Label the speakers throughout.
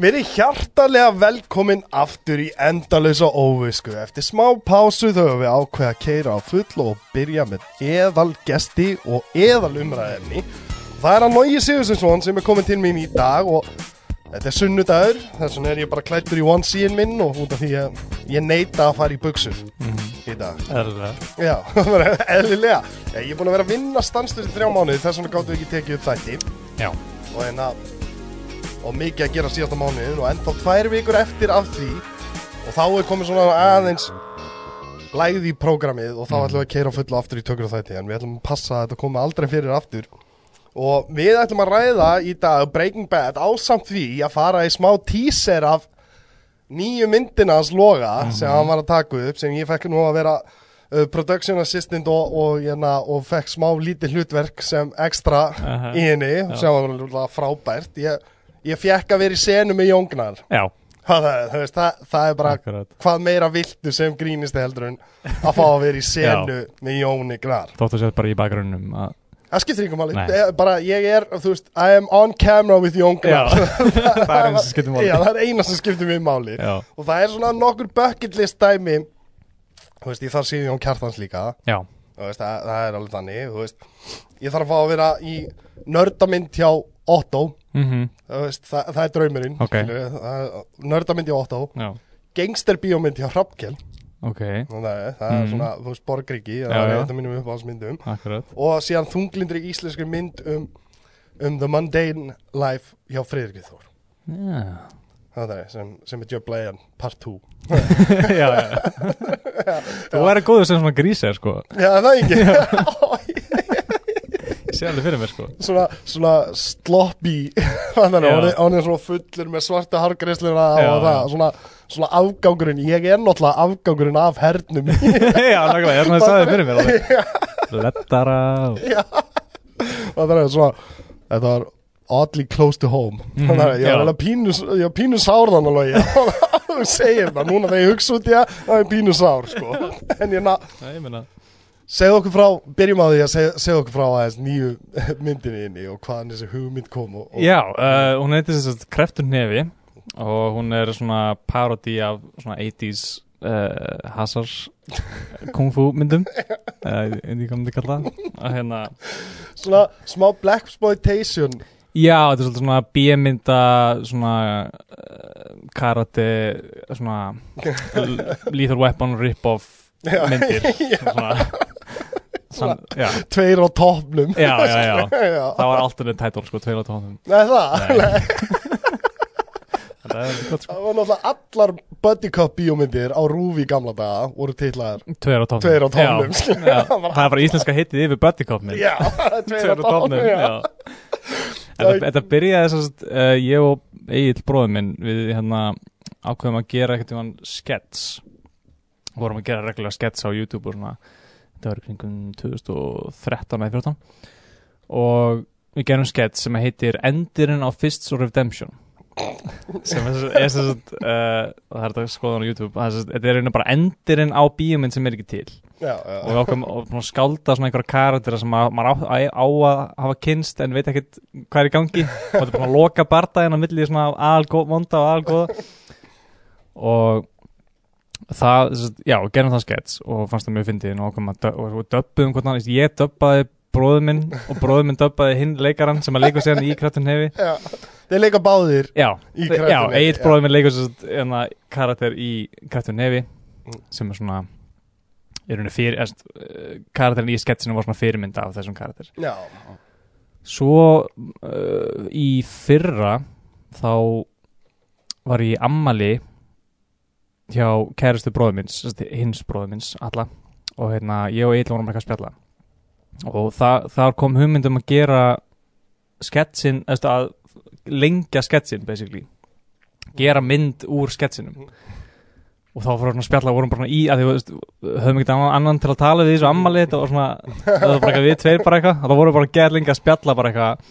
Speaker 1: Verið hjartalega velkomin aftur í endalösa óvisku. Eftir smá pásu þau við ákveða að keira á full og byrja með eðalgesti og eðalumræðinni. Það er að Nói Sigurðsson sem er komin til mín í dag og þetta er sunnudagur. Þess vegna er ég bara klættur í one scene minn og út af því að ég neita að fara í buksur í dag.
Speaker 2: Erða.
Speaker 1: Já, bara eðlilega. Ég er búin að vera að vinna stanslust í þrjá mánuði þess vegna gáttu ekki tekið upp þætti.
Speaker 2: Já.
Speaker 1: og hérna og mikið að gera síðasta mánuðin og ennþá tvær vikur eftir af því og þá er komið svona aðeins lægð í prógramið og þá ætlum við að keira fullu aftur í tökur og þætti en við ætlum að passa að þetta komi aldrei fyrir aftur og við ætlum að ræða í dag Breaking Bad ásamt því að fara í smá teaser af nýju myndina hans Loga sem hann var að taka upp sem ég fekk nú að vera uh, production assistant og, og, hérna, og fekk smá lítið hlutverk sem ekstra
Speaker 2: Aha.
Speaker 1: í henni sem var náttúrulega frábært ég, ég fekk að vera í senu með Jóngnar
Speaker 2: Já.
Speaker 1: það, það, það, veist, það, það er bara
Speaker 2: Akkurat.
Speaker 1: hvað meira viltu sem grínisti heldur en að fá að vera í senu
Speaker 2: Já.
Speaker 1: með Jóni Gnar
Speaker 2: Þóttu sér bara í bakgrunnum að...
Speaker 1: það skiptir ykkur máli,
Speaker 2: Nei.
Speaker 1: Eh, bara ég er þú veist, I am on camera with Jóngnar
Speaker 2: það er eins og skiptum
Speaker 1: Já, það er eina sem skiptir mig máli
Speaker 2: Já.
Speaker 1: og það er svona nokkur bucket list dæmi þú veist, ég þarf síðan Jón Kjartans líka
Speaker 2: Já.
Speaker 1: þú veist, það, það er alveg þannig þú veist, ég þarf að fá að vera í nördamynd hjá Otto
Speaker 2: Mm
Speaker 1: þú veist, það, það er draumurinn
Speaker 2: Ok.
Speaker 1: skilurðu, það- nördamynd hjá Otto
Speaker 2: Já.
Speaker 1: gangsterbíómynd hjá Hrafnkel
Speaker 2: Ok.
Speaker 1: það er, það er
Speaker 2: Mhm.
Speaker 1: svona, þú veist, borgríki
Speaker 2: Já,
Speaker 1: það er
Speaker 2: já.
Speaker 1: þetta mínum uppáhalsmyndum
Speaker 2: Akkurat.
Speaker 1: og síðan þunglindri íslenskri mynd um, um The Mundane Life hjá Friðrikið Þór
Speaker 2: Já.
Speaker 1: það er sem, sem er Jöfn Leijan part 2
Speaker 2: já, já. Þú væri góður sem svona grísið, sko.
Speaker 1: Já, það er ekki
Speaker 2: Ég Sé alveg fyrir mér, sko.
Speaker 1: Svona, svona sloppy Þannig
Speaker 2: Já.
Speaker 1: að hann er svona fullur með svarta hargreisluna
Speaker 2: Já,
Speaker 1: og það
Speaker 2: já.
Speaker 1: svona, svona afgangurinn, ég er náttúrulega afgangurinn af hernum
Speaker 2: já, nákvæmlega. Ég er svona að sagði fyrir mér alveg. Lettara. og-
Speaker 1: Það er svona, þetta var oddly close to home Þannig að ég
Speaker 2: Mhm. já.
Speaker 1: var alveg pínu, ég var pínu sár þannig alveg Já, þú segir það, núna þegar ég hugsa út í það, það er pínu sár sko En ég ná,
Speaker 2: Nei, ég meina.
Speaker 1: segðu okkur frá, byrjum á því að segja, segja okkur frá aðeins nýju myndinni inni og hvaðan þessi hugmynd kom og, og
Speaker 2: Já, uh, hún heitir sem sagt Kreftun Nefi og hún er svona parodi af svona 80s uh, hasars kung fu myndum uh, en ég kom til að kalla það og hérna
Speaker 1: svona smá black exploitation
Speaker 2: Já, þetta er svolítið svona bímynda svona uh, karate svona l- lethal weapon rip-off
Speaker 1: Já.
Speaker 2: myndir svona, svona, já,
Speaker 1: tveir á topnum
Speaker 2: já, já, já
Speaker 1: Já.
Speaker 2: það var alternate title sko, tveir á tónum
Speaker 1: Nei, það,
Speaker 2: Nei. það er alveg gott sko,
Speaker 1: það var náttúrulega allar buddy cop bíómyndir á rúfi gamla daga voru titlaðar
Speaker 2: tveir á tónum
Speaker 1: tveir á topnum
Speaker 2: já, já, það er bara íslenska hittið yfir buddy cop mynd
Speaker 1: Já, tveir á topnum
Speaker 2: já.
Speaker 1: já.
Speaker 2: Þetta, þetta byrjaði þess að uh, ég og Egil bróðum minn við hérna ákveðum að gera eitthvað tímann skets vorum að gera reglulega skets á YouTube og svona þetta var í kringum 2013 eða 14 og við gerum skets sem heitir Endirinn á Fists of Redemption sem er svo- er svo uh, það er þetta að skoða hann á YouTube það er svo- þetta er reyna bara endirinn á bíómynd sem er ekki til
Speaker 1: Já,
Speaker 2: og
Speaker 1: já.
Speaker 2: við ákveðum að svona skálda svona einhverja karatera sem að, maður á, á, á að hafa kynst en veit ekkert hvað er í gangi og þetta er bara að loka bardaginn á milli svona algóða og algóða og það, sem sagt, já, gerðum það skets og fannst það mjög fyndið og ákveðum að dö- og, og döbbuðum hvort annars, ég döbbaði bróður minn og bróður minn döbbaði hinn leikarann sem að leikur sér í kraftun hefi
Speaker 1: já. Þeir leika báðir
Speaker 2: Já,
Speaker 1: Í
Speaker 2: þe-
Speaker 1: Kraftun
Speaker 2: já
Speaker 1: Hefi,
Speaker 2: Egil
Speaker 1: já.
Speaker 2: bróðið minn leikur sérst, enna, karakter í Kraftun Nefi
Speaker 1: Mm.
Speaker 2: sem er svona í rauninni fyrir, erst, karakterin í sketsinu var svona fyrirmynda af þessum karakter
Speaker 1: Já,
Speaker 2: Svo uh, í fyrra þá var ég í ammali hjá kæristu bróðum minns, sérst, hins bróðum minns alla og hérna ég og Egil vorum eitthvað að spjalla og það, þar kom hugmyndum að gera sketsin, eða að lengja sketsin basically gera mynd úr sketsinum og þá fyrir svona að spjalla vorum bara svona í að því veist, höfum ekkert annan, annan til að tala við því svo ammali þetta var svona, það var bara eitthvað við tveir bara eitthvað og þá vorum við bara gerlinga að spjalla bara eitthvað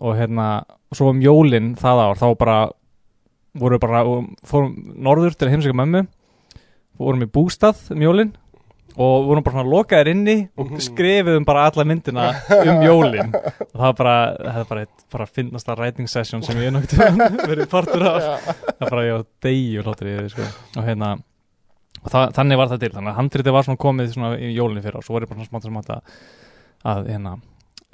Speaker 2: og hérna, og svo um jólin það ár, þá bara vorum við bara, og fórum norður til að heimsækja mömmu vorum í bústað um jólin og vorum bara svona lokaðir inni og skrifuðum bara alla myndina um jólin og það var bara, það er bara, eitt, bara finnast að writing session sem ég nokkuð verið partur af það er bara ég var degi og hlóttur í því sko. og hérna og það, þannig var það til, þannig að handritið var svona komið svona í jólinni fyrir og svo var ég bara svona smátt sem að að hérna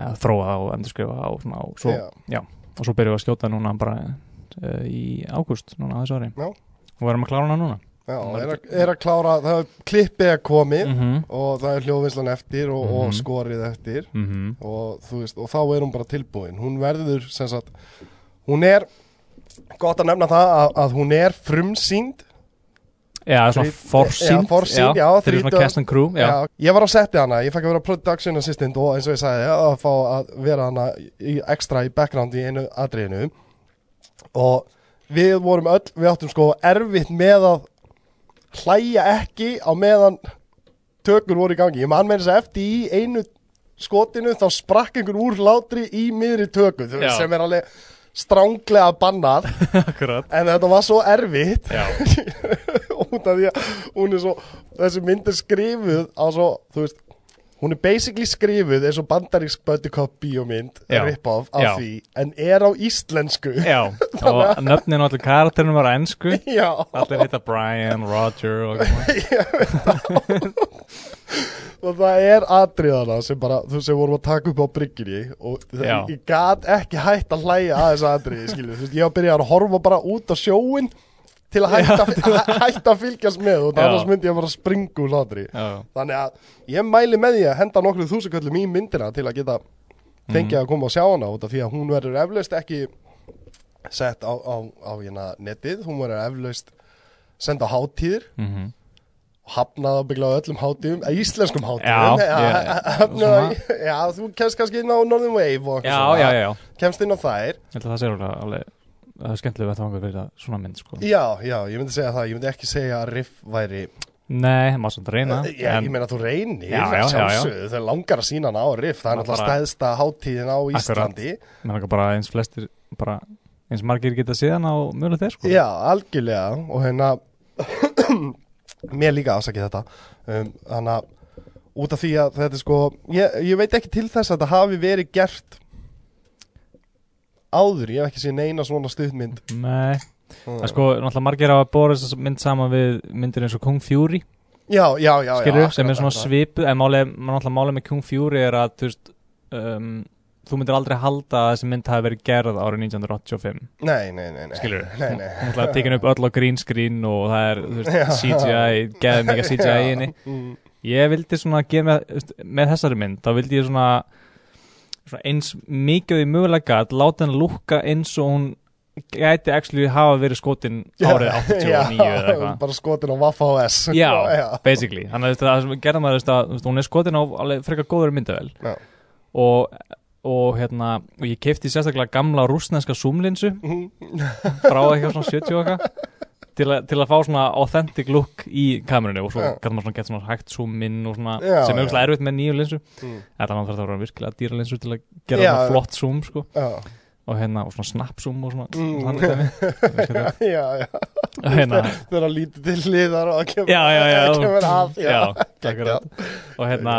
Speaker 2: að þróa það og endurskrifa það og svona og svo,
Speaker 1: Já.
Speaker 2: og svo byrjuðum við að skjóta núna bara uh, í ágúst núna á þessu ári
Speaker 1: Já.
Speaker 2: og verðum að klára hana núna
Speaker 1: Já,
Speaker 2: Maður
Speaker 1: er, að, er að klára, það er klippið að komi
Speaker 2: mm -hmm.
Speaker 1: og það er hljóðvinslan eftir og, og
Speaker 2: Mhm.
Speaker 1: skorið eftir
Speaker 2: Mm
Speaker 1: og, þú veist, og þá er hún bara tilbúin hún verður sem sagt hún er, gott að nefna það að, að hún er frumsýnd
Speaker 2: Já, svona
Speaker 1: Þrít-
Speaker 2: forsýnd
Speaker 1: já, forsýnd, já,
Speaker 2: Fyrir svona
Speaker 1: þrítugt-
Speaker 2: cast and crew Já,
Speaker 1: Já, ég var á setti hana, ég fæk að vera production assistant og eins og ég sagði að fá að vera hana í, ekstra í background í einu atriðinu og við vorum öll, við áttum sko erfitt með að hlæja ekki á meðan tökur voru í gangi, ég man meira þess að eftir í einu skotinu þá sprakk einhver úr látri í miðri töku þú veist,
Speaker 2: Já.
Speaker 1: sem er alveg stránglega bannað
Speaker 2: akkurat
Speaker 1: en þetta var svo erfitt
Speaker 2: Já,
Speaker 1: út af því að hún er svo þessi mynd er skrifuð á svo, þú veist hún er basically skrifuð eins og bandarísk buddycop bíómynd
Speaker 2: Já.
Speaker 1: rip-off
Speaker 2: Já.
Speaker 1: af því en er á íslensku
Speaker 2: já Og nöfnin á allir karakterinum var á ensku
Speaker 1: já,
Speaker 2: Allir heita Brian, Roger og eitthvað
Speaker 1: og það er atriðana sem bara, þú veist, sem vorum að taka upp á bryggjunni og
Speaker 2: Já.
Speaker 1: það, ég gat ekki hægt að hlæja að þessu atriði, skilju þú veist, ég var að byrja að horfa bara út á sjóin til að hætta, hæ, hætta að fylgjast með og
Speaker 2: Já.
Speaker 1: annars myndi ég bara að springa úr hlátri
Speaker 2: Já,
Speaker 1: Þannig að ég mæli með því að henda nokkru þúsuköllum í myndina til að geta fengið
Speaker 2: Mhm.
Speaker 1: að koma og sjá hana út af því að hún verður eflaust ekki sett á, á, á hérna netið, hún verður eflaust senda á hátíðir,
Speaker 2: mhm
Speaker 1: hafnað að byggla á öllum hátíðum, eh, íslenskum
Speaker 2: Já,
Speaker 1: hátíðum,
Speaker 2: ég-
Speaker 1: hafnað, já, þú kemst kannski inn á Northern Wave og eitthvað
Speaker 2: Já, já, já, já
Speaker 1: kemst inn á þær,
Speaker 2: Ég held að það sé alveg alveg Það er skemmtilega að það vangur fyrir það svona mynd sko
Speaker 1: já, já, ég myndi segja það, ég myndi ekki segja að Riff væri,
Speaker 2: Nei, maður svona reyna
Speaker 1: já, ég meina þú reynir,
Speaker 2: Já, já, já, já.
Speaker 1: sjálfsögðu, þau langar að sína hana á Riff, það er
Speaker 2: Það
Speaker 1: náttúrulega
Speaker 2: bara-
Speaker 1: stæðsta hátíðin á
Speaker 2: Akkurat.
Speaker 1: Íslandi,
Speaker 2: Mér langar bara eins flestir bara eins margir geta síðan á mjögulega þeir sko
Speaker 1: Já, algjörlega og hérna mér líka afsakið þetta um, þannig að út af því að þetta er sko ég, ég veit ekki til þess að þetta hafi verið gert áður, ég hef ekki séð neina svona stuðmynd
Speaker 2: Nei, það er sko náttúrulega margir á að bóra þess mynd saman við myndir eins og Kung Fury
Speaker 1: Já, já, já, já
Speaker 2: skilur,
Speaker 1: akkurat,
Speaker 2: sem er svona
Speaker 1: akkurat.
Speaker 2: svipuð en málið, maður náttúrulega málið með Kung Fury er að þú veist um, þú myndir aldrei halda að þessi mynd hafi verið gerð árið 1985
Speaker 1: Nei, nei, nei, nei
Speaker 2: skilur,
Speaker 1: Nei, nei
Speaker 2: náttúrulega tekin upp öll á green screen og það er þú
Speaker 1: Já.
Speaker 2: veist, CGI, geðið mikið CGI inni
Speaker 1: Mm,
Speaker 2: ég vildi svona gera með, þú veist, með þessari mynd þá vildi ég svona, svona eins mikið við mögulega að láta henn lúkka eins og hún gæti actually hafa verið skotin árið 89
Speaker 1: já,
Speaker 2: eða eitthvað
Speaker 1: Bara skotin á Waffa OS
Speaker 2: Já,
Speaker 1: já,
Speaker 2: basically Þannig að þú veist, það sem gerða maður þú veist, að, þú veist, hún er skotin á alveg frekar góður myndavel
Speaker 1: Já.
Speaker 2: og, og hérna og ég kefti sérstaklega gamla rúsneska zoomlinsu
Speaker 1: Mhm.
Speaker 2: frá eitthvað svona 70 og eitthvað til, að- til að fá svona authentic look í kamerunni og svo
Speaker 1: Já.
Speaker 2: gæti maður svona gett svona hægt zoom inn og svona
Speaker 1: Já,
Speaker 2: sem er
Speaker 1: já.
Speaker 2: auðvitað erfitt með nýju linsu
Speaker 1: Mm,
Speaker 2: Þetta mann þarf að vera virkilega dýra linsu til að gera
Speaker 1: Já.
Speaker 2: svona flott zoom sko
Speaker 1: já.
Speaker 2: og hérna og svona snap zoom og svona
Speaker 1: Mm.
Speaker 2: þannig dæmi. Ég veit hvað það er.
Speaker 1: Já, já
Speaker 2: og hérna
Speaker 1: Þegar að lítið til hliðar og það kemur
Speaker 2: Já, já, já.
Speaker 1: kemur að, já,
Speaker 2: já, akkurat og hérna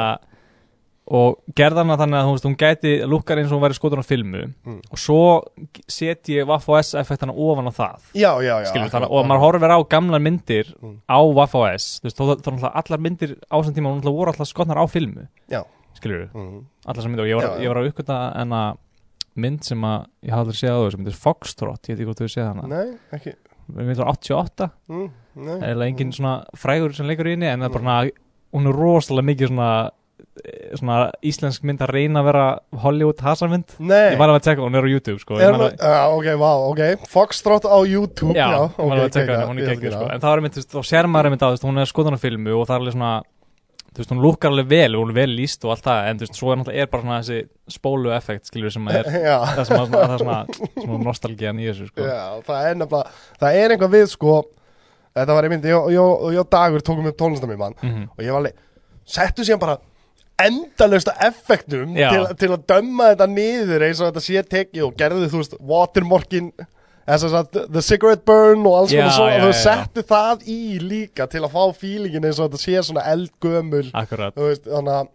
Speaker 2: og gerði hana þannig að þú veist, hún gæti lukkar eins og hún væri skotur á filmu
Speaker 1: Mm.
Speaker 2: og svo set ég Waff OS effektana ofan á það
Speaker 1: já, já, já
Speaker 2: Skilur, þannig,
Speaker 1: akkurat.
Speaker 2: og maður horfir á gamlar myndir
Speaker 1: Mm.
Speaker 2: á Waff OS þú veist, þá þá náttúrulega allar myndir á þessum tíma náttúrulega voru allar skotnar á filmu
Speaker 1: Já.
Speaker 2: skilur,
Speaker 1: Mhm.
Speaker 2: allar sem myndir og ég
Speaker 1: Já,
Speaker 2: var,
Speaker 1: já.
Speaker 2: ég var að uppgöta en að mynd sem að ég hafði aldrei séð á þessu myndir Foxtrot, ég veit ekki hvort þú séð hana
Speaker 1: Nei, ekki
Speaker 2: myndir 88
Speaker 1: mm, nei. Mm.
Speaker 2: eða engin svona frægur sem leikur í henni en það er bara svona, hún er rosalega mikið svona, svona íslensk mynd að reyna að vera Hollywood hasarmynd
Speaker 1: Nei
Speaker 2: ég var alveg að tjekka, hún er á YouTube sko
Speaker 1: Er
Speaker 2: ég
Speaker 1: maður,
Speaker 2: man að-
Speaker 1: uh, ok, vá, ok Foxtrot á YouTube
Speaker 2: Já,
Speaker 1: Já,
Speaker 2: já
Speaker 1: ok,
Speaker 2: okay, að tjekka,
Speaker 1: geggjað,
Speaker 2: hana, hún
Speaker 1: ég
Speaker 2: er
Speaker 1: skal
Speaker 2: geggjur
Speaker 1: gera
Speaker 2: sko
Speaker 1: það.
Speaker 2: en það er mynd, þú veist, og sér maður er mynd á, þú veist, hún er skoðan á filmu og það er alveg svona þú veist, hún lukkar alveg vel, hún er vel líst og allt það en þú veist, svo er náttúrulega er bara svona þessi spólu effekt skilur sem að er
Speaker 1: Já,
Speaker 2: það sem að svona, það er svona, svona nostalgían í þessu sko
Speaker 1: já, það er nefnilega Það er einhvað við, sko Þetta var einmitt, ég og- ég og- ég og Dagur tókum upp tónlistamið mann
Speaker 2: Mhm.
Speaker 1: Og ég var alveg Settu síðan bara endalausta effektum
Speaker 2: Já.
Speaker 1: til, til að dömma þetta niður eins og þetta sé tekið og gerðu þú veist watermorkin eða sem sagt, The Cigarette Burn og alls
Speaker 2: Já,
Speaker 1: konar svona
Speaker 2: já,
Speaker 1: og
Speaker 2: já,
Speaker 1: þau
Speaker 2: já.
Speaker 1: settu það í líka til að fá fílingin eins og þetta sé svona eldgömul
Speaker 2: akkurat
Speaker 1: þú veist, þannig að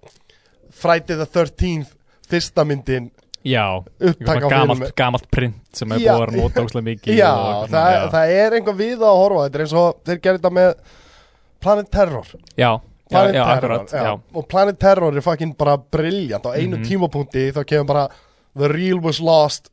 Speaker 1: Friday the 13th fyrsta myndin
Speaker 2: Já,
Speaker 1: upptak á
Speaker 2: gamalt,
Speaker 1: filmi.
Speaker 2: gamalt print sem er
Speaker 1: Já.
Speaker 2: búið að nota óslega mikið
Speaker 1: já,
Speaker 2: og,
Speaker 1: það,
Speaker 2: já.
Speaker 1: það er einhver við að horfa á. þetta er eins og þeir gerir þetta með Planet Terror
Speaker 2: já, já,
Speaker 1: Planet
Speaker 2: já,
Speaker 1: Terror,
Speaker 2: akkurat já.
Speaker 1: og Planet Terror er fucking bara briljant á einum
Speaker 2: Mhm.
Speaker 1: tímapunkti þá kemur bara The Real was lost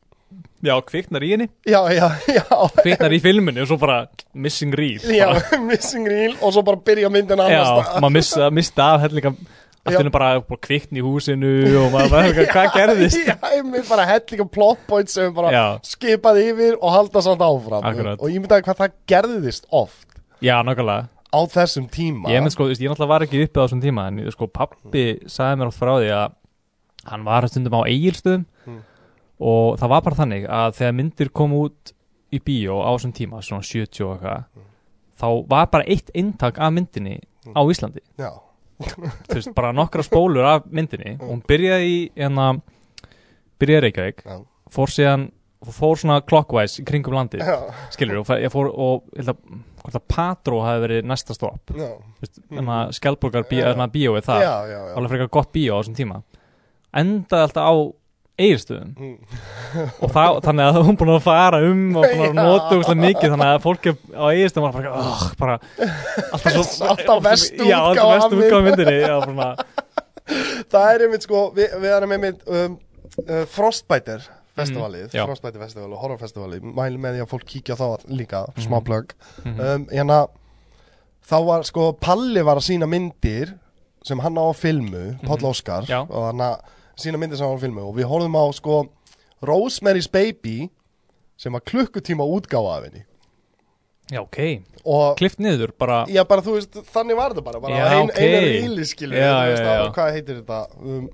Speaker 2: já, kviknar í henni
Speaker 1: já, já, já
Speaker 2: Kviknar í filminu og svo bara missing reel
Speaker 1: Já,
Speaker 2: bara,
Speaker 1: missing reel og svo bara byrja myndin
Speaker 2: já
Speaker 1: annars staðar.
Speaker 2: maður missa, mista af hellinga
Speaker 1: Já.
Speaker 2: Allt henni bara, bara kvikn í húsinu og maður bara, helga, hvað gerðist?
Speaker 1: Já, ég með bara hellinga plot points sem bara
Speaker 2: Já.
Speaker 1: skipaði yfir og halda samt áfram
Speaker 2: Akkurat.
Speaker 1: og ég myndaði hvað það gerðist oft
Speaker 2: Já, nákvæmlega
Speaker 1: á þessum tíma
Speaker 2: Ég, menn, sko, þú veist, ég náttúrulega var ekki uppið á þessum tíma en sko, pappi sagði mér átt frá því að hann var stundum á eigilstöðum
Speaker 1: Mm.
Speaker 2: og það var bara þannig að þegar myndir kom út í bíó á þessum tíma, svona 70 og eitthvað þá var bara eitt eintak af myndinni á Íslandi
Speaker 1: Já,
Speaker 2: þú veist, bara nokkra spólur af myndinni og hún byrjaði í hérna byrjaði í Reykjavík,
Speaker 1: já,
Speaker 2: fór síðan fór svona clockwise í kringum landið
Speaker 1: já,
Speaker 2: skilur, og ég fór og ég held að, hvort að Patró hafi verið næsta stopp
Speaker 1: já,
Speaker 2: þannig að Skelborgar bíó,
Speaker 1: Já.
Speaker 2: þannig að hérna, bíóið það
Speaker 1: já, já, já.
Speaker 2: alveg frekar gott bíó á þessum tíma endaði alltaf á eigirstöðum
Speaker 1: Mm.
Speaker 2: og það, þannig að hún búin að fara um og búin að
Speaker 1: Já.
Speaker 2: nota úkslega mikið þannig að fólki á eigirstöðum var bara, oh, bara alltaf svo
Speaker 1: Alltaf verstu
Speaker 2: já, alltaf
Speaker 1: útgáfa af
Speaker 2: vestu útgáfa af myndinni já, svona,
Speaker 1: Það er einmitt sko, við, við erum einmitt um, uh, Frostbiter festivalið,
Speaker 2: Mm, já.
Speaker 1: Frostbiter festival og horror festivalið mæli með því að fólk kíkja á þá líka,
Speaker 2: Mhm.
Speaker 1: smá plögg
Speaker 2: mm
Speaker 1: um, hérna, þá var sko Palli var að sína myndir sem hann á að filmu, Páll
Speaker 2: Mhm.
Speaker 1: Óskar
Speaker 2: Já.
Speaker 1: og hann að sína myndir sem hann á að filmu og við horfum á sko Rosemary's Baby sem var klukkutíma útgáfa af henni
Speaker 2: já, ok,
Speaker 1: og
Speaker 2: klift niður bara,
Speaker 1: Já, bara þú veist, þannig var það bara, bara
Speaker 2: Já,
Speaker 1: ein,
Speaker 2: ok.
Speaker 1: einu ríli skilur
Speaker 2: Já,
Speaker 1: þú veist,
Speaker 2: já, já.
Speaker 1: að- Hvað heitir þetta? Um,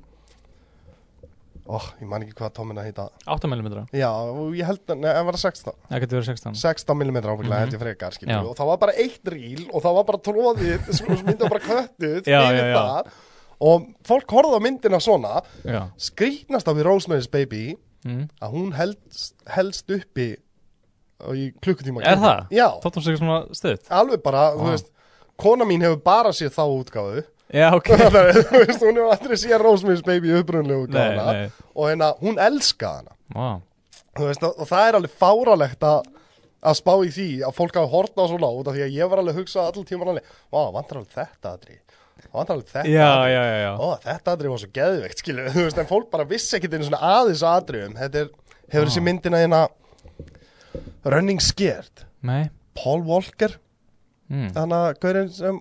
Speaker 1: ó, ég man ekki hvað tómina heita
Speaker 2: 8 mm
Speaker 1: Já, og ég held að, neða, var það 16
Speaker 2: það getur verið 16
Speaker 1: 16 mm áfenglega held ég frekar skilur
Speaker 2: Mhm. Já.
Speaker 1: og það var bara eitt ríl og það var bara tróðið sko, sem myndið var bara köttuð
Speaker 2: Já,
Speaker 1: yfir
Speaker 2: já, já.
Speaker 1: það. og fólk horfði á myndina svona
Speaker 2: já,
Speaker 1: skrýtnast á við Rosemary's Baby
Speaker 2: mm.
Speaker 1: að hún helst, helst uppi í klukkutíma
Speaker 2: Er það?
Speaker 1: Já,
Speaker 2: þóttum sig svona stöðt
Speaker 1: alveg bara, þú
Speaker 2: Vá.
Speaker 1: veist kona mín hefur bara séð þá útgáfu
Speaker 2: já, ok,
Speaker 1: Þannig að, þú veist, hún hefur aldrei séð Rosemary's Baby upprunlegu
Speaker 2: nei,
Speaker 1: útgáfuna
Speaker 2: nei
Speaker 1: og hérna, hún elskaði hana
Speaker 2: Vá.
Speaker 1: Þú veist, og og það er alveg fáralegt að að spá í því að fólk hafi hortna á svona út af því að ég var alveg að hugsa allir tíman alveg Vá, vantar alveg þetta aðri vantar alveg þetta
Speaker 2: já,
Speaker 1: atriði.
Speaker 2: já, já, já
Speaker 1: Ó, þetta aðri var svo geðveikt, skilur við, þú veist, en fólk bara vissi ekkit einu svona aðeins aðriðum Þetta er, hefur
Speaker 2: Ah.
Speaker 1: þessi myndina hérna Running Scared
Speaker 2: nei,
Speaker 1: Paul Walker
Speaker 2: mm.
Speaker 1: þannig að gaurinn sem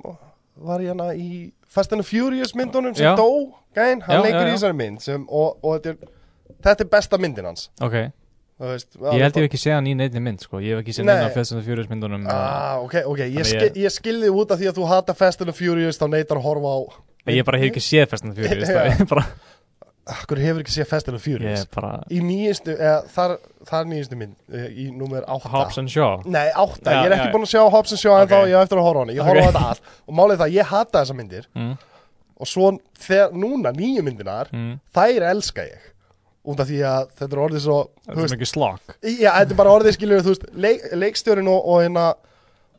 Speaker 1: var hérna í Fast and the Furious myndunum sem
Speaker 2: Já.
Speaker 1: dó gæn, hann
Speaker 2: Já,
Speaker 1: leikur
Speaker 2: já,
Speaker 1: í
Speaker 2: já.
Speaker 1: þessari mynd sem, og, og þetta, er, þetta er besta myndin hans
Speaker 2: ok
Speaker 1: þú veist,
Speaker 2: Ég held ég hef ekki séð hann í neinni mynd sko Ég hef ekki séð
Speaker 1: Nei.
Speaker 2: neina af Fast and the Furious myndunum ah,
Speaker 1: ah, ok, ok, ég,
Speaker 2: Þannig
Speaker 1: skil,
Speaker 2: ég-
Speaker 1: ég... skilði út af því að þú hata Fast and the Furious þá neytar að horfa á
Speaker 2: Ég bara hef ekki séð Fast and the Furious
Speaker 1: Já.
Speaker 2: það er bara,
Speaker 1: Akkur hefur ekki séð Fast and the
Speaker 2: Ég
Speaker 1: Furious
Speaker 2: er bara
Speaker 1: í nýjastu, eða þar, þar nýjastu mynd eh, í númer 8
Speaker 2: Hobbs and Shaw
Speaker 1: Nei, 8,
Speaker 2: Já,
Speaker 1: ég er ekki
Speaker 2: já.
Speaker 1: búinn að sjá Hobbs and Shaw en
Speaker 2: Ok.
Speaker 1: þá ég á eftir að horfa á hana, ég horfa á
Speaker 2: Ok.
Speaker 1: þetta allt og málið er það, að ég hata þessa myndir
Speaker 2: mm,
Speaker 1: og svo þegar núna nýju myndinar
Speaker 2: mm.
Speaker 1: þær elska ég út af því að þetta er orðið svo þú
Speaker 2: Það er
Speaker 1: veist,
Speaker 2: mikið slokk
Speaker 1: já, þetta er bara orðið skilur þú veist, leik, leikstjórin og, og hérna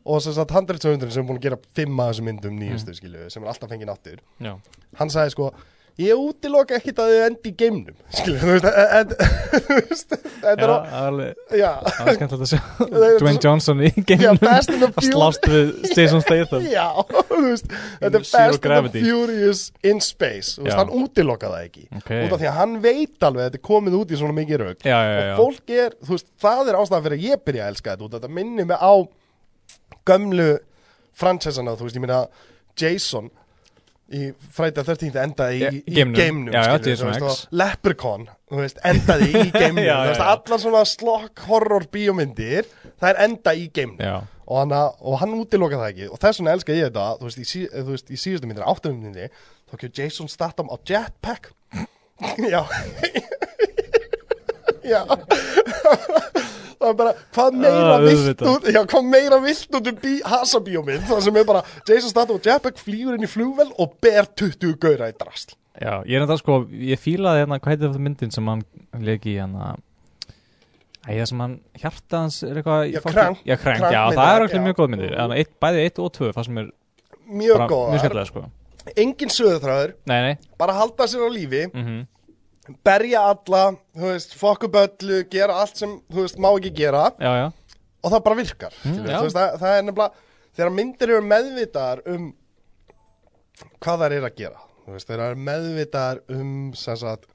Speaker 1: og sem sagt handreitöfundurinn sem er búin að gera fimm að þessum myndum nýjastu mm. sem er alltaf fengið náttur
Speaker 2: Já,
Speaker 1: hann sagði sko ég útiloka ekkit að þau endi í geimnum skilur, þú veist, en, en, þú veist
Speaker 2: Já,
Speaker 1: þetta er,
Speaker 2: það er alveg-
Speaker 1: já, já,
Speaker 2: það er skemmtilegt
Speaker 1: er
Speaker 2: að sjá Dwayne Johnson í
Speaker 1: já
Speaker 2: geimnum
Speaker 1: best in the
Speaker 2: að
Speaker 1: Furious
Speaker 2: slást við Jason Statham
Speaker 1: já, þú veist, þetta er
Speaker 2: Zero
Speaker 1: best in the
Speaker 2: Gravity.
Speaker 1: Furious in space, þú veist,
Speaker 2: Já.
Speaker 1: hann útiloka það ekki
Speaker 2: Ok
Speaker 1: út af því að hann veit alveg að þetta er komið út í svona mikið rauk
Speaker 2: Já, já, já
Speaker 1: og fólk er, þú veist, það er ástæðan fyrir að ég byrja að elska þetta út þetta minnir mig á gömlu fransessana, þú veist, ég meina Jason í Friday 13. endaði í,
Speaker 2: Í
Speaker 1: í
Speaker 2: geimnum.
Speaker 1: geimnum
Speaker 2: Já, já,
Speaker 1: skilur,
Speaker 2: Jason
Speaker 1: þú veist,
Speaker 2: X.
Speaker 1: og Leprechaun, þú veist, endaði í geimnum
Speaker 2: Já, já,
Speaker 1: þú veist,
Speaker 2: já.
Speaker 1: allar svona slokk horror bíómyndir það er enda í geimnum
Speaker 2: Já,
Speaker 1: og, hana, og hann útiloka það ekki og þess vegna elska ég þetta, þú veist, í, sí, eh, þú veist, í síðustu myndir, áttum myndinni þá kemur Jason Statham á jetpack já já það er bara, hvað meira
Speaker 2: Ah,
Speaker 1: vilt
Speaker 2: auðvitað.
Speaker 1: út, já, hvað meira vilt út um bí, hasabíómynd, það sem er bara Jason Statham á jetpack flýgur inn í flugvel og ber 20 gauðra í drasl
Speaker 2: já Ég er þetta sko Ég fílaði hérna Hvað heitir þetta myndin sem hann leik í hérna Æ, það sem hann hjarta hans er eitthvað í
Speaker 1: Já,
Speaker 2: fokki-
Speaker 1: Crank.
Speaker 2: Já, krank,
Speaker 1: Crank
Speaker 2: já,
Speaker 1: myndin,
Speaker 2: það er alltaf
Speaker 1: já.
Speaker 2: mjög góð myndir
Speaker 1: Mhm.
Speaker 2: Þannig, eitt, Bæði 1 og 2, það sem er
Speaker 1: mjög
Speaker 2: bara mjög
Speaker 1: góðar,
Speaker 2: skemmtilega sko.
Speaker 1: engin söðuþræður
Speaker 2: Nei, nei,
Speaker 1: bara halda sér á lífi,
Speaker 2: mm
Speaker 1: berja alla þú veist, fokk upp öllu, gera allt sem þú veist, má ekki gera
Speaker 2: já, já
Speaker 1: og það bara virkar mm,
Speaker 2: já.
Speaker 1: veist, það, það er nefnilega, þegar myndir eru meðvitaðar um hvað þær eru að gera þú veist, þegar þær eru meðvitaðar um sem sagt,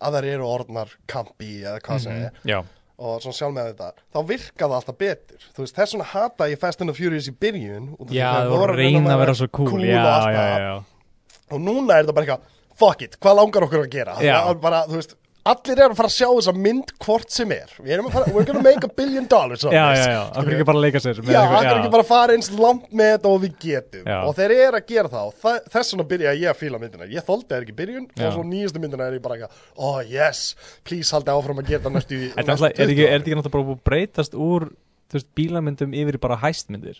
Speaker 1: að þær eru orðnar kampi eða hvað sem er
Speaker 2: Já,
Speaker 1: og svona sjálf með þetta, þá virka það alltaf betur þú veist, þess vegna hata ég Fast and the Furious í byrjun út af því
Speaker 2: já
Speaker 1: að þau
Speaker 2: það voru að reyna að vera svo cool,
Speaker 1: cool
Speaker 2: Já,
Speaker 1: og allt
Speaker 2: já,
Speaker 1: það.
Speaker 2: já,
Speaker 1: og núna er þetta bara eitthvað, fuck it, hvað langar okkur að gera
Speaker 2: Já.
Speaker 1: Það er bara, þú veist, allir eru að fara að sjá þessa mynd hvort sem er við erum að fara, we're gonna make a billion dollars on
Speaker 2: já, já,
Speaker 1: this,
Speaker 2: já, okkur
Speaker 1: skilurðu.
Speaker 2: ekki bara að leika sér með
Speaker 1: Já,
Speaker 2: eitthvað-
Speaker 1: hann er ekki bara að fara eins langt með þetta og við getum
Speaker 2: Já.
Speaker 1: Og þeir eru að gera það og þa- þess vegna byrja ég að fíla myndina Ég þoldi það ekki í byrjun
Speaker 2: Já.
Speaker 1: og svo nýjastu myndina er ég bara eitthvað Oh yes, please haldi áfram að gera það næstu í-
Speaker 2: Þetta er
Speaker 1: næstu
Speaker 2: alltaf- er
Speaker 1: 20
Speaker 2: ekki, er
Speaker 1: árin.
Speaker 2: þetta ekki náttúrulega bara búið að breytast úr þú veist, bílamyndum yfir í bara hæstmyndir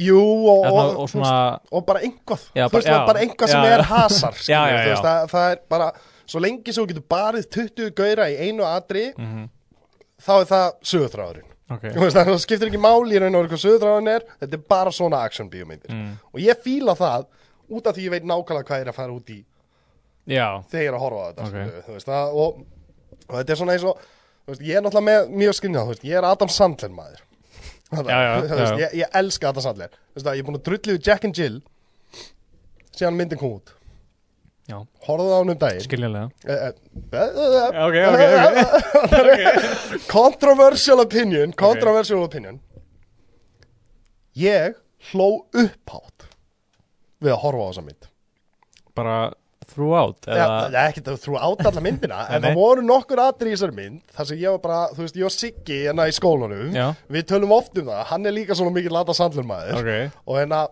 Speaker 1: Jú, og,
Speaker 2: Þarna-
Speaker 1: og,
Speaker 2: og
Speaker 1: þú
Speaker 2: svona,
Speaker 1: veist, og bara einhvað
Speaker 2: Já,
Speaker 1: Þú veist,
Speaker 2: bara-
Speaker 1: það er bara
Speaker 2: já.
Speaker 1: einhvað sem
Speaker 2: Já,
Speaker 1: er
Speaker 2: já.
Speaker 1: hasar skilur,
Speaker 2: Já, já,
Speaker 1: þú veist,
Speaker 2: já.
Speaker 1: það, það er bara, svo lengi sem þú getur barið 20 gauðra í einu atri
Speaker 2: Mhm.
Speaker 1: Þá er það sögutráðurinn
Speaker 2: ok
Speaker 1: Þú veist, það skiptir ekki máli í raun og veru hvað söðurráðan er þetta er bara svona action bíómyndir
Speaker 2: Mm.
Speaker 1: og ég fíla það út af því ég veit nákvæmlega hvað ég er að fara út í
Speaker 2: Já,
Speaker 1: þegar ég er að horfa á þetta
Speaker 2: Ok.
Speaker 1: okay. veist, það, og, og þetta er svona eins og þú veist, ég er náttúrulega með, mjög skinnjað veist, ég er Adam Sandler maður það,
Speaker 2: Já, já,
Speaker 1: þú
Speaker 2: já,
Speaker 1: veist,
Speaker 2: já.
Speaker 1: Ég, ég elska Adam Sandler Þú veist, það, ég er búin að drullu við Jack and Jill síðan myndin kom út
Speaker 2: Já.
Speaker 1: horfðu á hann um daginn
Speaker 2: skiljanlega
Speaker 1: Eh, eh,
Speaker 2: Ok, ok,
Speaker 1: Controversial opinion Controversial opinion Ég hló upphátt Við að horfa á þessa mynd
Speaker 2: ok Bara throughout
Speaker 1: ja,
Speaker 2: eða,
Speaker 1: Ekki það þrú át alla myndina En
Speaker 2: Nei.
Speaker 1: það voru nokkur atri í þessari mynd Þar sem ég var bara, þú veist, ég og Siggi hérna í skólanum
Speaker 2: Já,
Speaker 1: Við tölum oft um það, hann er líka svona mikið lata sandlur maður
Speaker 2: ok
Speaker 1: og hérna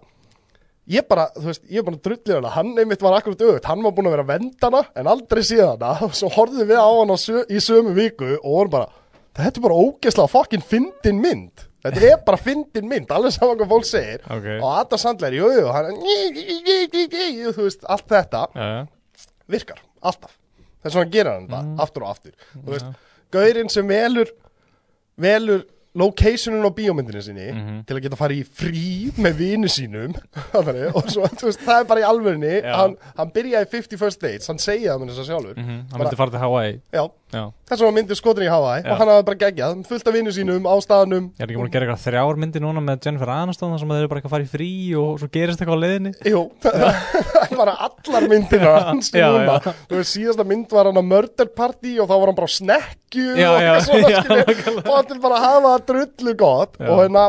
Speaker 1: ég bara, þú veist, ég er bara drullið hana hann einmitt var akkurat auðvitað, hann var búin að vera að venda hana en aldrei síðan hana og svo horfðum við á hana sö í sömu viku og vorum bara, þetta er bara ógeðslega fucking fyndin mynd, þetta er bara fyndin mynd, alveg saman hvað fólk segir
Speaker 2: Ok.
Speaker 1: og Adam Sandler, jú, jú, hann þú veist, allt þetta
Speaker 2: Já, já,
Speaker 1: virkar, alltaf þess vegna gerir hann þetta,
Speaker 2: Mm.
Speaker 1: aftur og aftur þú veist, gaurinn sem velur velur locationin á bíómyndinu sinni
Speaker 2: Mhm.
Speaker 1: til að geta að fara í frí með vinu sínum þannig, og svo, þú veist, það er bara í alvörinni
Speaker 2: Já.
Speaker 1: hann, hann byrjaði 51st dates, hann segja það með þess að sjálfur
Speaker 2: mhm, hann
Speaker 1: Bara-
Speaker 2: myndi fara til Hawaii
Speaker 1: já,
Speaker 2: Já,
Speaker 1: þess vegna myndir skotin í Hawaii
Speaker 2: Já.
Speaker 1: og hann hafði bara geggjað, fullt af vinu sínum á staðnum
Speaker 2: ég er ekki múin að gera eitthvað þrjár myndir núna með Jennifer Aniston þar sem þeir eru bara eitthvað að fara í frí og svo gerist eitthvað á leiðinni
Speaker 1: Jú, það er bara allar myndina hans
Speaker 2: já,
Speaker 1: núna
Speaker 2: já.
Speaker 1: Þú veist, síðasta mynd var hann að murder party og þá var hann bara á snekkju
Speaker 2: Já,
Speaker 1: og
Speaker 2: já,
Speaker 1: eitthvað svona,
Speaker 2: já,
Speaker 1: skilur. og hann er bara að hafa það drullu gott
Speaker 2: Já.
Speaker 1: og, hérna,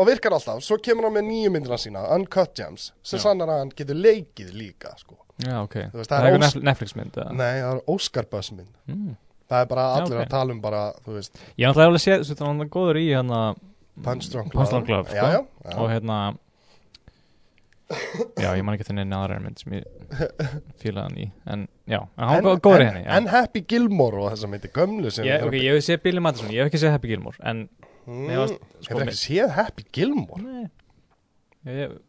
Speaker 1: og virkar alltaf, svo kemur hann með nýju myndina sína Uncut Gems, sem
Speaker 2: Já.
Speaker 1: sannar að hann getur leikið líka sko.
Speaker 2: Já, ok
Speaker 1: veist,
Speaker 2: Það
Speaker 1: það
Speaker 2: er
Speaker 1: er
Speaker 2: eitthvað
Speaker 1: ós-
Speaker 2: Nef- Netflix mynd eða?
Speaker 1: Nei, það er Oscar Buzz mynd
Speaker 2: Mm.
Speaker 1: Það er bara
Speaker 2: Já,
Speaker 1: allir
Speaker 2: ok.
Speaker 1: að tala um bara, þú veist,
Speaker 2: Ég er náttúrulega alveg séð, þú veist, hann er góður í hann
Speaker 1: Punch Drunk
Speaker 2: Mm, Punch Drunk Love,
Speaker 1: Já,
Speaker 2: sko.
Speaker 1: já, já.
Speaker 2: og hérna Já, ég man ekki þenni aðra mynd sem ég fílaði hann í En já, en hann var góður í henni já.
Speaker 1: En Happy Gilmore og þessa myndi gömlu sem
Speaker 2: Ég, ok, ég hef séð Billy Madison, ég hef ekki séð Happy Gilmore En,
Speaker 1: mm,
Speaker 2: mér varst, sko,
Speaker 1: Hefur
Speaker 2: mér-
Speaker 1: ekki séð Happy Gilmore?
Speaker 2: nei Ég, ég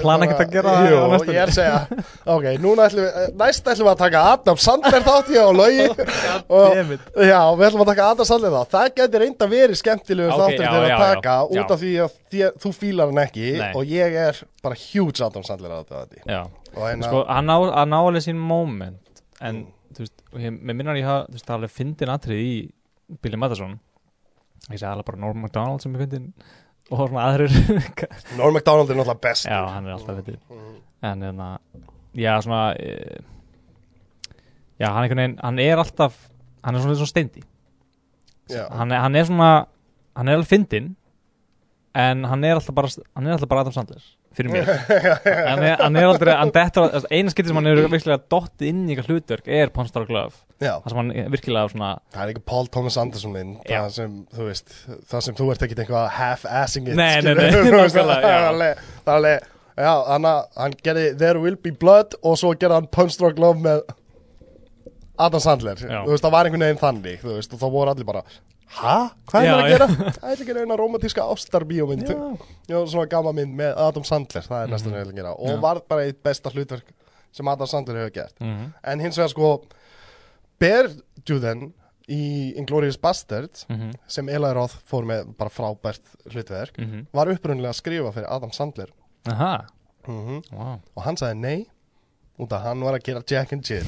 Speaker 2: plana ekkert að gera
Speaker 1: Jú,
Speaker 2: á næstunni.
Speaker 1: ég er að segja Ok, núna ætlum við, eh, næst ætlum við að taka Adam Sandler þátt ég á laugi og,
Speaker 2: Damn it.
Speaker 1: Já, við ætlum að taka Adam Sandler þátt Það gæti reynda verið skemmtilegu
Speaker 2: Ok,
Speaker 1: þáttur
Speaker 2: já,
Speaker 1: til
Speaker 2: já,
Speaker 1: að
Speaker 2: já,
Speaker 1: taka
Speaker 2: já.
Speaker 1: út af því að því, að þú fílar hann ekki
Speaker 2: Nei.
Speaker 1: og ég er bara huge Adam Sandler aðdáandi.
Speaker 2: Já,
Speaker 1: og hérna,
Speaker 2: sko, hann ná, hann ná alveg sín moment En, þú veist, og ég, mér minnar ég hafa, þú veist, það er alveg fyndin atrið í Billy Madison Ég segi alveg bara Norm MacDonald sem ég fyndin Og svona aðrir
Speaker 1: Norm MacDonald er náttúrulega best
Speaker 2: Já, hann er alltaf fyndin En, en, já, svona e, Já, hann, einhvern veginn, hann er alltaf Hann er svona eins og steindi hann, er- hann er svona hann er alveg fyndinn en hann er alltaf bara, hann er alltaf bara Adam Sandler fyrir mér hann, er, hann er aldrei hann dettur, að- eina skipti sem hann er virkilega dott inn í eitthvað hlutverk er Ponstar Glove
Speaker 1: já,
Speaker 2: það sem hann er virkilega svona
Speaker 1: það er ekki Paul Thomas Anderson minn
Speaker 2: Já.
Speaker 1: það sem, þú veist, það sem þú ert ekkit eitthvað half-assing it
Speaker 2: Nei, nei,
Speaker 1: skilur.
Speaker 2: nei,
Speaker 1: Þú veist,
Speaker 2: nákvæmlega,
Speaker 1: það er
Speaker 2: já.
Speaker 1: alveg, það er alveg já, hann, hann gerði There Will Be Blood og svo gerði hann Punch Drunk Love með Adam Sandler,
Speaker 2: Já.
Speaker 1: þú veist, það var einhvern veginn þannig þú veist, og þá voru allir bara Hæ? Hvað
Speaker 2: Já,
Speaker 1: er það að
Speaker 2: já.
Speaker 1: gera? Það er ekki reyna romantíska ástarbiómynd
Speaker 2: Já.
Speaker 1: Já, svona gama mynd með Adam Sandler Það er næsta mm -hmm. gera Og
Speaker 2: Mhm. Já.
Speaker 1: var bara eitt besta hlutverk sem Adam Sandler hefur gert
Speaker 2: mhm,
Speaker 1: En hins vegar sko Bear Juden í Inglourious Bastard
Speaker 2: mm -hmm.
Speaker 1: sem Eli Roth fór með bara frábært hlutverk
Speaker 2: Mm -hmm.
Speaker 1: var upprunnilega að skrifa fyrir Adam Sandler
Speaker 2: Aha,
Speaker 1: mm
Speaker 2: wow.
Speaker 1: og hann sagði nei út að hann var að gera Jack and Jill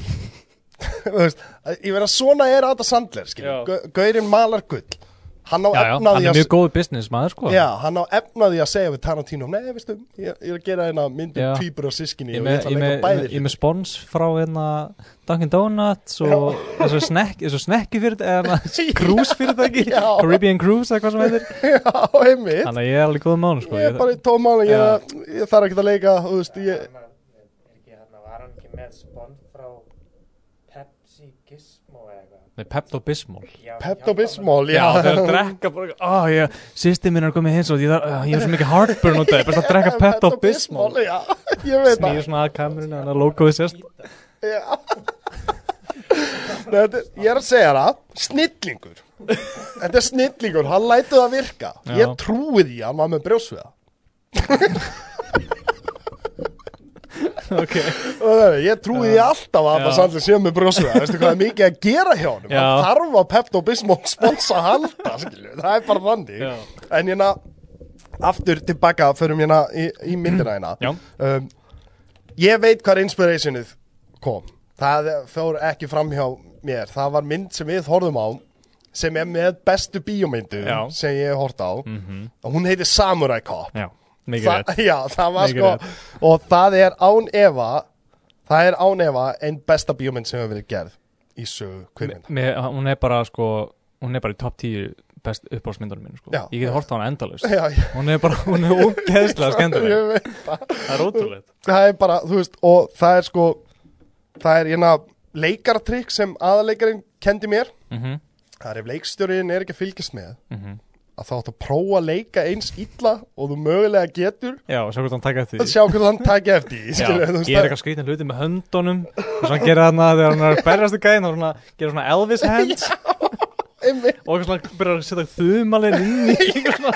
Speaker 1: þú veist, ég verið að svona er Adam Sandler
Speaker 2: Já.
Speaker 1: skilur, Gau- gaurinn malar gull hann á
Speaker 2: Já, já, hann
Speaker 1: efnaði
Speaker 2: er
Speaker 1: að
Speaker 2: mjög góð business maður sko
Speaker 1: Já, hann á efnaði að segja við Tarantino Nei, veistu, ég, ég er að gera hérna myndum
Speaker 2: Já.
Speaker 1: týpur og sískinni
Speaker 2: Ég
Speaker 1: og ég
Speaker 2: með,
Speaker 1: ætla
Speaker 2: ég
Speaker 1: að
Speaker 2: með,
Speaker 1: leika
Speaker 2: ég með,
Speaker 1: bæði
Speaker 2: ég með spons frá hérna Dunkin Donuts og þessu snekk, þessu snekki fyrir eða cruise fyrirtæki,
Speaker 1: Já.
Speaker 2: Caribbean Cruise eða hvað sem heitir,
Speaker 1: Já, einmitt
Speaker 2: þannig að ég er alveg góð mánu sko
Speaker 1: Ég er bara í tómáli, ég,
Speaker 2: Já.
Speaker 1: er að- ég þarf ekki að leika Þú veist, ég
Speaker 3: Er ekki hann að var hann ekki með spond frá Pepsi Gizmo eða eitthvað?
Speaker 2: Nei, Pepto Bismol
Speaker 3: Já,
Speaker 1: Pepto Bismol,
Speaker 2: Já,
Speaker 1: já,
Speaker 2: þau eru að drekka bara oh, ég, Sýsti minn er komið hins og ég, þarf- ah, ég er svo mikið heartburn út af Ég er bara að drekka Pepto Bismol
Speaker 1: Já, ég veit það
Speaker 2: Snýður svona að kamerunni Þannig að logoði sérst
Speaker 1: Já. Nei, þetta, er- ég er að segja það, snillingur. Þetta er snillingur, hann lætið að virka.
Speaker 2: Já.
Speaker 1: Ég trúi því að hann var með brjósviða.
Speaker 2: Ok
Speaker 1: Ég trúi því alltaf að það
Speaker 2: Já.
Speaker 1: sannlega sé með brjósviða. Veistu hvað er mikið að gera hjá honum?
Speaker 2: Já.
Speaker 1: Hann þarf að Pepto Bismol sponsa halda, skilju. Það er bara þannig.
Speaker 2: Já.
Speaker 1: En hérna, aftur tilbaka, förum hérna í, í myndina hérna.
Speaker 2: Já.
Speaker 1: Um, ég veit hvar inspirationið kom. Það fór ekki fram hjá mér. Það var mynd sem við horfum á sem er með bestu bíómyndu
Speaker 2: Já. Mhm.
Speaker 1: sem ég hef hort á. Og hún heitir Samurai Cop.
Speaker 2: Já, mikið
Speaker 1: Þa,
Speaker 2: rétt
Speaker 1: já, það var
Speaker 2: Mikið
Speaker 1: sko
Speaker 2: rétt.
Speaker 1: og það er án efa það er án efa einn besta bíómynd sem hefur verið gerð í sögu kvikmynda.
Speaker 2: Mér, Hún er bara sko Hún er bara í top 10 best uppáhaldsmyndunum mínu sko
Speaker 1: Já.
Speaker 2: Ég get hort á hana endalaust
Speaker 1: Já, ég,
Speaker 2: Hún er bara, hún er ógeðslega skemmtileg
Speaker 1: ég veit
Speaker 2: Það er ótrúlegt
Speaker 1: það er bara, þú veist, og það er sko það er hérna leikartrykk sem aðalegarinn kendi mér
Speaker 2: Mhm,
Speaker 1: það er ef leikstjórinn er ekki að fylgjast með
Speaker 2: mhm.
Speaker 1: að þá áttu að prófa að leika eins illa og þú mögulega getur
Speaker 2: Já, sjá hvort hann taka eftir
Speaker 1: að
Speaker 2: því.
Speaker 1: sjá hvernig hann taki eftir því,
Speaker 2: Já,
Speaker 1: skilur, þú veist,
Speaker 2: ég er
Speaker 1: það-
Speaker 2: eitthvað skrítin hluti með höndunum og svo hann gerir þarna þegar hann er að berjast í gæðin og svona, gerir svona Elvis hands
Speaker 1: einmitt.
Speaker 2: og eitthvað svona byrjar að setja þumalinn inn í eitthvað svona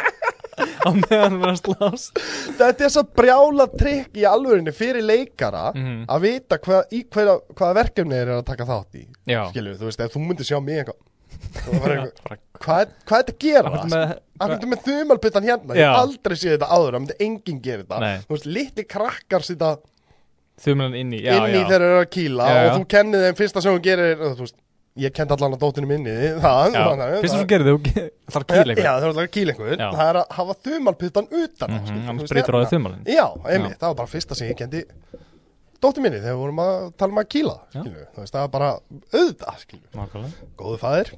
Speaker 2: á meðan hann er að slást
Speaker 1: þetta er svo brjála trikk í alvörinni fyrir leikara
Speaker 2: Mhm.
Speaker 1: að vita hvað, í hverja, hvaða verkefni þeir eru að taka þátt í
Speaker 2: Já,
Speaker 1: skilur, þú veist, ef þú myndir sjá mig eitthvað þú
Speaker 2: bara
Speaker 1: verður eitthvað,
Speaker 2: eitthvað
Speaker 1: hvað, hvað er þetta að gera
Speaker 2: Akkur með-
Speaker 1: Af hverju ertu með þumalputtan hérna, ég
Speaker 2: Já.
Speaker 1: hef aldrei séð þetta áður, það myndi enginn gera þetta
Speaker 2: Nei.
Speaker 1: Þú veist, litli krakkar sýta
Speaker 2: Þumalinn inn í, já,
Speaker 1: inn í
Speaker 2: já
Speaker 1: þegar þeir eru að kýla
Speaker 2: Já, já.
Speaker 1: og þú kennir þeim fyrsta sem þú gerir, þú veist, ég kendi allan að dóttinum inn í það
Speaker 2: Já, fyrst sem þú gerir þau, það er
Speaker 1: Já,
Speaker 2: kýl
Speaker 1: Já, það
Speaker 2: eitthvað
Speaker 1: er alltaf að kýla einhver,
Speaker 2: Já.
Speaker 1: það er að hafa þumalputtan utan á,
Speaker 2: Mhm,
Speaker 1: skilur,
Speaker 2: annars
Speaker 1: þú veist,
Speaker 2: brýtur á
Speaker 1: hérna.
Speaker 2: þig þumalinn.
Speaker 1: Já, einmitt, það var bara fyrsta sem ég kendi dóttir minni þegar við vorum að tala um að kýla,
Speaker 2: Já.
Speaker 1: skilur, þú veist, það var bara auðvitað, skilur,
Speaker 2: Nákvæmlega
Speaker 1: góðu fæðir,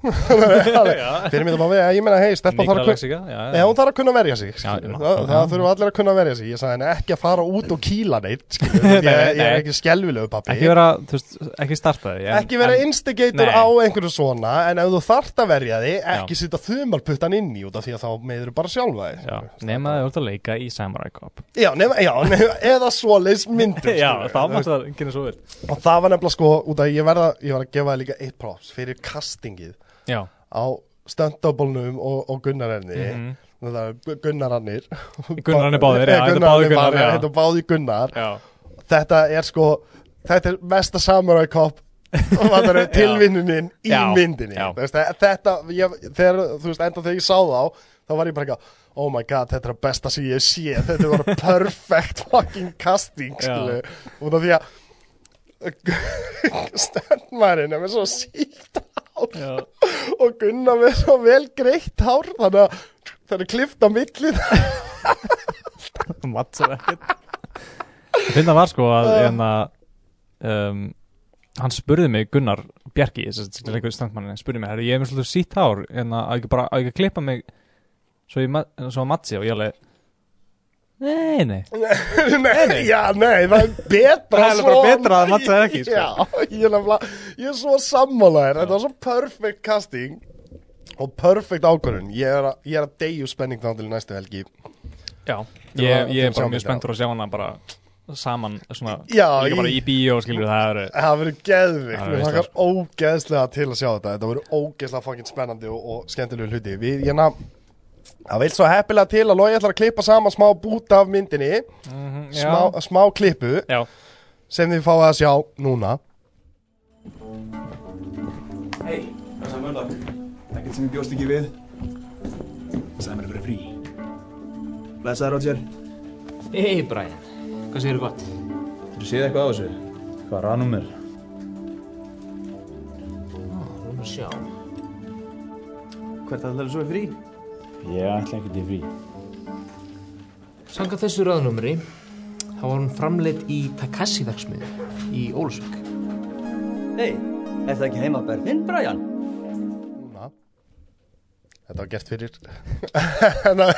Speaker 1: fyrir mér það bara við, ég meina, hei, stelpa þarf að
Speaker 2: Nýgra
Speaker 1: kunna-
Speaker 2: lexika, já,
Speaker 1: Já, hún þarf að kunna verja sig
Speaker 2: Já,
Speaker 1: já,
Speaker 2: já,
Speaker 1: Það,
Speaker 2: já.
Speaker 1: það þurfa allir að kunna verja sig Ég sagði henni ekki að fara út og kýla neitt skilur,
Speaker 2: Nei,
Speaker 1: ég, ég er
Speaker 2: nei.
Speaker 1: ekki skelvilegu pappi
Speaker 2: Ekki vera, þú veist, ekki starta því en-
Speaker 1: Ekki vera
Speaker 2: en-
Speaker 1: instigator
Speaker 2: Nei.
Speaker 1: á einhverju svona En ef þú þarft að verja þig Ekki
Speaker 2: Já.
Speaker 1: sitja þumalputtan inn í út af því að þá meður bara sjálfa þig
Speaker 2: Já,
Speaker 1: skilur.
Speaker 2: nema þau ert að leika í Samurai Cop
Speaker 1: já, nema, já nema, eða svoleiðs myndum
Speaker 2: Já,
Speaker 1: skilur,
Speaker 2: það
Speaker 1: þú
Speaker 2: máttu það, ekki svo vel
Speaker 1: veist. Og það var nefnilega sko út af ég verða Ég var að gefa þig líka eitt props fyrir castingið
Speaker 2: Já,
Speaker 1: Á stöndabólnum og, og Gunnararni
Speaker 2: Mhm.
Speaker 1: Það er Gunnararnir
Speaker 2: Gunnararnir báðir, já, þetta er
Speaker 1: Gunnararnir
Speaker 2: báðir Gunnar,
Speaker 1: bara,
Speaker 2: já.
Speaker 1: Þetta er báði Gunnar
Speaker 2: já
Speaker 1: þetta er sko þetta er mesta samurai cop tilvinnunin í
Speaker 2: Já,
Speaker 1: myndinni
Speaker 2: já.
Speaker 1: Þú veist, þetta, ég, þegar, þú veist, enda þegar ég sá þá þá var ég bara eitthvað, oh my god, þetta er að besta sem ég hef séð, þetta var perfect fucking casting,
Speaker 2: Já.
Speaker 1: skilu út af því að stendmærin er með svo síkt hár
Speaker 2: Já,
Speaker 1: og Gunnar með svo vel greitt hár þannig að það er klift á milli
Speaker 2: matsar ekkert Ég finna var sko
Speaker 1: Ah.
Speaker 2: að hérna, um, hann spurði mig Gunnar Bjarki, þess að leikur stangmannin spurði mig, herri, ég er með svolítið sítt hár en að ekki bara, að ekki að klippa mig svo, ég, ma- svo að matsi og ég alveg Nei, nei
Speaker 1: nei, já, nei, það er betra
Speaker 2: Það er bara betra að Mats er ekki, sko.
Speaker 1: Já, ég er nefnilega, ég er svo sammálaðir Þetta var svo perfect casting Og perfect ákvörðun Ég er, að- ég er að deyju spenning þá til næstu helgi
Speaker 2: Já,
Speaker 1: Þú var-
Speaker 2: ég, ég er
Speaker 1: þú
Speaker 2: bara
Speaker 1: samið
Speaker 2: mjög
Speaker 1: já.
Speaker 2: spenntur að sjá hana bara saman, svona,
Speaker 1: Já,
Speaker 2: líka bara
Speaker 1: í-
Speaker 2: í bíó skilur það eru
Speaker 1: Það verður geðvikt,
Speaker 2: Það
Speaker 1: mér
Speaker 2: veist
Speaker 1: þakkar
Speaker 2: það,
Speaker 1: ógeðslega til að sjá þetta Þetta verður ógeðslega fangin spennandi og, og skemmtilegu hluti Við, ég nefn Það vil svo heppilega til að Lói ætlar að klippa saman smá bút af myndinni smá, smá klippu
Speaker 2: Mhm, Já,
Speaker 1: sem þið fáið að sjá núna
Speaker 4: Hey, how's my murloc? Eitt sem ég bjóst ekki við. Það sagði mér að vera frí. Blessaði, Roger.
Speaker 5: Hei Brian, hvað segir þú gott?
Speaker 4: Þú séð eitthvað á þessu? Hvað um ranum er?
Speaker 5: Nú maður sjá
Speaker 4: Hvert ætlar þú svo í frí?
Speaker 6: Ég ætla ekkert í frí.
Speaker 5: Sanga þessu ráðnumri þá var hún framleitt í Takashi verksmiðu í Ólusvík
Speaker 7: Hei, er það ekki heimabær þinn, Brian?
Speaker 1: Na. Þetta var gert fyrir Nei,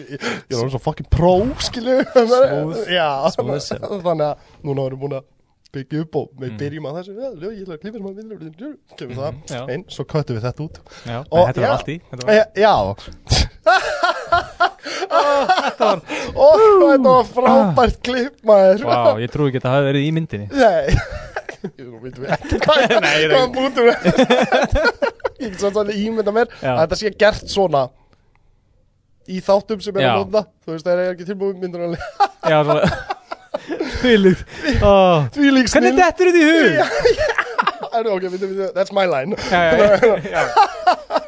Speaker 1: Ég ég er alveg svo fucking pró, skilju Smooth Já, þannig að núna erum við búin að byggja upp og
Speaker 2: Mm.
Speaker 1: við byrjum að þessu Já, ég ætla að klifja maður vinnur Kemur
Speaker 2: já.
Speaker 1: það, einn, svo köttum við þetta út
Speaker 2: Já,
Speaker 1: Og-
Speaker 2: þetta var
Speaker 1: já.
Speaker 2: allt í þetta var-
Speaker 1: Já, já.
Speaker 2: Ah,
Speaker 1: Ó, þetta var frábært klipp maður
Speaker 2: Vá, ég trúi ekki að það hafi verið í myndinni
Speaker 1: Nei Þú veitum við ekki hvað Nei, ég reynd Hvað við Ég get svo þannig ímynda mér
Speaker 2: Já.
Speaker 1: að þetta sé gert svona Í þáttum sem er
Speaker 2: Já.
Speaker 1: að nota Þú veist, það er ekki tilbúið myndunarlega
Speaker 2: Já, svona Fylið oh.
Speaker 1: Því lík snill
Speaker 2: Hvernig dettur þetta í hug?
Speaker 1: Er það ok, við veitum, that's my line
Speaker 2: Já, já, já,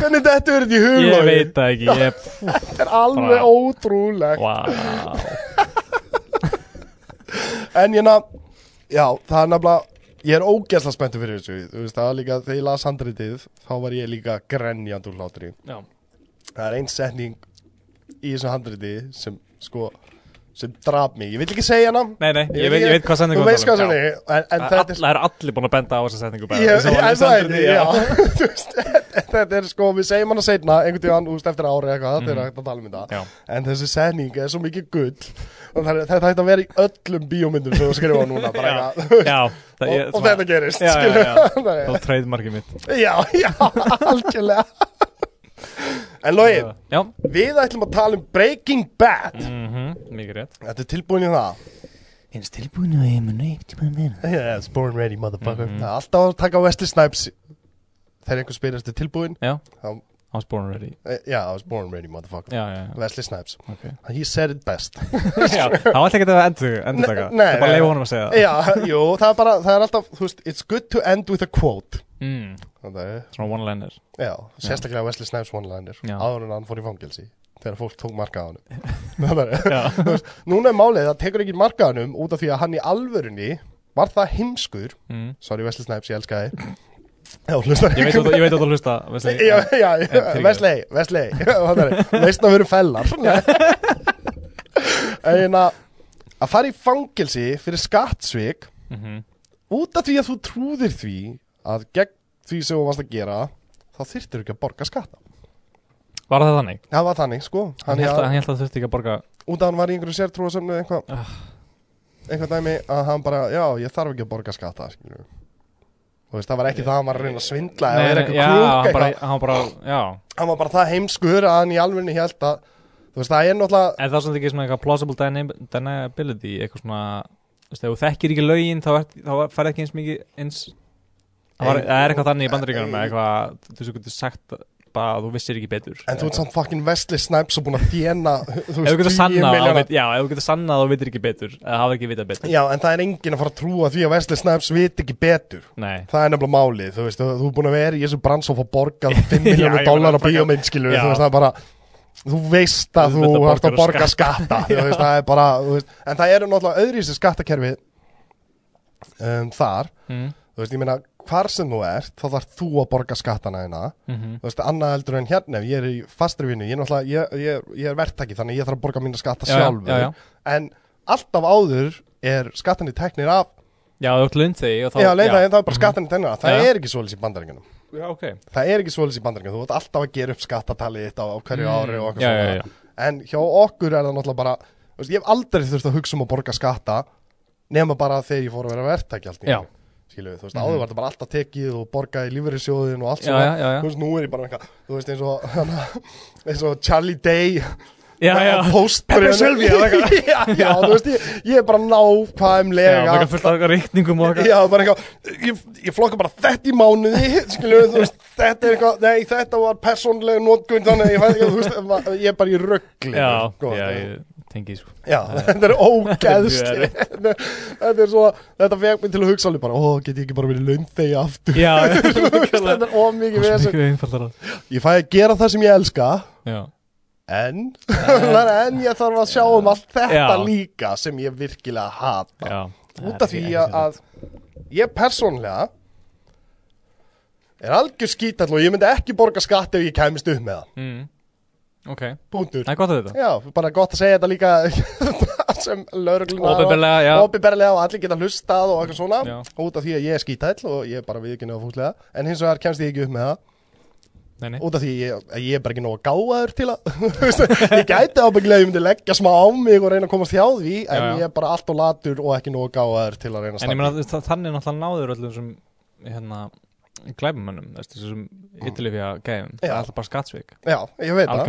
Speaker 1: Hvernig þetta verið í hug
Speaker 2: ég
Speaker 1: Logi?
Speaker 2: veit það ekki ég,
Speaker 1: Þetta er alveg
Speaker 2: Bara-
Speaker 1: ótrúlegt
Speaker 2: wow.
Speaker 1: En ég nafn Já, það er nefnilega Ég er ógeðsla spenntur fyrir þessu Þú veist, það var líka Þegar ég las handritið Þá var ég líka grenjand úr hlátri
Speaker 2: Já.
Speaker 1: Það er ein setning Í þessu handriti Sem sko Sem draf mig Ég vil ekki segja hana
Speaker 2: Nei, nei, ég veit, ég veit hvað sendingu
Speaker 1: Þú veist hvað senningu En, en
Speaker 2: Það
Speaker 1: þetta er
Speaker 2: um. er all- er allir búin að benda á þessa sendingu bara
Speaker 1: Ég,
Speaker 2: Þessi
Speaker 1: ég,
Speaker 2: var
Speaker 1: en
Speaker 2: alveg
Speaker 1: það er
Speaker 2: sendingu,
Speaker 1: því, já Þú veist, Þetta er sko, við segjum hana seinna einhvern tíðan úst eftir ári eða eitthvað, þetta er hægt að tala um þetta
Speaker 2: Mhm. Já.
Speaker 1: en þessi setning er svo mikið gull og það er- þetta hægt að vera í öllum bíómyndum sem þú skrifa núna, bara eitthvað
Speaker 2: Já,
Speaker 1: og,
Speaker 2: það, ég,
Speaker 1: og þetta gerist
Speaker 2: Já, já,
Speaker 1: skilur.
Speaker 2: já.
Speaker 1: Þannig að-
Speaker 2: Þá treyðmarkið mitt
Speaker 1: já, já, algjörlega En Lói,
Speaker 2: Já, Mhm,
Speaker 1: við ætlum að tala um Breaking Bad
Speaker 2: mikið rétt
Speaker 1: Þetta er tilbúin í það
Speaker 2: Ég er tilbúin að ég mun eitt tíma að vera
Speaker 1: Yes, born ready, motherfucker Það er alltaf að taka Wesley Snipes Þegar einhver spyrir þetta tilbúin
Speaker 2: Já,
Speaker 1: þá-
Speaker 2: I was born ready
Speaker 1: eh, Já, I was born ready, motherfucker
Speaker 2: Já, já, já,
Speaker 1: Wesley Snipes
Speaker 2: ok
Speaker 1: He said it best
Speaker 2: Já, Það var alltaf ekki að endur, endur taka
Speaker 1: Nei, nei,
Speaker 2: Það bara
Speaker 1: nei.
Speaker 2: leiði honum að segja það
Speaker 1: Já, jú, það er bara, það er alltaf, þú veist, it's good to end with a quote
Speaker 2: mm,
Speaker 1: Þannig, að,
Speaker 2: Svona one-liner
Speaker 1: já, sérstaklega Wesley Snipes one-liner
Speaker 2: Já.
Speaker 1: Áður en hann fór í fangelsi Þegar fólk tók marka á honum Þannig, að,
Speaker 2: Já,
Speaker 1: Núna er málið að tekur ekki marka á honum Út af því að hann í alvörunni Var það heimskur
Speaker 2: mm.
Speaker 1: Sorry Wesley Snipes, ég elska þið Já, hlustar
Speaker 2: ég veit að þú- ég veit að þú hlusta Wesley.
Speaker 1: Já, já,
Speaker 2: fyrirgefðu.
Speaker 1: Wesley, Wesley Þannig að, Veist að við erum fellar En að Að fara í fangelsi fyrir skattsvik
Speaker 2: Mhm.
Speaker 1: út af því að þú trúðir því að gegn því sem þú varst að gera þá þyrftir ekki að borga skatta
Speaker 2: Var það þannig?
Speaker 1: það var þannig sko
Speaker 2: Hann
Speaker 1: hann
Speaker 2: held að
Speaker 1: að,
Speaker 2: hann Ah. hélt að þurfti ekki að borga
Speaker 1: út af að hann var í einhverju sértrúasöfnu eitthvað eitthvað dæmi að hann bara já ég þarf ekki að borga skatta skilur. þú veist það var ekki það að hann var að reyna að svindla eða vera
Speaker 2: já,
Speaker 1: eitthvað krúk
Speaker 2: hann bara,
Speaker 1: eitthvað
Speaker 2: hann bara, já
Speaker 1: hann var bara það heimskur að hann í alvegni held að þú veist það er náttúrulega
Speaker 2: Er það svona ekki svona eitthvað plausible dyna- deniability eitthvað svona, þú veist, ef þú þekkir ekki lögin þá, ert- þá færð ekki eins mikið eins Það var- það er eitthvað þannig í bandaríkjörnum með eitthvað, þú veist, þú getur sagt bara að þú vissir ekki betur
Speaker 1: en þú ert samt fucking Wesley Snipes og búin að þjena þú
Speaker 2: Ef þú getur
Speaker 1: 10
Speaker 2: sannað að þú
Speaker 1: milljóna-
Speaker 2: veit- já, ef þú getur sannað að þú veitir ekki betur eða hafa ekki vitað betur
Speaker 1: já en það er engin að fara að trúa því að Wesley Snipes veit ekki betur
Speaker 2: Nei,
Speaker 1: Það er nefnilega málið, þú veist, þú, þú er búin að vera í þessu bransof og borga 5 miljónu
Speaker 2: ég
Speaker 1: dólar á
Speaker 2: meina, fucking-
Speaker 1: bíómynd, skilur,
Speaker 2: Já.
Speaker 1: þú veist, það er bara þú veist að
Speaker 2: Þú
Speaker 1: þú
Speaker 2: veist að
Speaker 1: ert að
Speaker 2: borgar
Speaker 1: borga skatta, þú veist, það er bara þú veist, en það eru náttúrulega öðru í þessu skattakerfi um, þar
Speaker 2: Mm.
Speaker 1: þú veist, ég meina, hvar sem þú ert þá þarf þú að borga skattana hérna
Speaker 2: mhm.
Speaker 1: þú veist, annað heldur en hérna, ef ég er í fastri vinnu, ég er náttúrulega, ég, ég, ég er verktaki þannig að ég þarf að borga mína skatta
Speaker 2: Já, já,
Speaker 1: sjálfur
Speaker 2: já, já.
Speaker 1: en alltaf áður er skattinni teknir af,
Speaker 2: já, ef þú ert launþegi og þá Mhm.
Speaker 1: já, leiða, en það er bara skattinni teknir af, það
Speaker 2: Já.
Speaker 1: er ekki svoleiðis í bandaringunum
Speaker 2: Já, ok
Speaker 1: það er ekki svoleiðis í bandaríkjum þú ert alltaf að gera upp skattatalið þitt á, á hverju ári og
Speaker 2: Mm. Já,
Speaker 1: eitthvað
Speaker 2: já, já.
Speaker 1: svona en hjá okkur er það náttúrulega bara þú veist, ég hef aldrei þurft að hugsa um að borga skatta nema bara þegar ég fór að vera verktæki allt í
Speaker 2: Já. Mhm.
Speaker 1: einu. skilur við, þú veist, áður var þetta bara alltaf tekið og borgaði lífverðisjóðin og allt
Speaker 2: Já,
Speaker 1: svona
Speaker 2: já, já, já.
Speaker 1: þú veist, nú er ég bara með eitthvað, þú veist, eins og hana, eins og Charlie Day
Speaker 2: Já, já,
Speaker 1: á póstbréfinu.
Speaker 2: Pepper Sylvia eða
Speaker 1: já, já, þú veist, ég, ég er bara nákvæmlega
Speaker 2: já, það er fullt af reikningum og eitthvað
Speaker 1: Já, bara eitthvað Ég, ég flokka bara þetta í mánuði Skilju, þú veist, þetta er eitthvað Nei, þetta var persónlega notgund Þannig, að ég, fæ- ég, þú veist, ma- ég er bara í röggli
Speaker 2: Já,
Speaker 1: sko,
Speaker 2: já,
Speaker 1: þú
Speaker 2: ég tengið sko.
Speaker 1: Já, þetta er ógeðsli Þetta er svo, þetta veg mér til að hugsa alveg bara, ó, get ég ekki bara verið launþegi aftur
Speaker 2: Já,
Speaker 1: Þetta er ómikið við þessu
Speaker 2: einfaldara
Speaker 1: Ég fæ að gera það sem ég elska
Speaker 2: Já,
Speaker 1: En, en ég þarf að sjá um allt þetta
Speaker 2: Já.
Speaker 1: líka sem ég virkilega hata
Speaker 2: já
Speaker 1: Út af því að ég persónlega er algjör skítall og ég myndi ekki borga skatt ef ég kæmist upp með það
Speaker 2: mm. Ok,
Speaker 1: Punktur
Speaker 2: það er gott að þetta
Speaker 1: Já, bara gott að segja þetta líka sem lögregluna
Speaker 2: Opinberlega, já.
Speaker 1: Opinberlega og allir geta hlustað og eitthvað svona
Speaker 2: Já.
Speaker 1: Út af því að ég er skítæll og ég er bara viðkynna og fúslega En hins vegar kemst ég ekki upp með það
Speaker 2: Nei, nei
Speaker 1: Út af því að ég, að ég er bara ekki nóg að gáður til að þú veist, Ég gæti ábyggilega, ég myndi leggja smá á mig og reyna að komast hjá því En
Speaker 2: Já, já.
Speaker 1: ég er bara allt og latur og ekki nóg að gáður til að reyna að
Speaker 2: En
Speaker 1: standa
Speaker 2: ég meina þú veist, þa- þannig náttúrulega náður öllum sem hérna glæbumönnum, þessum ytterlifja gæðum það er
Speaker 1: Já.
Speaker 2: alltaf bara skattsvík
Speaker 1: Já, ég veit
Speaker 2: Al
Speaker 1: það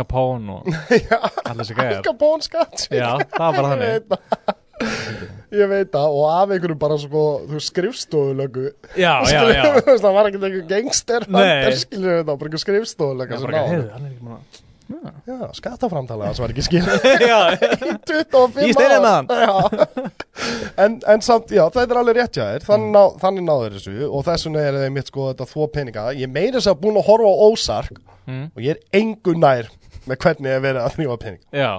Speaker 2: Capone og allir þessi gæðar
Speaker 1: Alka bónskatt
Speaker 2: Já, það var
Speaker 1: Ég
Speaker 2: bara þannig
Speaker 1: veit það Ég veit það og af einhverjum bara sko, þú skrifstofulögu
Speaker 2: Já, já,
Speaker 1: Skilur,
Speaker 2: já
Speaker 1: þú veist, það var ekkert einhver gangster
Speaker 2: Nei.
Speaker 1: hann skilur þetta, bara einhver skrifstofulega
Speaker 2: Já, bara ekki, heyrðu, hann er ekki búin að-
Speaker 1: já, skattaframtala, það sem var ekki skilur
Speaker 2: Já,
Speaker 1: 25
Speaker 2: Ég steinið með
Speaker 1: hann en, en samt, já, þetta er alveg rétt hjá þér þannig, ná, þannig náður þessu og þess vegna er þeim mitt sko þetta þvó peninga ég er meira þess að búin að horfa á ósark
Speaker 2: Mm.
Speaker 1: og ég er engu nær með hvernig ég verið að þrýfa pening
Speaker 2: já,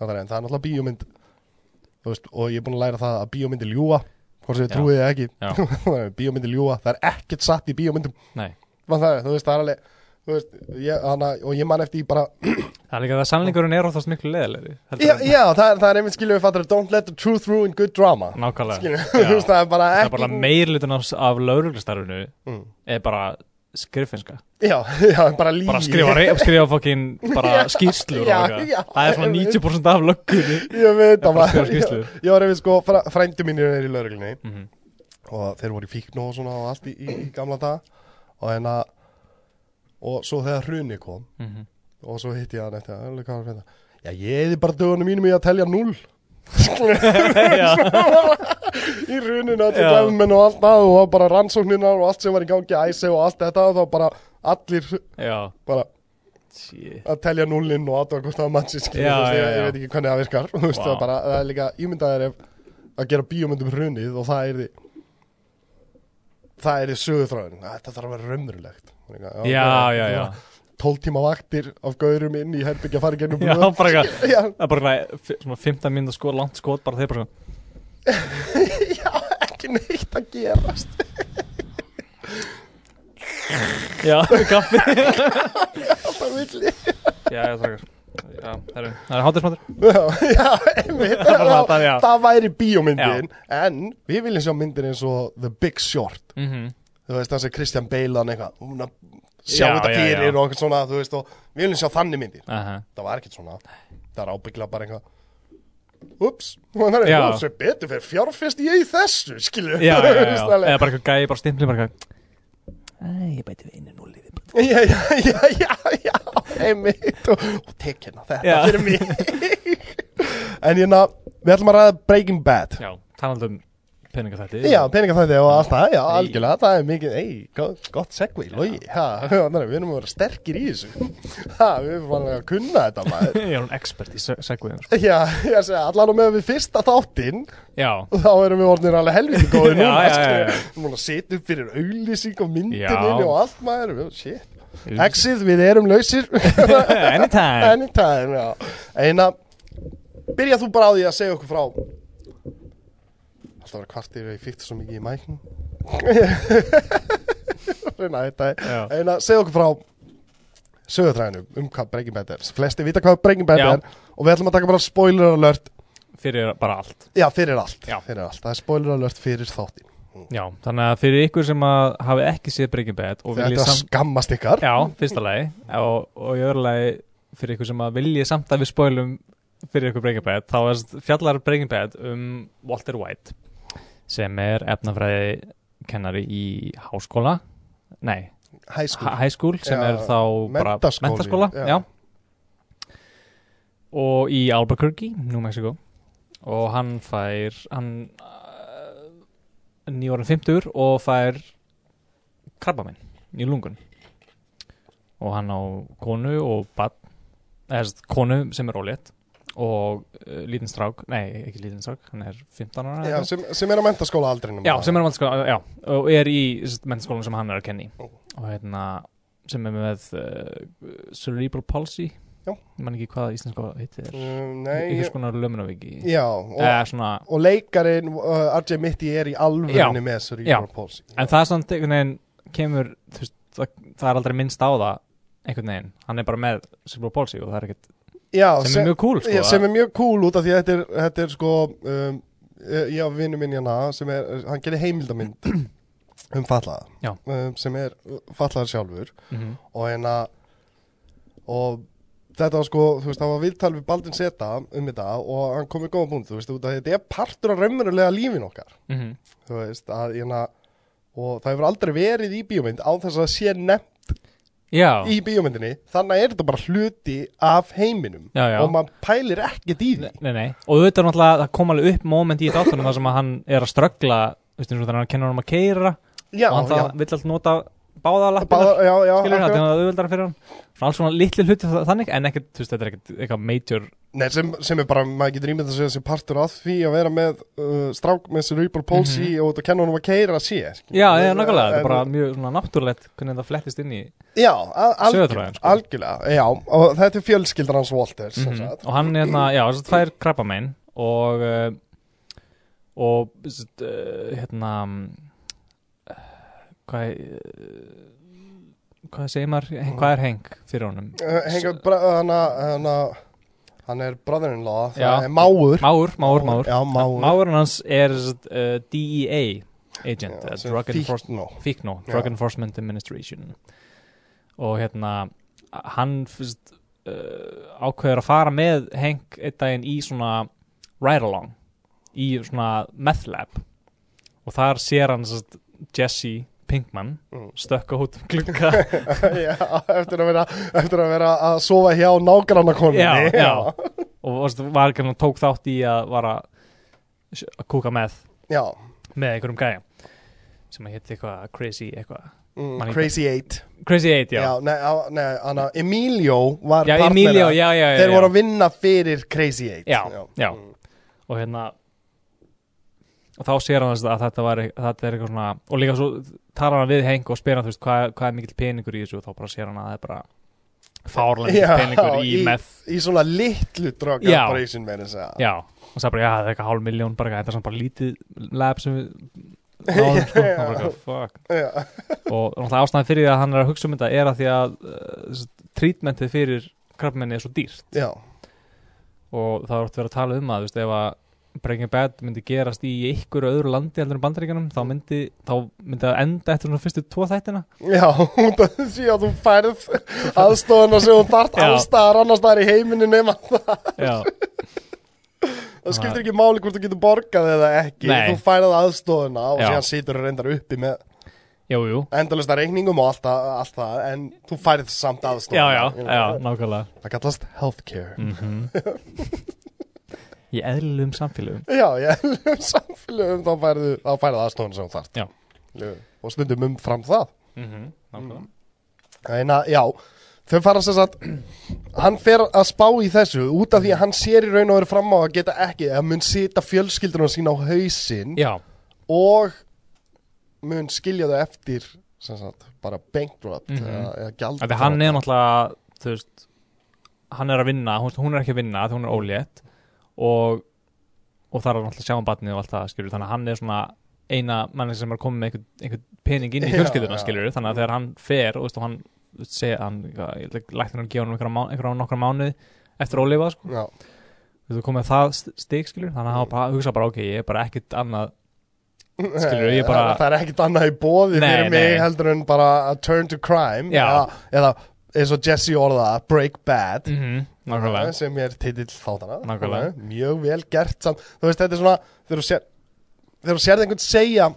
Speaker 1: það er, en það er náttúrulega bíómynd þú veist, og ég er búin að læra það að bíómyndi ljúa hvort sem ég
Speaker 2: Já.
Speaker 1: trúið eða ekki
Speaker 2: já,
Speaker 1: bíómyndi ljúa, það er ekkert satt í bíómyndum
Speaker 2: nei
Speaker 1: var það, þú veist, það er alveg þú veist, ég, hana, og ég man eftir í bara
Speaker 2: Það er líka það að sannleikurinn er oftast miklu leðilegri
Speaker 1: já, já það, er, það er einmitt skiljuðu fattur don't let the truth ruin good drama
Speaker 2: Nákvæmlega
Speaker 1: skiljuðu,
Speaker 2: Já.
Speaker 1: þú veist, það er bara
Speaker 2: Það er
Speaker 1: ekki
Speaker 2: bara meirlutin af, af lauruglistarfinu
Speaker 1: Mm.
Speaker 2: er bara skriffinska
Speaker 1: já, já, bara lígi
Speaker 2: bara skrifa, rey- skrifa fokkin bara skýrslur og
Speaker 1: já,
Speaker 2: eitthvað.
Speaker 1: já,
Speaker 2: það er svona
Speaker 1: einmitt.
Speaker 2: 90% af löggunni
Speaker 1: ég veit
Speaker 2: bara
Speaker 1: það bara
Speaker 2: skrifa skýrslur.
Speaker 1: ég, ég var einmitt sko, fræ, frændi mínir er í lauruglunni
Speaker 2: Mhm.
Speaker 1: og þeir voru í fíknu og svona og allt í, í, í gamla dag og hérna og svo þegar hrunni kom
Speaker 2: Mhm.
Speaker 1: og svo hitti ég hann eftir "Alveg, hvað var þetta?" já, ég eði bara dögunum mínum í að telja null skiljuðu
Speaker 2: Já.
Speaker 1: í runinu allir
Speaker 2: Já.
Speaker 1: glæðumenn og allt það og bara rannsóknirnar og allt sem var í gangi æsi og allt þetta og þá bara allir
Speaker 2: já,
Speaker 1: bara
Speaker 2: shit
Speaker 1: að telja nullinn og aðtöða hvort það mann sér skilur
Speaker 2: Já,
Speaker 1: þú veist,
Speaker 2: já,
Speaker 1: ég,
Speaker 2: já.
Speaker 1: ég veit ekki hvernig það virkar þú veist, það
Speaker 2: Vá.
Speaker 1: er bara, það er líka ímyndaðir ef að gera bíómyndum hrunið og það er því það er því sögutráðin þetta þarf að vera raunverulegt
Speaker 2: já, já, já
Speaker 1: 12 tíma vaktir af gaurum inn í herbyggja farið gennum
Speaker 2: Já, bara eitthvað.
Speaker 1: já,
Speaker 2: það er bara eitthvað, f- svona 15 mínútur sko, langt skot bara þeir bara svona,
Speaker 1: ekki neitt að gerast
Speaker 2: já, kaffi
Speaker 1: það vill ég
Speaker 2: já, já, þrakar já, herru, það er hátismatur
Speaker 1: Já, já, einmitt
Speaker 2: Það var það, já.
Speaker 1: Já, Það væri bíómyndin En við viljum sjá myndin eins og The Big Short
Speaker 2: mm -hmm.
Speaker 1: Þú veist það sem Christian Bale hann eitthvað hún að Sjá
Speaker 2: Já,
Speaker 1: þetta
Speaker 2: já,
Speaker 1: fyrir
Speaker 2: já.
Speaker 1: og eitthvað svona Þú veist og við viljum sjá þannig myndir
Speaker 2: Aha.
Speaker 1: Það var ekkert svona Það er ábyggilega bara eitthvað Ups, það er
Speaker 2: Já.
Speaker 1: eitthvað sem betur fyrir fjárfest ég í þessu Skilju
Speaker 2: já, já, já, eða bara eitthvað gæi, bara stimpli bara eitthvað Æ, ég bæti við einu núli við bara
Speaker 1: já, já, já, já, já, einmitt og, og tek hérna þetta
Speaker 2: Já.
Speaker 1: fyrir mig En hérna, við ætlum að ræða Breaking Bad
Speaker 2: já, talandi um peninga þetta
Speaker 1: Já, peningafæði og allt það, já, algjörlega, það er mikið, ei, gott, gott segvi, logi, ha, þannig að við erum að vera sterkir í þessu, ha, við erum bara að kunna þetta maður.
Speaker 2: ég er hún expert í segviðum sko.
Speaker 1: Já, ég segi, allan og með við fyrsta þáttinn,
Speaker 2: já,
Speaker 1: þá erum við orðinir alveg helviti góðir
Speaker 2: Já,
Speaker 1: núna, sko.
Speaker 2: já, já, já.
Speaker 1: Við erum búin að setja upp fyrir auglýsing og
Speaker 2: Já.
Speaker 1: myndinni og allt maður, við- shit. Exið, við erum lausir,
Speaker 2: anytime
Speaker 1: anytime, já. Eina, byrja þú bara á því að segja okkur frá, alltaf að vera kvartir og ég fyrta svo mikið í mæknum. reyna að þetta
Speaker 2: Já.
Speaker 1: er en að segja okkur frá sögutræðinu um hvað Breaking Bad er flesti vita hvað Breaking Bad
Speaker 2: Já.
Speaker 1: er og við ætlum að taka bara spoiler alert
Speaker 2: fyrir bara allt
Speaker 1: já, fyrir allt,
Speaker 2: Já.
Speaker 1: fyrir allt. það er spoiler alert fyrir þáttin
Speaker 2: já, þannig að fyrir ykkur sem að hafi ekki séð Breaking Bad og
Speaker 1: þetta er
Speaker 2: viljið
Speaker 1: að
Speaker 2: samt
Speaker 1: skammast ykkar
Speaker 2: já, fyrsta lagi og, og í öðru lagi fyrir ykkur sem að viljið samt að við spoilum fyrir ykkur Breaking Bad þá er fjallar Breaking Bad um Walter White sem er efnafræði kennari í háskóla nei,
Speaker 1: hæskúl
Speaker 2: high school sem
Speaker 1: Já,
Speaker 2: er þá bara
Speaker 1: menntaskóli,
Speaker 2: menntaskóla
Speaker 1: já.
Speaker 2: já. og í Albuquerque, New Mexico og hann fær hann uh, nýjórin 50 og fær krabbaminn í lungun og hann á konu og bad, eða, sem sagt, konu sem er ólétt og uh, lítinn strák, nei ekki lítinn strák, hann er 15 ára
Speaker 1: Já,
Speaker 2: eða eitthvað.
Speaker 1: sem, sem er á mentaskóla aldrinum
Speaker 2: já, sem er mennskóla, já, og er í mennskólan sem hann er að kenni
Speaker 1: Ó.
Speaker 2: og hérna, sem er með uh, cerebral palsy
Speaker 1: Já.
Speaker 2: ég man ekki hvað íslenska heitir
Speaker 1: um, Nei,
Speaker 2: einhvers
Speaker 1: ég,
Speaker 2: konar lömunaviki
Speaker 1: já og,
Speaker 2: eða svona,
Speaker 1: og leikarin uh, RJ Mitty er í alvörunni með
Speaker 2: já.
Speaker 1: Cerebral Palsy
Speaker 2: en það er samt einhvern veginn kemur, þú veist, það, það er aldrei minnst á það einhvern veginn, hann er bara með cerebral palsy og það er ekkert,
Speaker 1: já,
Speaker 2: sem, er mjög cool sko,
Speaker 1: Já, sem er mjög cool út af því að þetta er, þetta er sko um, eh, ég á vinnu minn hérna sem er, hann gerir heimildamind um fallaða
Speaker 2: Já.
Speaker 1: um, sem er fallaðar sjálfur
Speaker 2: Mhm.
Speaker 1: og hérna og þetta var sko, þú veist, það var viðtal við Baldin Seta um þetta og hann kom í góða búnd, þú veist, út af því að þetta er partur af raunverulega lífin okkar,
Speaker 2: Mhm.
Speaker 1: þú veist, að hérna og það hefur aldrei verið í bíómynd á þess að það sé nefnt
Speaker 2: já,
Speaker 1: í bíómyndinni þannig er þetta bara hluti af heiminum
Speaker 2: já, já
Speaker 1: og maður pælir ekkert í því
Speaker 2: Nei, nei, og auðvitað er náttúrulega, það kom alveg upp moment í þáttunum þar sem að hann er að ströggla, þú veist, eins og þannig að hann kennur hann um að keira
Speaker 1: Já,
Speaker 2: og hann
Speaker 1: já.
Speaker 2: það vill alltaf nota báða lappinar,
Speaker 1: Báða- já, já,
Speaker 2: skilur það,
Speaker 1: akkurat.
Speaker 2: þannig að auðvitað fyrir hann svona alls svona litli hluti þa- þannig, en ekkert, þú veist, þetta er ekkert eitthvað major,
Speaker 1: Nei, sem, sem er bara, maður getur ímynd að segja sem partur að því að vera með uh, strák með cerebral palsy og þetta kenna honum að keira að sé skilur.
Speaker 2: Mhm. já, já, nákvæmlega, þetta
Speaker 1: En-
Speaker 2: er bara mjög svona náttúrulegt hvernig það flettist inn í,
Speaker 1: Já, al- algjörlega,
Speaker 2: Söguþráðinn, sko.
Speaker 1: algjörlega Já, og þetta er fjölskyldan hans Walter mm
Speaker 2: Mhm. og hann er hérna, já, þess að það er krabbamein og uh, og þess að, uh, hérna uh, hvað er, uh, hvað segir maður hvað er heng fyrir honum
Speaker 1: Hengar, Eh, bra, hana, hana, hann er brother-in-law, það
Speaker 2: Já.
Speaker 1: er máur
Speaker 2: Máur, Máur, Máur
Speaker 1: Já, máur,
Speaker 2: Máurinn hans er uh, DEA agent,
Speaker 1: Já,
Speaker 2: uh,
Speaker 1: sem
Speaker 2: Drug
Speaker 1: fíkn-
Speaker 2: Enforcement
Speaker 1: no.
Speaker 2: Fíkno,
Speaker 1: Já.
Speaker 2: Drug Enforcement Administration og hérna hann fyrst, uh, ákveður að fara með Hank einn daginn í svona ride-along í svona meth lab og þar sér hann sérst, Jesse Pinkman
Speaker 1: Mm.
Speaker 2: stökka út um glugga
Speaker 1: já, eftir, að vera, eftir að vera að sofa hjá nágrannakoninni
Speaker 2: já, já. og varst, var ekki hann tók þátt í að vara að kúka með
Speaker 1: já.
Speaker 2: með einhverjum gæja sem að hétt eitthvað Crazy eitthvað Man-
Speaker 1: Mm, Crazy Eight
Speaker 2: Crazy 8, já,
Speaker 1: Já, nei, á- nei, hana, Emilio var
Speaker 2: já,
Speaker 1: partner
Speaker 2: Emilio,
Speaker 1: að-
Speaker 2: já, já, já
Speaker 1: Þeir
Speaker 2: já.
Speaker 1: voru að vinna fyrir Crazy Eight
Speaker 2: Já, já.
Speaker 1: Mm.
Speaker 2: og hérna og þá sér hann að þetta var e, þetta er eitthvað svona, og líka svo talar hann við Henk og spyr hann, þú veist, hvað, hvað er mikill peningur í þessu og þá bara sér hann að það er bara fárlega
Speaker 1: Já,
Speaker 2: mikill peningur í,
Speaker 1: í-
Speaker 2: meth
Speaker 1: Í svona litlu drug
Speaker 2: Já.
Speaker 1: operation meira þess að
Speaker 2: já, og sagði bara, já, það er eitthvað hálf miljón bara eitthvað, þetta er samt bara lítið lab sem við náðum, sko,
Speaker 1: Já.
Speaker 2: og bara eitthvað, fuck
Speaker 1: Já.
Speaker 2: og náttúrulega ástæðan fyrir því að hann er að hugsa um þetta er að því að uh, trítmentið fyrir krabbmenni er svo dýrt
Speaker 1: Já.
Speaker 2: og það voru að vera að tala um að þú veist, ef að Breaking Bad myndi gerast í ykkur öðru landi heldur en bandaríkjanum þá myndi, þá myndi það enda eftir svona fyrstu tvo þættina
Speaker 1: Já, út af því að þú færð aðstofuna sem þú þart
Speaker 2: Já.
Speaker 1: allstaðar annars staðar í heiminu nema það
Speaker 2: Já,
Speaker 1: það skiptir ekki máli hvort þú getur borgað eða ekki
Speaker 2: Nei.
Speaker 1: þú færð aðstofuna og
Speaker 2: Já.
Speaker 1: síðan situr þú reyndar uppi með
Speaker 2: jú, jú
Speaker 1: endalista reikningum og allt það, allt það en þú færð samt
Speaker 2: Já,
Speaker 1: aðstofuna
Speaker 2: já, já, nákvæmlega
Speaker 1: það kallast healthcare
Speaker 2: mm Í eðlilegum samfélögum
Speaker 1: Já, ég um samfélögum þá færðu, þá færðu aðstofan sem þú þarft
Speaker 2: Já.
Speaker 1: Og stundum umfram það
Speaker 2: mm -hmm, Nákvæmlega
Speaker 1: En að, já, þau fara sem sagt Hann fer að spá í þessu út af því að hann sér í raun og veru fram á að geta ekki að mun sita fjölskyldunum sín á hausinn
Speaker 2: Já,
Speaker 1: og mun skilja þau eftir sem sagt, bara bankrupt
Speaker 2: Mhm.
Speaker 1: eða, eða gjald
Speaker 2: Þegar hann er náttúrulega þú veist, hann er að vinna, hún, hún er ekki að vinna því hún er ólétt og, og það er náttúrulega að sjá um batnið og allt það skilur, þannig að hann er svona eina mann sem er komið með einhvern, einhvern pening inn í
Speaker 1: Já,
Speaker 2: fjölskylduna
Speaker 1: já.
Speaker 2: skilur, þannig að þegar hann fer og veist, og hann þú veist, segja, hann, læknar hann að gefa hann einhverja, má- einhverja nokkra mánuði eftir ólifa, sko,
Speaker 1: Já,
Speaker 2: þú veist, þú komið það st- stig skilur, þannig að hann bara, hugsa bara, ok, ég er bara ekkit annað, Skilurðu, ég bara-
Speaker 1: Eh, Það er ekkit annað í bóði
Speaker 2: Nei,
Speaker 1: fyrir mig
Speaker 2: nei.
Speaker 1: heldur en bara a turn to crime
Speaker 2: Já.
Speaker 1: eða, eða eins og Jesse orðaða, break bad
Speaker 2: mm -hmm,
Speaker 1: Ja, sem er titill þáttana
Speaker 2: Nákvæmlega.
Speaker 1: Ja, mjög vel gert samt þú veist þetta er svona þegar þú sér þegar þú sérð einhvern segja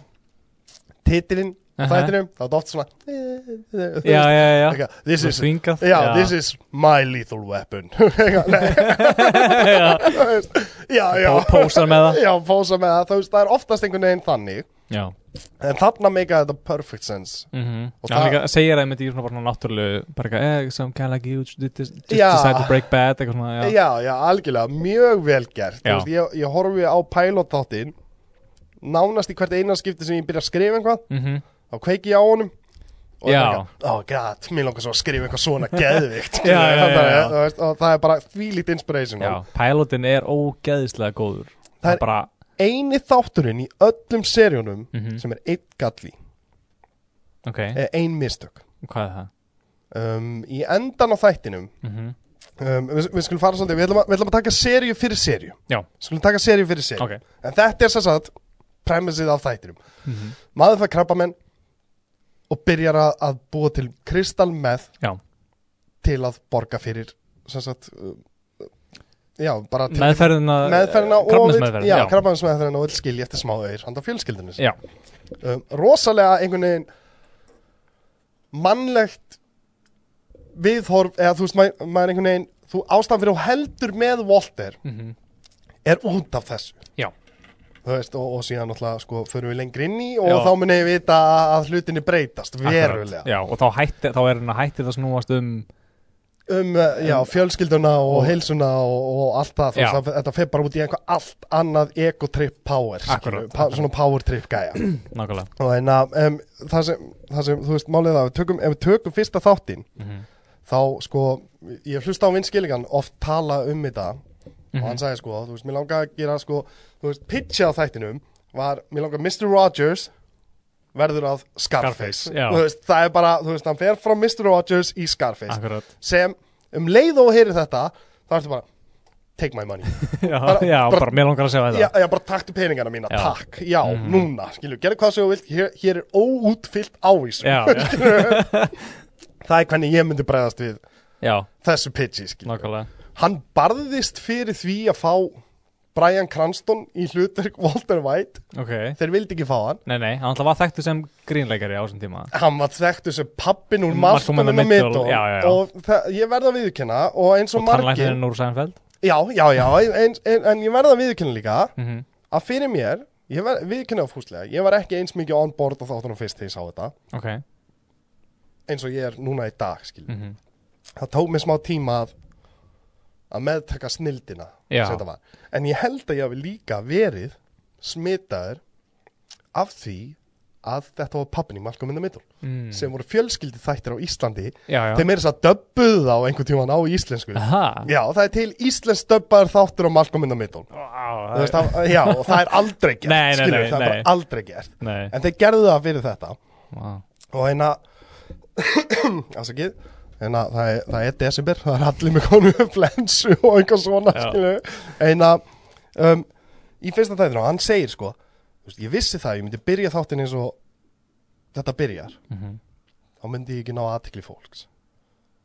Speaker 1: titilinn
Speaker 2: Aha.
Speaker 1: þættinum þá er þetta oft svona eh, eh, þú
Speaker 2: já,
Speaker 1: veist,
Speaker 2: já, já,
Speaker 1: eitthvað, this
Speaker 2: Svona
Speaker 1: is
Speaker 2: þvingað.
Speaker 1: já, this is my lethal weapon Eitthvað, nei,
Speaker 2: já,
Speaker 1: þú veist, já já
Speaker 2: og pósar með það
Speaker 1: já pósa með það þú veist það er oftast einhvern veginn þannig
Speaker 2: já,
Speaker 1: En þarna meika þetta perfect sense
Speaker 2: mm -hmm.
Speaker 1: Og
Speaker 2: hann
Speaker 1: það-
Speaker 2: líka segir að þetta í svona bara svona náttúrulegu bara eitthvað, eh, some kind like you just, just
Speaker 1: Já.
Speaker 2: decide to break bad eitthvað svona, já,
Speaker 1: Já, já, algjörlega, mjög vel gert Þú
Speaker 2: Já.
Speaker 1: veist, ég, ég horfi á pilot þáttinn Nánast í hvert eina skipti sem ég byrja að skrifa eitthvað
Speaker 2: mm
Speaker 1: Þá kveiki ég á honum Og
Speaker 2: Já.
Speaker 1: það er bara, oh god, mér langar svo að skrifa eitthvað svona geðvikt
Speaker 2: Já, já, já, já.
Speaker 1: Veist, Og það er bara fílít inspiration
Speaker 2: já pilotin er ógeðislega góður það,
Speaker 1: Það er-
Speaker 2: er bara,
Speaker 1: Eini þátturinn í öllum seríunum
Speaker 2: Mhm.
Speaker 1: Sem er einn galli,
Speaker 2: ok,
Speaker 1: eh, ein mistök
Speaker 2: hvað er það
Speaker 1: um, Í endan á þættinum
Speaker 2: mm
Speaker 1: um, við, við skulum fara svolítið, við ætlum að, við ætlum að taka seríu fyrir seríu
Speaker 2: Já.
Speaker 1: Skulum taka seríu fyrir seríu
Speaker 2: ok,
Speaker 1: En þetta er sem sagt premissið af þættinum
Speaker 2: mm
Speaker 1: Maður fær krabbamenn og byrjar að, að búa til kristal með
Speaker 2: Já.
Speaker 1: til að borga fyrir sem sagt um, já, bara til
Speaker 2: meðferðina eh,
Speaker 1: meðferðina og
Speaker 2: uh, krabbameinsmeðferðina,
Speaker 1: já,
Speaker 2: já.
Speaker 1: krabbamennsmeðferðina og vill skilja eftir smá auðir handa fjölskyldinu sinni.
Speaker 2: Já.
Speaker 1: um, rosalega einhvern veginn mannlegt viðhorf eða þú veist maður, maður einhvern veginn þú ástæðan fyrir og heldur með Walter
Speaker 2: Mhm.
Speaker 1: er út af þessu
Speaker 2: Já.
Speaker 1: Þú veist, og, og síðan náttúrulega sko, förum við lengri inn í og
Speaker 2: Já.
Speaker 1: þá munið við vita að- að hlutinni breytast
Speaker 2: Akkurat,
Speaker 1: verulega
Speaker 2: já, og þá, hætti, þá er hann að hætti það snúast um
Speaker 1: um uh, já, fjölskylduna og, heilsuna og, og allt það, þú
Speaker 2: Já.
Speaker 1: veist, það þetta fer bara út í einhver allt annað ecotrip power skilur
Speaker 2: Akkurat,
Speaker 1: við, pa
Speaker 2: akkurat.
Speaker 1: svona power trip gæja
Speaker 2: nákvæmlega
Speaker 1: og en að um, það, sem, það sem, þú veist, málið er það ef við tökum, ef við tökum fyrsta þáttinn
Speaker 2: Mhm.
Speaker 1: þá sko, ég hlusta á vinskillingan oft tala um þetta og
Speaker 2: Mhm.
Speaker 1: hann sagði sko, þú veist, mér langar að gera sko, þú veist, pitcha á þættinum var, mér langar Mr. Rogers verður að Scarface,
Speaker 2: Scarface, já.
Speaker 1: þú veist, það er bara, þú veist, hann fer frá Mr. Rogers í Scarface
Speaker 2: akkurat
Speaker 1: sem um leið og heyri þetta þá ertu bara take my money
Speaker 2: já,
Speaker 1: Bara-
Speaker 2: já,
Speaker 1: bara-
Speaker 2: bara, mér langar að segja þetta
Speaker 1: já, já, bara taktu peningana mína,
Speaker 2: Já. Mhm.
Speaker 1: takk já, núna, skilju, gerðu hvað sem þú vilt hér, hér er óútfyllt ávísum
Speaker 2: já, já,
Speaker 1: það er hvernig ég myndi bregðast við
Speaker 2: já
Speaker 1: þessu pitchi, skilju
Speaker 2: nákvæmlega
Speaker 1: hann barðist fyrir því að fá Brian Cranston í hlutverk Walter White,
Speaker 2: ok,
Speaker 1: þeir vildi ekki fá hann
Speaker 2: nei, nei, hann alltaf var þekktu sem grínleikari á þessum tíma
Speaker 1: hann var þekktu sem pappin úr
Speaker 2: Malcolm in
Speaker 1: Malcolm
Speaker 2: the
Speaker 1: in the
Speaker 2: Middle,
Speaker 1: Middle
Speaker 2: já, já, já.
Speaker 1: og það- ég verða að viðurkenna og eins og,
Speaker 2: og
Speaker 1: margir
Speaker 2: tannlæknirinn úr Sænfeld
Speaker 1: já, já, já, en, en, en ég verða að viðurkenna líka
Speaker 2: mm -hmm.
Speaker 1: að fyrir mér, ég var, við kynna fúslega, ég var ekki eins mikið on board á þáttunum fyrst þegar ég sá þetta,
Speaker 2: ok,
Speaker 1: eins og ég er núna í dag, skil.
Speaker 2: mm
Speaker 1: Það tók mér smá tíma að, að meðtaka snildina
Speaker 2: Já.
Speaker 1: sem þetta var. En ég held að ég hafi líka verið smitaður af því að þetta var pappin í Malcolm in the Middle
Speaker 2: Mm.
Speaker 1: sem voru fjölskyldi þættir á Íslandi
Speaker 2: já, já
Speaker 1: þeim er þess að döbbuðu þá einhvern tíman á íslensku
Speaker 2: Aha.
Speaker 1: Já, það er til íslensk döbbaðar þáttur á Malcolm in the Middle
Speaker 2: Vá,
Speaker 1: Þú veist, það, Já, og það er aldrei gert
Speaker 2: Nei, nei,
Speaker 1: skilurðu,
Speaker 2: nei,
Speaker 1: Það er
Speaker 2: nei.
Speaker 1: bara aldrei gert
Speaker 2: nei,
Speaker 1: En þeir gerðu það fyrir þetta
Speaker 2: Vá.
Speaker 1: Og hérna Afsakið Hérna, það er, það er desember, það er allir með konu flensu og eitthvað svona,
Speaker 2: Já.
Speaker 1: skilu Eina, um, í fyrsta þættinu, hann segir sko þú veist, Ég vissi það, ég myndi byrja þáttin eins og þetta byrjar
Speaker 2: Mhm.
Speaker 1: Þá myndi ég ekki ná aðtekli fólks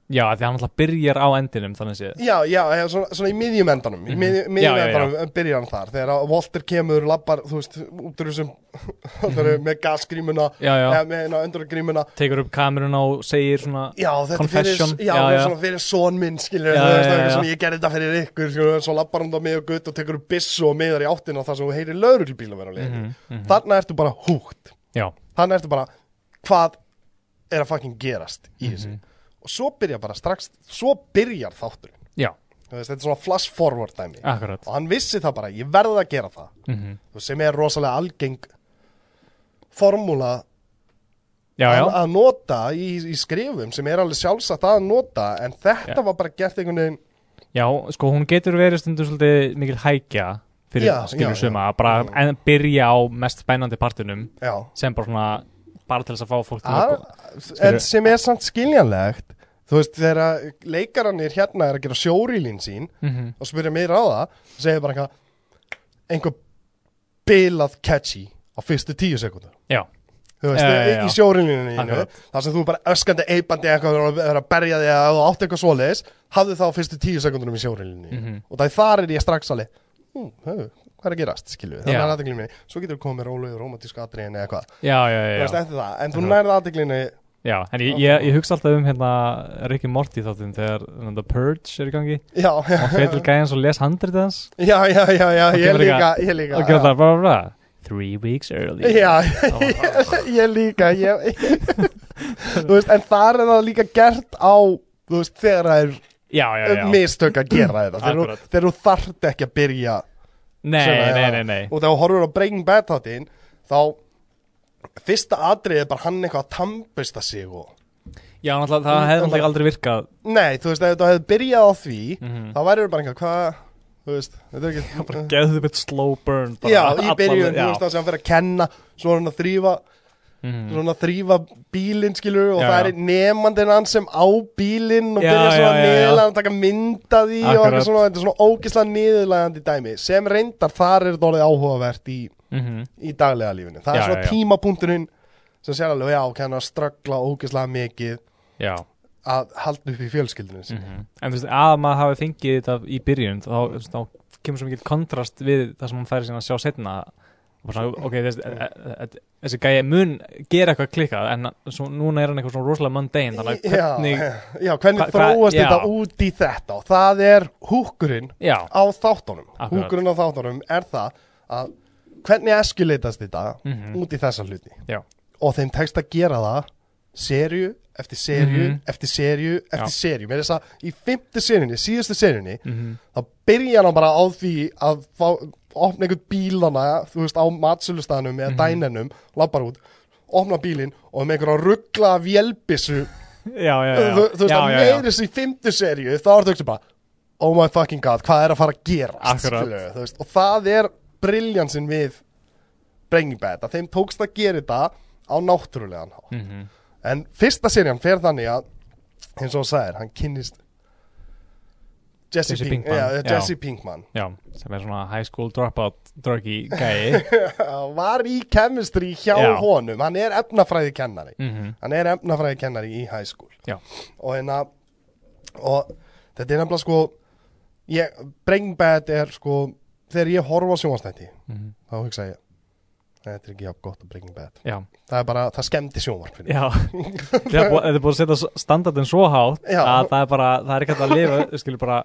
Speaker 2: já, af því hann alltaf byrjar á endinum þannig séð
Speaker 1: Já, já, eða svona, svona í miðjum endanum Í miðjum,
Speaker 2: Mhm. Já,
Speaker 1: miðjum
Speaker 2: já, já.
Speaker 1: endanum já. byrjar hann þar Þegar að Walter kemur, labbar, þú veist, út úr þessum Það eru með gasgrímuna,
Speaker 2: Mhm. já, já,
Speaker 1: eða með hérna, undurgrímuna
Speaker 2: tekur upp kamerun og segir svona
Speaker 1: Já, þetta er
Speaker 2: Confession.
Speaker 1: fyrir, já,
Speaker 2: Já,
Speaker 1: já,
Speaker 2: já.
Speaker 1: Svona fyrir son minn, skilur
Speaker 2: Já,
Speaker 1: þú veist,
Speaker 2: já,
Speaker 1: það er
Speaker 2: já,
Speaker 1: eitthvað
Speaker 2: já.
Speaker 1: svona, ég gerði þetta fyrir ykkur, skilur svo lappar hann það mig og gutt og tekur upp byssu og miðar í áttina þar sem þú heyrir lauruglbíl að vera á leiðinni.
Speaker 2: Mhm, mhm.
Speaker 1: Þarna ertu bara húgt,
Speaker 2: já,
Speaker 1: þarna ertu bara hvað er að fucking gerast í þessu.
Speaker 2: Mhm.
Speaker 1: Og svo byrjar bara strax, svo byrjar þátturinn,
Speaker 2: já,
Speaker 1: þú veist, þetta er svona flash forward dæmi.
Speaker 2: akkurat
Speaker 1: Og hann vissi það bara, ég verði að gera það,
Speaker 2: mm
Speaker 1: Þú veist, sem er rosalega algeng formúla
Speaker 2: já,
Speaker 1: að,
Speaker 2: já,
Speaker 1: að nota í, í skrifum sem er alveg sjálfsagt að nota en þetta
Speaker 2: Já.
Speaker 1: var bara gert einhvern veginn
Speaker 2: já, sko hún getur verið stundum svolítið mikil hækja fyrir
Speaker 1: Já, já,
Speaker 2: skilur
Speaker 1: já.
Speaker 2: suma, bara
Speaker 1: Já.
Speaker 2: en byrja á mest spennandi partinum
Speaker 1: já,
Speaker 2: sem bara svona bara til þess að fá fólk til
Speaker 1: að,
Speaker 2: að
Speaker 1: en
Speaker 2: skilurðu?
Speaker 1: sem er samt skiljanlegt þú veist þegar að leikararnir hérna er að gera sjórílín sín
Speaker 2: Mhm.
Speaker 1: og spyrja meira á það og segja bara eitthvað einhver bilað catchy á fyrstu tíu sekundur
Speaker 2: já,
Speaker 1: Þú veist,
Speaker 2: Já, já, já.
Speaker 1: í sjórínlínu þínu
Speaker 2: Akkurat.
Speaker 1: þar sem þú er bara öskandi eipandi eitthvað og er að berja þig að þú átt eitthvað svoleiðis hafðu þá fyrstu tíu sekundunum í sjórínlínu
Speaker 2: Mhm.
Speaker 1: og það er þar er ég strax alveg "Ú, hö, hvað er að gerast, skilju þannig
Speaker 2: Já.
Speaker 1: er aðdeglinu minni, svo getur þú komið með rólu og romantísku atriðin eða eitthvað,
Speaker 2: já, já,
Speaker 1: þú
Speaker 2: já, já.
Speaker 1: veist, eftir það en þú
Speaker 2: Akkurat.
Speaker 1: nærið aðdeglinu,
Speaker 2: Já, en ég, ég, ég hugsa alltaf um hérna Ricky Morty þáttum þegar hérna, The Purge er í gangi
Speaker 1: já
Speaker 2: og fyrir gæðans og les handrið hans
Speaker 1: já, já, já, já,
Speaker 2: Og
Speaker 1: ég
Speaker 2: kemur
Speaker 1: líka ég
Speaker 2: og
Speaker 1: líka,
Speaker 2: gerði
Speaker 1: já.
Speaker 2: það bara bara three weeks early
Speaker 1: Já, ég, ég líka ég, Þú veist, en þar er það líka gert á Þú veist, þegar það er
Speaker 2: já, já,
Speaker 1: Um
Speaker 2: já.
Speaker 1: mistök að gera þetta Þegar þú-
Speaker 2: Akkurat.
Speaker 1: Þegar þú þarft ekki að byrja
Speaker 2: nei,
Speaker 1: svona,
Speaker 2: nei,
Speaker 1: já.
Speaker 2: nei, nei.
Speaker 1: Og þegar þú horfur á Breaking Bad þáttinn Þá Fyrsta atriðið er bara hann eitthvað að tampista sig og
Speaker 2: já, náttúrulega það hefði náttúrulega aldrei virkað
Speaker 1: Nei, þú veist, ef þú hefði byrjað á því
Speaker 2: Mhm.
Speaker 1: Þá væri bara einhver, hvað Þú veist, þetta er ekki
Speaker 2: geðu þið slow burn bara
Speaker 1: Já, í
Speaker 2: alla-
Speaker 1: byrjun, þú
Speaker 2: já.
Speaker 1: veist það sem hann fyrir að kenna Svo er hann að þrýfa
Speaker 2: Mhm.
Speaker 1: Mm. Svona að þrýfa bílinn skilur Og
Speaker 2: Já,
Speaker 1: það
Speaker 2: já.
Speaker 1: er nemandinn hann sem á bílinn Og
Speaker 2: Já,
Speaker 1: byrja svona
Speaker 2: já, já, já.
Speaker 1: niðurlega Að taka mynd af því og
Speaker 2: Akkurat.
Speaker 1: eitthvað svona, Þetta er svona ógislega niðurlegandi dæmi Sem reyndar þar er dólið áhugavert í,
Speaker 2: Mhm.
Speaker 1: í daglega lífinu Það
Speaker 2: Já,
Speaker 1: er svona
Speaker 2: já, já.
Speaker 1: tímapunkturinn Sem sér alveg, já, ok, hann er að ströggla ógislega mikið
Speaker 2: já
Speaker 1: Að halda upp í fjölskyldinu sinni
Speaker 2: Mhm. En þú veist, að maður hafi fengið þetta í byrjun þá, þú veist, þá kemur svo mikið kontrast við það sem hann færi síðan að sjá setna og bara svona, ok, þessi, e- e- e- þessi gæja mun gera eitthvað klikkað en svo, núna er hann eitthvað svona rosalega mundane þannig að hvernig,
Speaker 1: já, já, hvernig
Speaker 2: Mhm. hva- hva-
Speaker 1: þróast
Speaker 2: já.
Speaker 1: þetta út í þetta og það er húkurinn
Speaker 2: já,
Speaker 1: á þáttunum
Speaker 2: Akkurat.
Speaker 1: húkurinn á þáttunum er það að hvernig eskjuleitast þetta
Speaker 2: Mhm.
Speaker 1: út í þessa hluti
Speaker 2: Já.
Speaker 1: og þeim tekst að gera það serju eftir serju
Speaker 2: Mhm.
Speaker 1: eftir serju eftir
Speaker 2: Já.
Speaker 1: serju með þess að í fymtu serjunni, síðustu serjunni
Speaker 2: mm
Speaker 1: þá byrja hann bara á því að fá, opna einhvern bílana þú veist á matsölustanum
Speaker 2: Mhm.
Speaker 1: eða dænenum lappar út, opna bílinn og með einhverja ruggla vélbissu
Speaker 2: já, já, já,
Speaker 1: þú, þú veist
Speaker 2: já,
Speaker 1: að
Speaker 2: já, já.
Speaker 1: meiri sem í fymtu serju þá ertu ekki bara oh my fucking god, hvað er að fara að gerast
Speaker 2: Akkurat.
Speaker 1: skilurðu, þú veist, og það er briljansin við Breaking Bad að þeim tókst að gera þetta á náttúrulegan hátt
Speaker 2: Mhm.
Speaker 1: en fyrsta serjan fer þannig að eins og það sagðir, hann kynnist Jesse,
Speaker 2: Jesse
Speaker 1: Pink,
Speaker 2: Pinkman,
Speaker 1: ja,
Speaker 2: já.
Speaker 1: Jesse Pinkman
Speaker 2: já, sem er svona high school dropout druggy gæi
Speaker 1: var í chemistry hjá
Speaker 2: Já.
Speaker 1: honum hann er efnafræði kennari
Speaker 2: mm
Speaker 1: hann er efnafræði kennari í high school
Speaker 2: já,
Speaker 1: og hérna og þetta er nefnilega sko ég, Breaking Bad er sko þegar ég horfa á sjónvarstætti
Speaker 2: Mhm.
Speaker 1: þá hugsa ég þetta er ekki jafn gott að Breaking Bad
Speaker 2: já,
Speaker 1: það er bara, það skemmdi sjónvarpinu
Speaker 2: já þetta er búið- þetta er búið að setja s- standardin svo hátt
Speaker 1: Já.
Speaker 2: að það er bara, það er ekki hægt að lifa þú skilur bara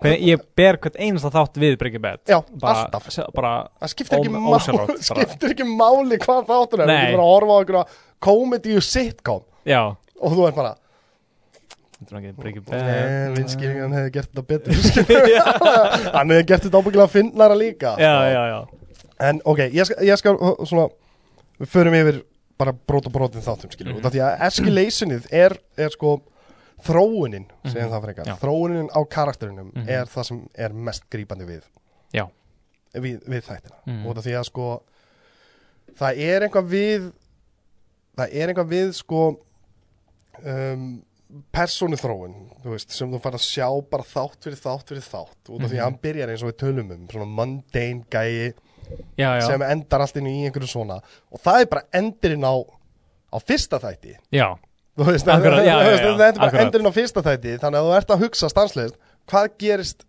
Speaker 2: hvernig, ég ber hvert einasta þátt við Breaking Bad
Speaker 1: Já,
Speaker 2: bara,
Speaker 1: alltaf.
Speaker 2: se- bara,
Speaker 1: það skiptir ekki,
Speaker 2: Ó- ósjálfrátt
Speaker 1: máli,
Speaker 2: bara.
Speaker 1: skiptir ekki máli hvað þáttur er
Speaker 2: Nei.
Speaker 1: þú er bara að horfa á einhverja komedíu sitcom
Speaker 2: já
Speaker 1: og þú er bara,
Speaker 2: Þetta er ekki Breaking
Speaker 1: nei,
Speaker 2: Bad Eh."
Speaker 1: vinskýringan hefði gert þetta betur skilurðu. hann hefði gert þetta ábyggilega finnara líka
Speaker 2: Já, já, já
Speaker 1: En ok, ég skal, ég skal uh, svona, við förum yfir bara brot og brotin þáttum skilur
Speaker 2: Mhm.
Speaker 1: mm. Því að eskulationið er, er sko þróunin, segjum það frekar
Speaker 2: Mhm. Já.
Speaker 1: þróunin á karakterinum
Speaker 2: Mhm.
Speaker 1: er það sem er mest grípandi við
Speaker 2: Já.
Speaker 1: við, við þættina
Speaker 2: Mhm.
Speaker 1: og því að sko það er einhvað við það er einhvað við sko um, persónu þú veist, sem þú fara að sjá bara þátt fyrir þátt fyrir þátt út af því að
Speaker 2: Mhm.
Speaker 1: hann byrjar eins og við tölum um svona mundane gæi
Speaker 2: Já, já,
Speaker 1: sem endar allt inn í einhverju svona og það er bara endurinn á á fyrsta þætti
Speaker 2: já,
Speaker 1: Þú veist,
Speaker 2: Akkurat, já,
Speaker 1: þú
Speaker 2: já,
Speaker 1: veist,
Speaker 2: já,
Speaker 1: þetta er bara
Speaker 2: akkurat.
Speaker 1: endurinn á fyrsta þætti þannig að þú ert að hugsa stanslegist hvað gerist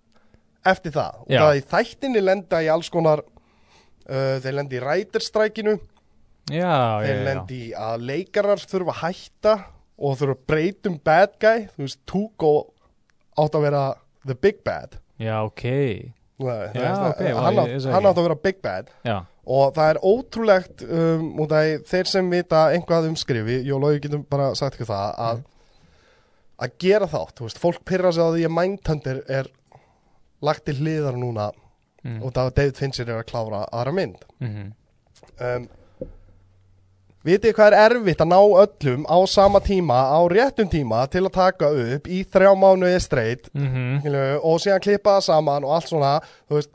Speaker 1: eftir það og
Speaker 2: Já.
Speaker 1: það í þættinni lenda í alls konar uh, þeir lenda í ræterstrækinu
Speaker 2: já,
Speaker 1: þeir
Speaker 2: já, já.
Speaker 1: lenda í að leikarar þurfa að hætta og þurfa að breytum bad guy þú veist, Tugo átt að vera the big bad
Speaker 2: já, ok
Speaker 1: Nei, þú
Speaker 2: Já,
Speaker 1: veist,
Speaker 2: ok, vá,
Speaker 1: hann,
Speaker 2: ég-
Speaker 1: átt,
Speaker 2: ég sagði
Speaker 1: hann
Speaker 2: ekki.
Speaker 1: átt að vera big bad
Speaker 2: Já,
Speaker 1: og það er ótrúlegt um, út af þeir sem vita einhvað um skrifi ég og Lógi getum bara sagt ykkur það að, að gera þátt, þú veist, fólk pyrra sig á því að Mindhunter er lagt til hliðar núna
Speaker 2: Mm.
Speaker 1: út af að David Fincher er að klára aðra mynd
Speaker 2: mhm,
Speaker 1: um, vitið þið hvað er erfitt að ná öllum á sama tíma á réttum tíma til að taka upp í þrjá mánuði streitt
Speaker 2: mhm
Speaker 1: skilurðu, og síðan klippa það saman og allt svona, þú veist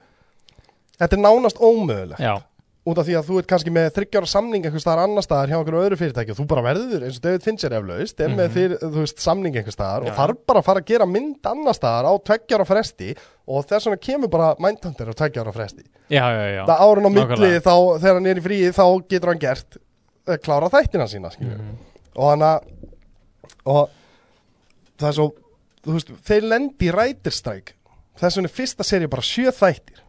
Speaker 1: þetta er nánast ómögulegt
Speaker 2: Já,
Speaker 1: út af því að þú ert kannski með þryggjára samning einhvers staðar annar staðar hjá einhverju öðru fyrirtæki og þú bara verður eins og David Fincher eflaust er
Speaker 2: Mhm.
Speaker 1: með fyrir, þú veist, samning einhvers staðar og þarf bara að fara að gera mynd annar staðar á tveggjára fresti og þess vegna kemur bara Mindhunter á tveggjára fresti
Speaker 2: já, já, já
Speaker 1: það árun á milli
Speaker 2: Nákvæmlega.
Speaker 1: þá þegar hann er í fríi þá getur hann gert eh, klára þættina sína skilur
Speaker 2: Mhm.
Speaker 1: mm og hann að og það er svo þú veist, þeir lendi í rætirstræk þess vegna er fyrsta seri bara sjö þættir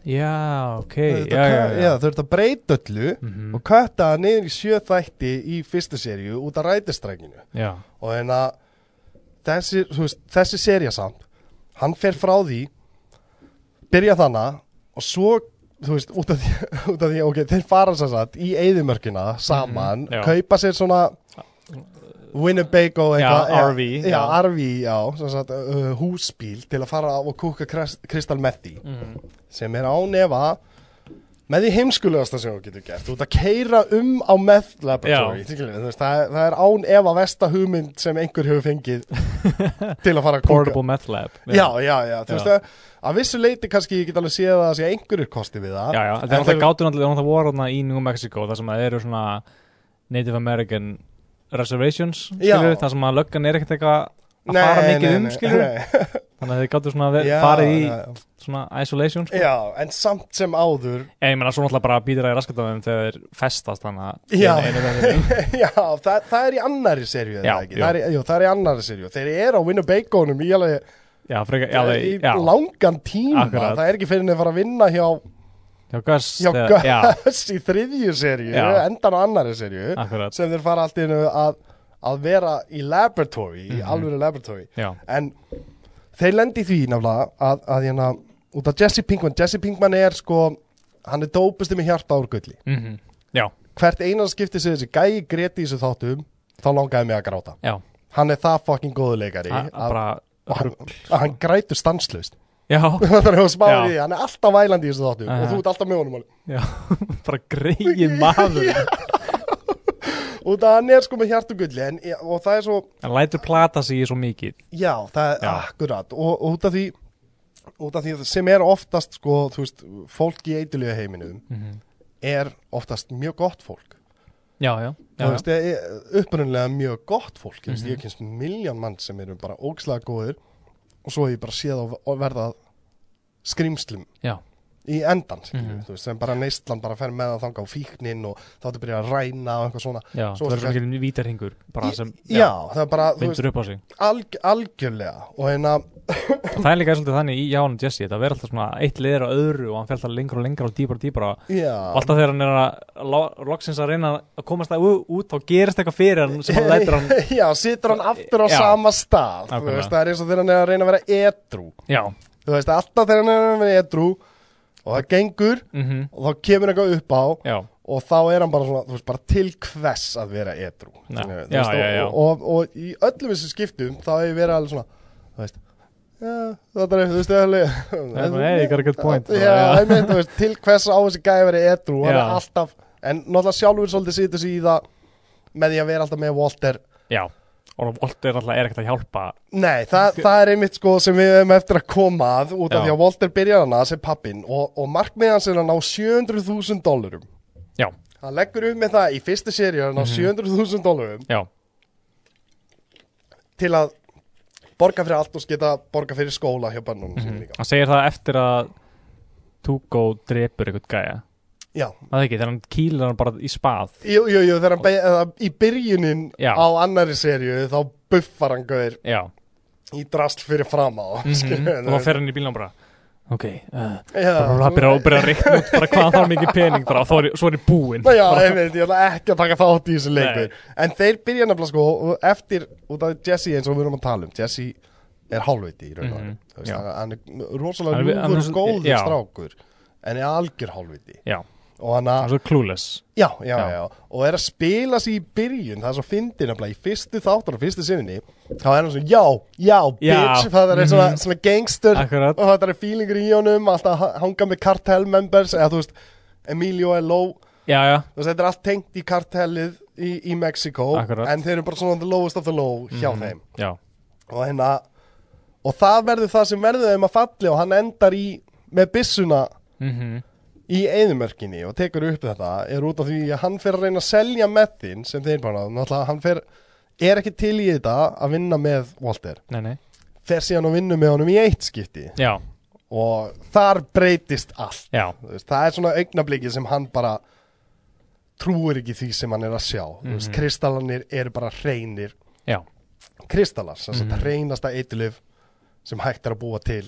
Speaker 2: Já, ok,
Speaker 1: Þau þurftu
Speaker 2: já,
Speaker 1: að
Speaker 2: já, Mhm.
Speaker 1: cut-
Speaker 2: já
Speaker 1: þau þurftu að breyta öllu og kötta það niður í sjö þætti í fyrstu seríu út af rætistrækinu
Speaker 2: Já,
Speaker 1: og en að þessi, þú veist, þessi serja samt hann fer frá því byrja þannig og svo þú veist, út af því, út af því ok, þeir fara sér satt í eyðimörkina saman,
Speaker 2: Mhm, já.
Speaker 1: kaupa sér svona Winnebago eitthvað,
Speaker 2: Já,
Speaker 1: eða-
Speaker 2: RV,
Speaker 1: já,
Speaker 2: já.
Speaker 1: RV, já, sem sagt, uh, húsbíl til að fara og kúka kristal með því sem er ánefa með því heimskulegasta sem þú getur gert þú ert að keira um á meth laboratory
Speaker 2: Já.
Speaker 1: skilurðu, þú veist, það, er- það er án efa vesta hugmynd sem einhver hefur fengið til að fara að kúka
Speaker 2: Portable meth lab
Speaker 1: Já, já, já, þú
Speaker 2: Já.
Speaker 1: veist að að vissu leiti kannski ég get alveg séð að það sé einhverjir kosti við það
Speaker 2: Já, já, það er
Speaker 1: En
Speaker 2: alltaf
Speaker 1: þeir-
Speaker 2: gátur náttúrulega það voru þarna í New Mexico þar sem að eru svona Native American reservations
Speaker 1: Já.
Speaker 2: skilur, þar sem að löggan er ekkert eitthvað að
Speaker 1: Nei,
Speaker 2: fara
Speaker 1: nei,
Speaker 2: mikið
Speaker 1: nei,
Speaker 2: um
Speaker 1: nei,
Speaker 2: skilur
Speaker 1: nei.
Speaker 2: þannig að þið gátur svona ver,
Speaker 1: Já,
Speaker 2: farið í
Speaker 1: já,
Speaker 2: svona isolation sko.
Speaker 1: Já, en samt sem áður
Speaker 2: en ég menna svo náttúrulega bara býtir að ég raskat af þeim þegar þeir festast þannig að
Speaker 1: Já.
Speaker 2: Einu- einu- einu- einu-
Speaker 1: Já, það, það er í annari serju er
Speaker 2: Já,
Speaker 1: það ekki?
Speaker 2: jú.
Speaker 1: það er, í- jú, það er í annari serju Þeir eru á Winnebagonum í, alveg,
Speaker 2: já, freka, já,
Speaker 1: í
Speaker 2: þeir, já,
Speaker 1: langan tíma
Speaker 2: Akkurat.
Speaker 1: Það er ekki fyrir en þeir fara að vinna hjá,
Speaker 2: hjá Gus
Speaker 1: hjá
Speaker 2: eða- já,
Speaker 1: Gus í þriðju serju
Speaker 2: Já.
Speaker 1: Endan á annari serju
Speaker 2: akkurat
Speaker 1: Sem þeir fara allt í einu að, að vera í laboratory Í
Speaker 2: Mhm.
Speaker 1: alvöru laboratory
Speaker 2: já,
Speaker 1: en þeir lendi í því nefnilega að, að hérna, út af Jesse Pinkman Jesse Pinkman er sko hann er dópusti með hjarta úr gulli
Speaker 2: mm já,
Speaker 1: hvert einan skipti sem þessi gæi greti í þessu þáttum þá langaði mig að gráta
Speaker 2: já
Speaker 1: hann er það fucking góðuleikari
Speaker 2: að- að bara sko.
Speaker 1: og hann, að hann grætur stanslust
Speaker 2: já,
Speaker 1: þannig að spáði
Speaker 2: Já.
Speaker 1: því, hann er alltaf vælandi í þessu þáttum
Speaker 2: Aha.
Speaker 1: og þú ert alltaf með honum alveg.
Speaker 2: já, bara greið maður
Speaker 1: út af hann er sko með hjarta úr gulli en, og það er svo
Speaker 2: hann lætur plata sig í svo mikið
Speaker 1: Já, það er
Speaker 2: Já.
Speaker 1: akkurat og, og út af því út af því sem er oftast sko, þú veist, fólk í eitulega heiminum er oftast mjög gott fólk
Speaker 2: Mhm. já, já, já, Mhm.
Speaker 1: þú
Speaker 2: já.
Speaker 1: veist, er upprunnilega mjög gott fólk mm -hmm. ég kynst miljón mann sem eru bara ógslega góðir og svo hef ég bara séð og verða skrimslum
Speaker 2: Já.
Speaker 1: í endan mm
Speaker 2: Mhm.
Speaker 1: þú veist, sem bara neistlan bara fer með það þanga á fíknin og þá ertu byrjað að ræna og eitthvað svona
Speaker 2: Já,
Speaker 1: Svo
Speaker 2: það verður
Speaker 1: er
Speaker 2: svona ekki vítarhingur bara sem
Speaker 1: já, það er bara, þú veist,
Speaker 2: vindur upp á sig
Speaker 1: alg, algjörlega og hérna,
Speaker 2: Það er líka svolítið þannig í Ján og Jesse Það verður alltaf svona eitt liðir á öðru og hann fer alltaf lengra og lengra og dýpar og dýpar og
Speaker 1: já
Speaker 2: alltaf þegar hann er að lo- loksins að reyna að komast það u- út þá gerist eitthvað fyrir hann sem hann lætur hann
Speaker 1: Já, situr hann aftur á
Speaker 2: Já.
Speaker 1: sama stað Þú
Speaker 2: Nákvæmlega.
Speaker 1: veist, það er eins og þegar hann er að reyna að vera edru
Speaker 2: Já,
Speaker 1: Þú veist, alltaf þegar hann er að reyna að vera edru Og það gengur
Speaker 2: mhm,
Speaker 1: og þá kemur eitthvað upp á
Speaker 2: já,
Speaker 1: Og þá er hann bara svona, þú veist, bara til hvers að vera edru
Speaker 2: Já.
Speaker 1: Þannig, þú
Speaker 2: Já,
Speaker 1: veist,
Speaker 2: já,
Speaker 1: og-
Speaker 2: já.
Speaker 1: Og, og, og í öllum þessu skiptum þá hefur verið alveg svona, þú veist Já, þetta er, þú veist, alveg
Speaker 2: hey, you got a good point.
Speaker 1: Já,
Speaker 2: Já.
Speaker 1: einmitt, þú veist, til hvers á þessi gæði verið edru Hann er
Speaker 2: Já.
Speaker 1: alltaf, en náttúrulega sjálfur svolítið situr sig í það Með því að vera alltaf með Walter
Speaker 2: já Og Walter alltaf er ekkert að hjálpa
Speaker 1: Nei, það, það er einmitt sko sem við hefum eftir að koma að út af
Speaker 2: Já.
Speaker 1: því að Walter byrjar hana sem pappin og, og markmiðan sem hann á 700.000 dólarum
Speaker 2: Já,
Speaker 1: Hann leggur upp með það í fyrstu séri hann á
Speaker 2: Mhm.
Speaker 1: 700.000 dólarum
Speaker 2: já,
Speaker 1: til að borga fyrir allt og geta borga fyrir skóla hjá bönnum mm líka.
Speaker 2: mhm. hann segir það eftir að Tugo drepur eitthvað gæja
Speaker 1: Já,
Speaker 2: Það er ekki, þegar hann kýlir hann bara í spað
Speaker 1: jú, jú, jú þegar hann be- eða í byrjunin
Speaker 2: Já.
Speaker 1: á annari serju þá buffar hann gauður
Speaker 2: Já,
Speaker 1: í drast fyrir fram á
Speaker 2: mhm, og þá fer hann í bílnum bara Ok, uh,
Speaker 1: Já,
Speaker 2: bara byrja að byrja að reikna út bara hvað hann þarf mikið pening bara, þá er, ég- svo er ég búinn
Speaker 1: Ná já, einmitt, ég ætla ekki að taka þátt í þessu leikur
Speaker 2: Nei.
Speaker 1: En þeir byrja nefnilega sko og eftir, út af Jesse eins og við erum að tala um Jesse er hálviti í raun og
Speaker 2: Mhm,
Speaker 1: mm -hmm.
Speaker 2: já.
Speaker 1: Hann er
Speaker 2: Hann
Speaker 1: rosalega
Speaker 2: er- hann er
Speaker 1: ljúfur
Speaker 2: svo-
Speaker 1: góður
Speaker 2: já.
Speaker 1: strákur En er algjör hálviti
Speaker 2: Já,
Speaker 1: Og hann að,
Speaker 2: það er svo clueless
Speaker 1: já, já,
Speaker 2: Já.
Speaker 1: já, Og er að spila sig í byrjun Það er svo fyndi nefnilega í fyrstu þáttur og fyrstu sinni Þá er hann svo, já, já,
Speaker 2: Já,
Speaker 1: bitch Það er svona,
Speaker 2: mhm.
Speaker 1: svona gangster
Speaker 2: Akkurat.
Speaker 1: Og það er feelingur í honum Alltaf að hanga með cartel members Eða þú veist, Emilio er low
Speaker 2: Já, já,
Speaker 1: þú veist, þetta er allt tengt í kartellið í, í Mexiko
Speaker 2: Akkurat. Mhm.
Speaker 1: en þeir eru bara svona the lowest of the low hjá þeim
Speaker 2: já,
Speaker 1: og hérna og það verður það sem verður þeim að falli og hann endar í með byssuna
Speaker 2: mhm,
Speaker 1: í eðumörkinni og tekur upp þetta er út af því að hann fer að reyna að selja methin sem þeir bara, náttúrulega hann fer er ekki til í þetta að vinna með Walter,
Speaker 2: nei, nei
Speaker 1: fer síðan og vinnur með honum í eitt skipti
Speaker 2: Já,
Speaker 1: og þar breytist allt
Speaker 2: já,
Speaker 1: Þú veist, það er svona augnablikið sem hann bara trúir ekki því sem hann er að sjá mm veist, kristallanir eru bara hreinir
Speaker 2: já,
Speaker 1: kristallar, sem sagt hreinasta eitilif sem hægt er að búa til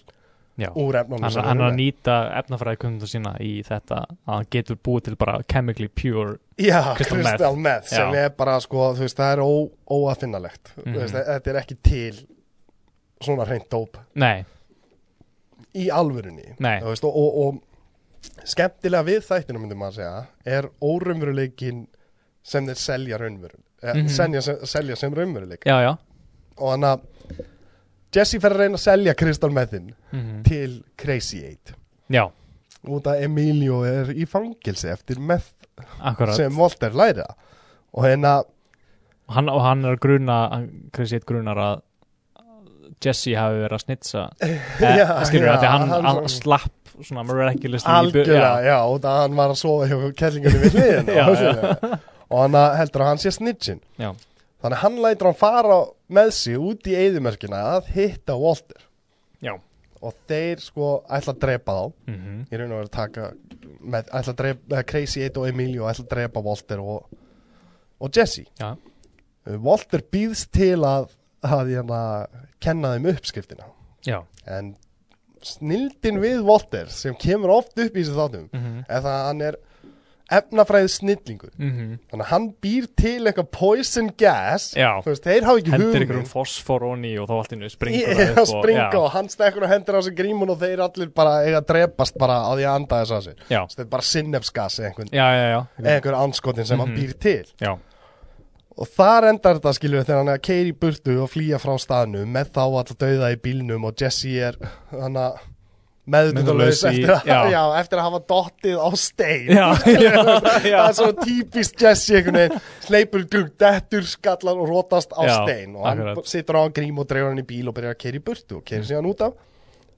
Speaker 2: já
Speaker 1: úr efnunum
Speaker 2: Hann,
Speaker 1: sem
Speaker 2: hann
Speaker 1: eru
Speaker 2: er að
Speaker 1: með.
Speaker 2: nýta efnafræði kundum sína í þetta að hann getur búið til bara chemically pure
Speaker 1: Já,
Speaker 2: Crystal meth.
Speaker 1: kristal meth sem
Speaker 2: Já.
Speaker 1: er bara sko, þú veist, það er ó, óafinnalegt mm
Speaker 2: Mhm.
Speaker 1: veist, þetta er ekki til svona hreint dóp
Speaker 2: Nei,
Speaker 1: í alvörunni
Speaker 2: Nei.
Speaker 1: Þú veist, og, og, og skemmtilega við þættina myndi maður segja er óraumveruleikin sem þeir selja raunveruleik mm
Speaker 2: Mhm.
Speaker 1: selja, sem- selja sem raunveruleik
Speaker 2: já, já
Speaker 1: og hann að Jesse fer að reyna að selja Crystal Methin
Speaker 2: Mhm.
Speaker 1: til Crazy Eight
Speaker 2: Já,
Speaker 1: út að Emilio er í fangilsi eftir meth
Speaker 2: akkurat
Speaker 1: sem Walter læra og hérna
Speaker 2: og hann, og hann er að gruna hann- Chris Hitt grunar að Jesse hafi verið að snitsa
Speaker 1: Já,
Speaker 2: eh, skilur
Speaker 1: já,
Speaker 2: við að hann,
Speaker 1: hann-
Speaker 2: hann, slapp svona miraculously í bu-
Speaker 1: algjörlega,
Speaker 2: já,
Speaker 1: já, út að hann var að sofa hjá kellingunni við hliðin
Speaker 2: Já,
Speaker 1: og, og hann að- heldur að hann sé snitchin
Speaker 2: Já.
Speaker 1: þannig að hann lætur hann fara með sig út í eyðumerkina að hitta Walter
Speaker 2: Já.
Speaker 1: og þeir sko ætla að drepa þá
Speaker 2: Mhm.
Speaker 1: í raun og verið að taka með, ætla að drepa, eh, Crazy 1 og Emilio ætla að drepa Walter og, og Jesse
Speaker 2: Já.
Speaker 1: Eh, Walter býðst til að, að hérna, kenna þeim uppskriftina
Speaker 2: já.
Speaker 1: en snildin við Walter sem kemur oft upp í þessu þáttum
Speaker 2: Mhm.
Speaker 1: er það að hann er efnafræði snillingur
Speaker 2: Mhm.
Speaker 1: þannig að hann býr til eitthvað poison gas
Speaker 2: já.
Speaker 1: þú veist, þeir hafa ekki
Speaker 2: hendur
Speaker 1: hugmynd
Speaker 2: ykkur um fosfor og ný og þá allt innu springur
Speaker 1: Ég-
Speaker 2: það
Speaker 1: Já,
Speaker 2: upp og-
Speaker 1: springa
Speaker 2: já,
Speaker 1: og hann stekkur og hendur á sig grímun og þeir allir bara eiga að drepast bara á því að anda þess að sér
Speaker 2: já,
Speaker 1: Þess, þetta er bara sinnefsgas eða einhvern,
Speaker 2: já, já, já.
Speaker 1: eða einhver anskotin sem hann
Speaker 2: Mhm.
Speaker 1: býr til
Speaker 2: Já.
Speaker 1: og þar endar þetta skilur við, þegar hann er að keiri burtu og flýja frá staðnum með þá alltaf dauða í bílnum og Jesse er hann að meðutundarlaus
Speaker 2: Meðvitundarlaus í-
Speaker 1: eftir, að-
Speaker 2: já.
Speaker 1: já, eftir að hafa dottið á stein
Speaker 2: Já, já,
Speaker 1: það
Speaker 2: já.
Speaker 1: er svo típist Jesse einhvern veginn hleypur gung, dettur, skallar og rótast á
Speaker 2: Já,
Speaker 1: stein og hann
Speaker 2: akkurat.
Speaker 1: b- situr á hann grím og dregur hann í bíl og byrjar að keira í burtu og keira síðan út af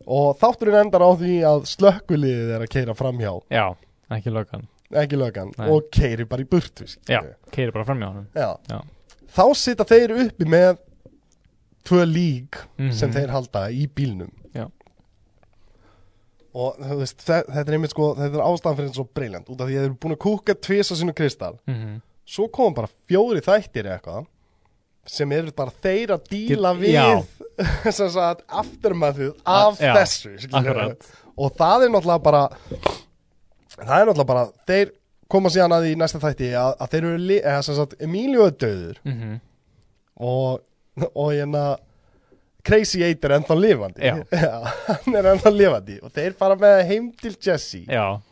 Speaker 1: og þátturinn endar á því að slökkuliðið er að keira framhjá
Speaker 2: já, ekki löggan
Speaker 1: ekki lögan
Speaker 2: Nei.
Speaker 1: og keiri bara í burtu skilur
Speaker 2: já,
Speaker 1: við.
Speaker 2: keiri bara fram í honum
Speaker 1: Já.
Speaker 2: Já.
Speaker 1: þá sita þeir uppi með tvö lík
Speaker 2: Mhm.
Speaker 1: sem þeir halda í bílnum
Speaker 2: Já.
Speaker 1: og þú veist, þe- þetta er einmitt sko þetta er ástæðan fyrir þetta svo briljant út af því að þeir eru búin að kúka tvisa sinu kristal
Speaker 2: Mhm.
Speaker 1: svo kom bara fjóri þættir eða eitthvað sem eru bara þeir að díla
Speaker 2: Get- já.
Speaker 1: við sem sagt aftermathið af
Speaker 2: já,
Speaker 1: þessu skilurðu.
Speaker 2: akkurat.
Speaker 1: og það er náttúrulega bara það er náttúrulega bara þeir koma síðan að því í næsta þætti að, að þeir eru li- eða, sem sagt, Emilio er döður
Speaker 2: Mhm.
Speaker 1: og, og hérna Crazy Eight er ennþá lifandi
Speaker 2: Já.
Speaker 1: hann er ennþá lifandi og þeir fara með það heim til Jesse
Speaker 2: já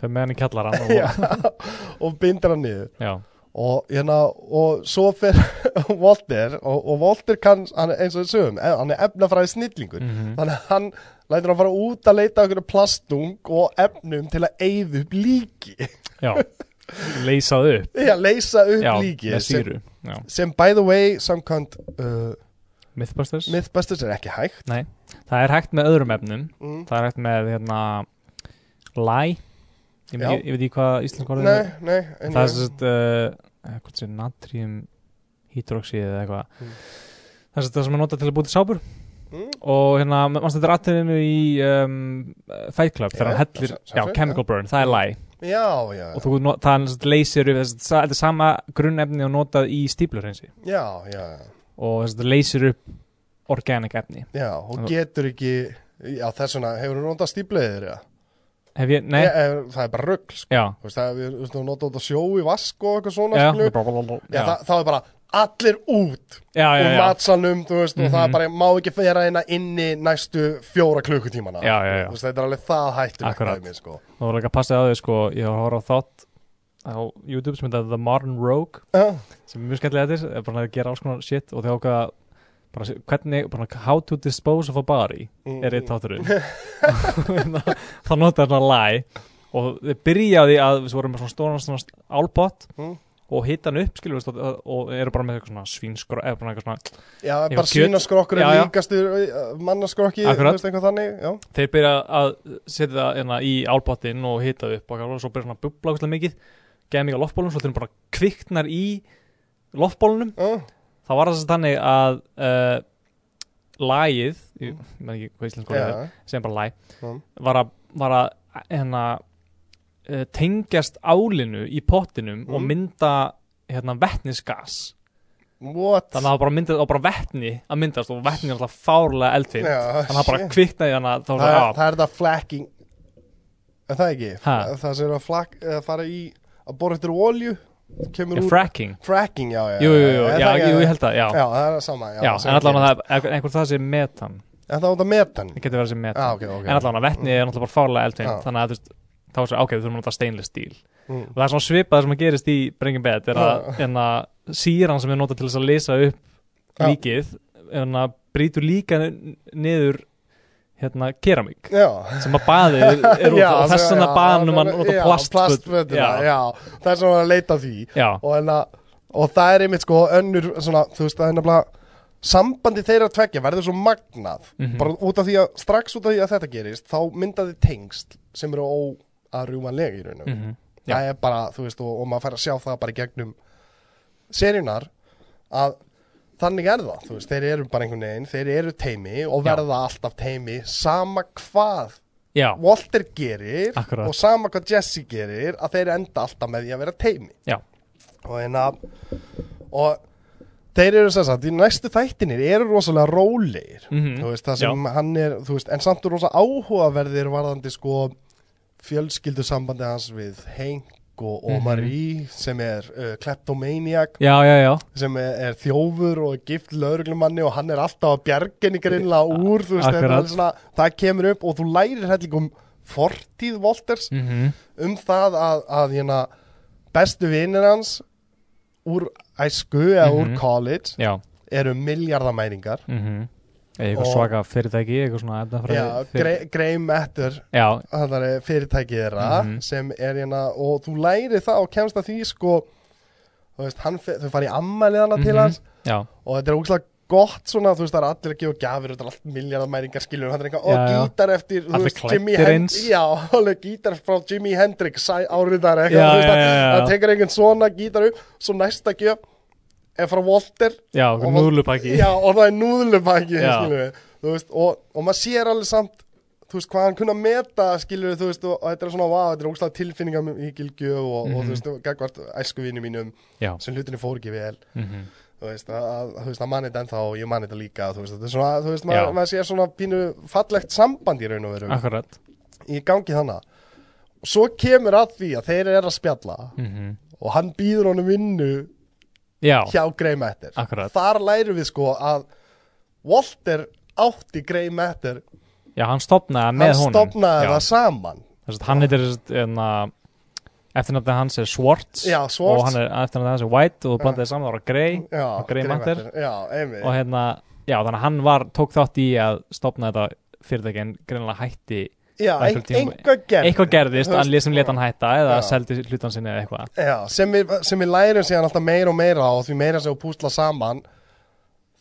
Speaker 2: fyrir með hann í kallarann og,
Speaker 1: Já, og bindur hann niður
Speaker 2: já,
Speaker 1: og, hérna, og svo fer Walter og, og Walter kann, hann, er eins og við sögum eh, hann er efnafræði snillingur
Speaker 2: Mhm.
Speaker 1: þannig að hann lætur hann fara út að leita að einhverju plastung og efnum til að eyða upp líki
Speaker 2: já leysað upp
Speaker 1: já, leysa upp
Speaker 2: já,
Speaker 1: líki
Speaker 2: með
Speaker 1: sem,
Speaker 2: síru já.
Speaker 1: sem by the way samkvæmt uh,
Speaker 2: Mythbusters
Speaker 1: Mythbusters er ekki hægt
Speaker 2: það er hægt með öðrum efnum
Speaker 1: mm.
Speaker 2: það er hægt með hérna læ ég,
Speaker 1: Já.
Speaker 2: ég, ég veit ekki hvað íslensk orðið
Speaker 1: Nei, nei en
Speaker 2: það er
Speaker 1: ég-
Speaker 2: sem sagt uh, hvort sem natrium hydroxíð eða eitthvað
Speaker 1: Mm.
Speaker 2: það er sem sagt það sem að nota til að búti sápur
Speaker 1: Mm.
Speaker 2: og hérna, mannst þetta er atriðinu í um, uh, Fight Club þegar
Speaker 1: Já,
Speaker 2: hann hellir,
Speaker 1: sjá- sjá-
Speaker 2: já,
Speaker 1: sjá-
Speaker 2: Chemical Burn það er læ
Speaker 1: Já, já,
Speaker 2: og þú, no- það er sem sagt leysir upp þess- sa- þetta er sama grunnefni og notað í stíplur hinsi
Speaker 1: já, já, já,
Speaker 2: og þess að leysir upp organic efni
Speaker 1: já, hún getur ekki, já þess vegna, hefur hún notað stípleðir, já?
Speaker 2: hef ég, nei,
Speaker 1: Ég, eh, það er bara rugg, sko,
Speaker 2: já
Speaker 1: þú veist, það er, þú veist, hún notað út að sjó í vask og eitthvað svona,
Speaker 2: Já,
Speaker 1: skilju, já,
Speaker 2: já,
Speaker 1: það, það er bara allir út
Speaker 2: já, já,
Speaker 1: úr
Speaker 2: já,
Speaker 1: matsalnum, þú veist, og það
Speaker 2: Mhm.
Speaker 1: er bara, má ekki færa eina inni næstu fjóra klukkutímana,
Speaker 2: Já, já, já.
Speaker 1: þú veist, þetta er alveg það hættur
Speaker 2: Akkurat.
Speaker 1: mér, sko,
Speaker 2: og það var líka að passa að þau sko, ég var að horfa á þátt á YouTube sem heitir The Modern Rogue
Speaker 1: já,
Speaker 2: sem er mjög skemmtilega þetta er bara að gera alls konar shit og þau ákveða bara, að se- hvernig, bara how to dispose of a body
Speaker 1: Mm,
Speaker 2: er eitt þátturinn þá notar hann að læ og þau byrjaði að við vorum með svona stóran svona álpott
Speaker 1: Mm.
Speaker 2: og hita hann upp skilur við og, og eru bara með eitthvað svona svínskró eða bara eitthvað svona
Speaker 1: já,
Speaker 2: Ég
Speaker 1: bara
Speaker 2: var kjöt-
Speaker 1: svínaskrokkar
Speaker 2: Já,
Speaker 1: er
Speaker 2: já.
Speaker 1: líkastur eh, mannaskrokkið, þú
Speaker 2: Akkurat.
Speaker 1: veist, eitthvað þannig, já,
Speaker 2: þeir byrja að setja það hérna, í álpottinn og hita það upp og, og svo byrja svona að bubla ógeðslega mikið geða mikið á loftbólunum svo þeir bara kviknar í loftbólunum
Speaker 1: já,
Speaker 2: þá var það sem þannig að uh, lagið ég veit ekki hvað íslensk orðið er,
Speaker 1: já,
Speaker 2: segjum bara læg
Speaker 1: Mm.
Speaker 2: var að, var að hérna, uh, tengjast álinu í pottinum og
Speaker 1: Mm.
Speaker 2: mynda hérna, vetnisgas
Speaker 1: what,
Speaker 2: þannig að það var bara, myndað, og bara vetni að myndast og vetni er alltaf fárlega eldfinn
Speaker 1: Já,
Speaker 2: þannig að það bara
Speaker 1: shit.
Speaker 2: kviknaði þannig að þá var
Speaker 1: það,
Speaker 2: það "Ah,
Speaker 1: er, það er það flacking Er það ekki?
Speaker 2: Ha?
Speaker 1: Það sem er að flak, eða fara í að bora eftir olju kemur
Speaker 2: af
Speaker 1: úr
Speaker 2: fracking
Speaker 1: fracking, já, já
Speaker 2: jú, jú, jú,
Speaker 1: Er það
Speaker 2: já,
Speaker 1: ekki-
Speaker 2: jú, ég held að, já,
Speaker 1: Já, það er sama
Speaker 2: já en allavega það, er- einhver það sé metan
Speaker 1: En það var það metan
Speaker 2: það getur verið að sé
Speaker 1: Já,
Speaker 2: metan
Speaker 1: ok, ok
Speaker 2: en allavega vetni er náttúrulega bara fárlega eldfinn
Speaker 1: Já.
Speaker 2: þannig að þú veist þá er það ok, við þurfum að nota stainless steel
Speaker 1: Mm.
Speaker 2: og það er svona svipað sem að gerist í Breaking Bad er að, en að síran sem er notað til þess að lesa upp
Speaker 1: Já.
Speaker 2: líkið en að brýtur líka n- niður hérna keramík
Speaker 1: Já
Speaker 2: sem að baðið er úr
Speaker 1: Já,
Speaker 2: og þess
Speaker 1: það-
Speaker 2: vegna
Speaker 1: já,
Speaker 2: baðanum að
Speaker 1: það-
Speaker 2: nota
Speaker 1: já,
Speaker 2: plastföt
Speaker 1: plastfötina, já. það er svona að leita að því
Speaker 2: já,
Speaker 1: og, en að, og það er einmitt sko önnur svona, þú veist, það er nefnilega sambandi þeirra tvekja verður svo magnað
Speaker 2: Mhm.
Speaker 1: bara út af því að, strax út af því að þetta gerist þá myndaði tengsl sem eru óarjúmanlega í raunum
Speaker 2: mhm, já.
Speaker 1: það er bara, þú veist, og, og maður fær að sjá það bara í gegnum seríunar að þannig er það, þú veist, þeir eru bara einhvern veginn þeir eru teimi og
Speaker 2: Já.
Speaker 1: verða alltaf teimi sama hvað
Speaker 2: já,
Speaker 1: Walter gerir
Speaker 2: Akkurat.
Speaker 1: og sama hvað Jesse gerir að þeir enda alltaf með því að vera teimi
Speaker 2: já,
Speaker 1: og hérna og þeir eru sem sagt, í næstu þættinir eru rosalega rólegir
Speaker 2: Mhm.
Speaker 1: þú veist, það sem hann er, þú veist, en samt er rosa áhugaverðir varðandi sko fjölskyldu sambandi hans við Henk og, og
Speaker 2: Mhm.
Speaker 1: Marie sem er uh, kleptomaniac
Speaker 2: já, já, já.
Speaker 1: sem er, er þjófur og er gift lauruglumanni og hann er alltaf að bjarginni grinnlega úr, þú veist, þetta
Speaker 2: Akkurat.
Speaker 1: er svona, það kemur upp og þú lærir helling um fortíð Walters
Speaker 2: Mm
Speaker 1: um það að, að hérna, bestu vinnir hans úr æsku eða úr
Speaker 2: Mhm.
Speaker 1: college
Speaker 2: já.
Speaker 1: eru miljardamæringar
Speaker 2: Mm eða eitthvað
Speaker 1: Og-
Speaker 2: svaka fyrirtæki eitthvað svona efnafræði
Speaker 1: Já,
Speaker 2: fyrir-
Speaker 1: Grey- Grey Matter
Speaker 2: já,
Speaker 1: þar er fyrirtækið þeirra
Speaker 2: Mhm.
Speaker 1: sem er hérna og þú lærir það og kemst að því sko þú veist, hann, fer- þau fara í ammælið hana til
Speaker 2: Mhm.
Speaker 1: hans
Speaker 2: já,
Speaker 1: og þetta er ógslag gott svona, þú veist, það er allir að gefa gjafir og þetta er allt miljardamæringar skilur þetta er eitthvað, og
Speaker 2: Já, já.
Speaker 1: gítar eftir, þú
Speaker 2: Allir
Speaker 1: veist, Jimi
Speaker 2: klæddir
Speaker 1: Hendrix
Speaker 2: eins.
Speaker 1: já, alveg gítar frá Jimi Hendrix sæ- áriðar
Speaker 2: Já,
Speaker 1: eitthvað, þú veist,
Speaker 2: já,
Speaker 1: það-
Speaker 2: já, já.
Speaker 1: það tekur einhvern svona gítar upp, svo næsta gjöf er frá Walter
Speaker 2: já,
Speaker 1: Og-
Speaker 2: núðlupakki
Speaker 1: já, og það er núðlupakki,
Speaker 2: Já.
Speaker 1: skilur við þú veist, og, og maður sér alveg samt þú veist, hvað hann kunna meta, skilur við þú veist, og, og þetta er svona, vá, þetta er ógslag tilfinninga í gilgjöf og, og þú
Speaker 2: Mhm.
Speaker 1: veist, gagvart æskuvinu mínum,
Speaker 2: já,
Speaker 1: sem hlutinni fór ekki vel
Speaker 2: mhm,
Speaker 1: þú veist, að, að, þú veist, að mann þetta ennþá og ég mann þetta líka, þú veist, þetta er svona, þú veist,
Speaker 2: Já.
Speaker 1: maður, maður sér svona pínu fallegt samband í raun og veru
Speaker 2: akkurat
Speaker 1: í gangi þannig. Og svo kemur að því að þeir eru að spjalla
Speaker 2: mhm,
Speaker 1: og hann býður honum vinnu
Speaker 2: já,
Speaker 1: hjá Grey Matter.
Speaker 2: Akkurat.
Speaker 1: Þar lærum við sko að Walter átti Grey Matter,
Speaker 2: já, hann stopnaði með
Speaker 1: hann
Speaker 2: honum
Speaker 1: stopnaði
Speaker 2: já.
Speaker 1: það saman.
Speaker 2: Þess að hann heitir eftirnafnið hans er Swartz
Speaker 1: Já, Swartz.
Speaker 2: og hann er eftirnafnið hans er White og blandaði saman ára Grey
Speaker 1: Já,
Speaker 2: Og Grey Matter.
Speaker 1: Já, einmitt.
Speaker 2: og hérna, já, þannig að hann var tók þátt í að stopna þetta fyrirtæki en greinlega hætti,
Speaker 1: Já,
Speaker 2: einhvern
Speaker 1: ein,
Speaker 2: tímann-
Speaker 1: einhvað gerðist.
Speaker 2: eitthvað gerðist
Speaker 1: Þú
Speaker 2: hann
Speaker 1: veist,
Speaker 2: lýsum leta hann hætta eða
Speaker 1: Já.
Speaker 2: seldi hlutan sinni eða eitthvað
Speaker 1: Já, sem við, sem við lærum síðan alltaf meira og meira og því meira sem við púsla saman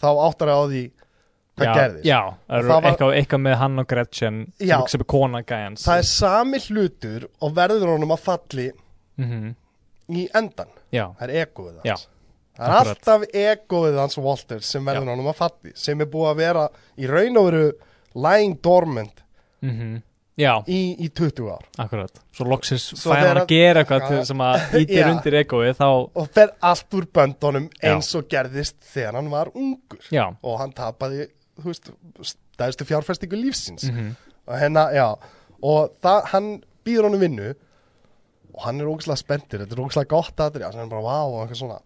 Speaker 1: þá áttar ég á því hvað
Speaker 2: já,
Speaker 1: gerðist
Speaker 2: já, það
Speaker 1: það
Speaker 2: var...
Speaker 1: var-
Speaker 2: eitthvað, eitthvað með hann og Gretchen
Speaker 1: Já.
Speaker 2: sem- sem er kona gæjans
Speaker 1: Það er sami hlutur og verður honum að falli
Speaker 2: Mhm,
Speaker 1: í endan
Speaker 2: já,
Speaker 1: Það er egoið hans
Speaker 2: Já,
Speaker 1: Það er
Speaker 2: akkurat.
Speaker 1: alltaf egoið hans Walter sem verður honum að falli sem er búið að vera í raun og veru lying dormant
Speaker 2: mhm, já,
Speaker 1: í, í 20 ár
Speaker 2: akkurat svo loksins
Speaker 1: Svo
Speaker 2: fær hann
Speaker 1: þegar-
Speaker 2: að gera eitthvað til, sem að ítir
Speaker 1: Já.
Speaker 2: undir egoið þá,
Speaker 1: og fer allt úr böndunum
Speaker 2: Já.
Speaker 1: eins og gerðist þegar hann var ungur
Speaker 2: já
Speaker 1: og hann tapaði þú veist, stæðstu fjárfestingu lífsins
Speaker 2: mhm,
Speaker 1: og hérna, já og það, hann býður honum vinnu og hann er ógæslega spenntur þetta er ógæslega gott aðri, hann er bara vá og eitthvað svona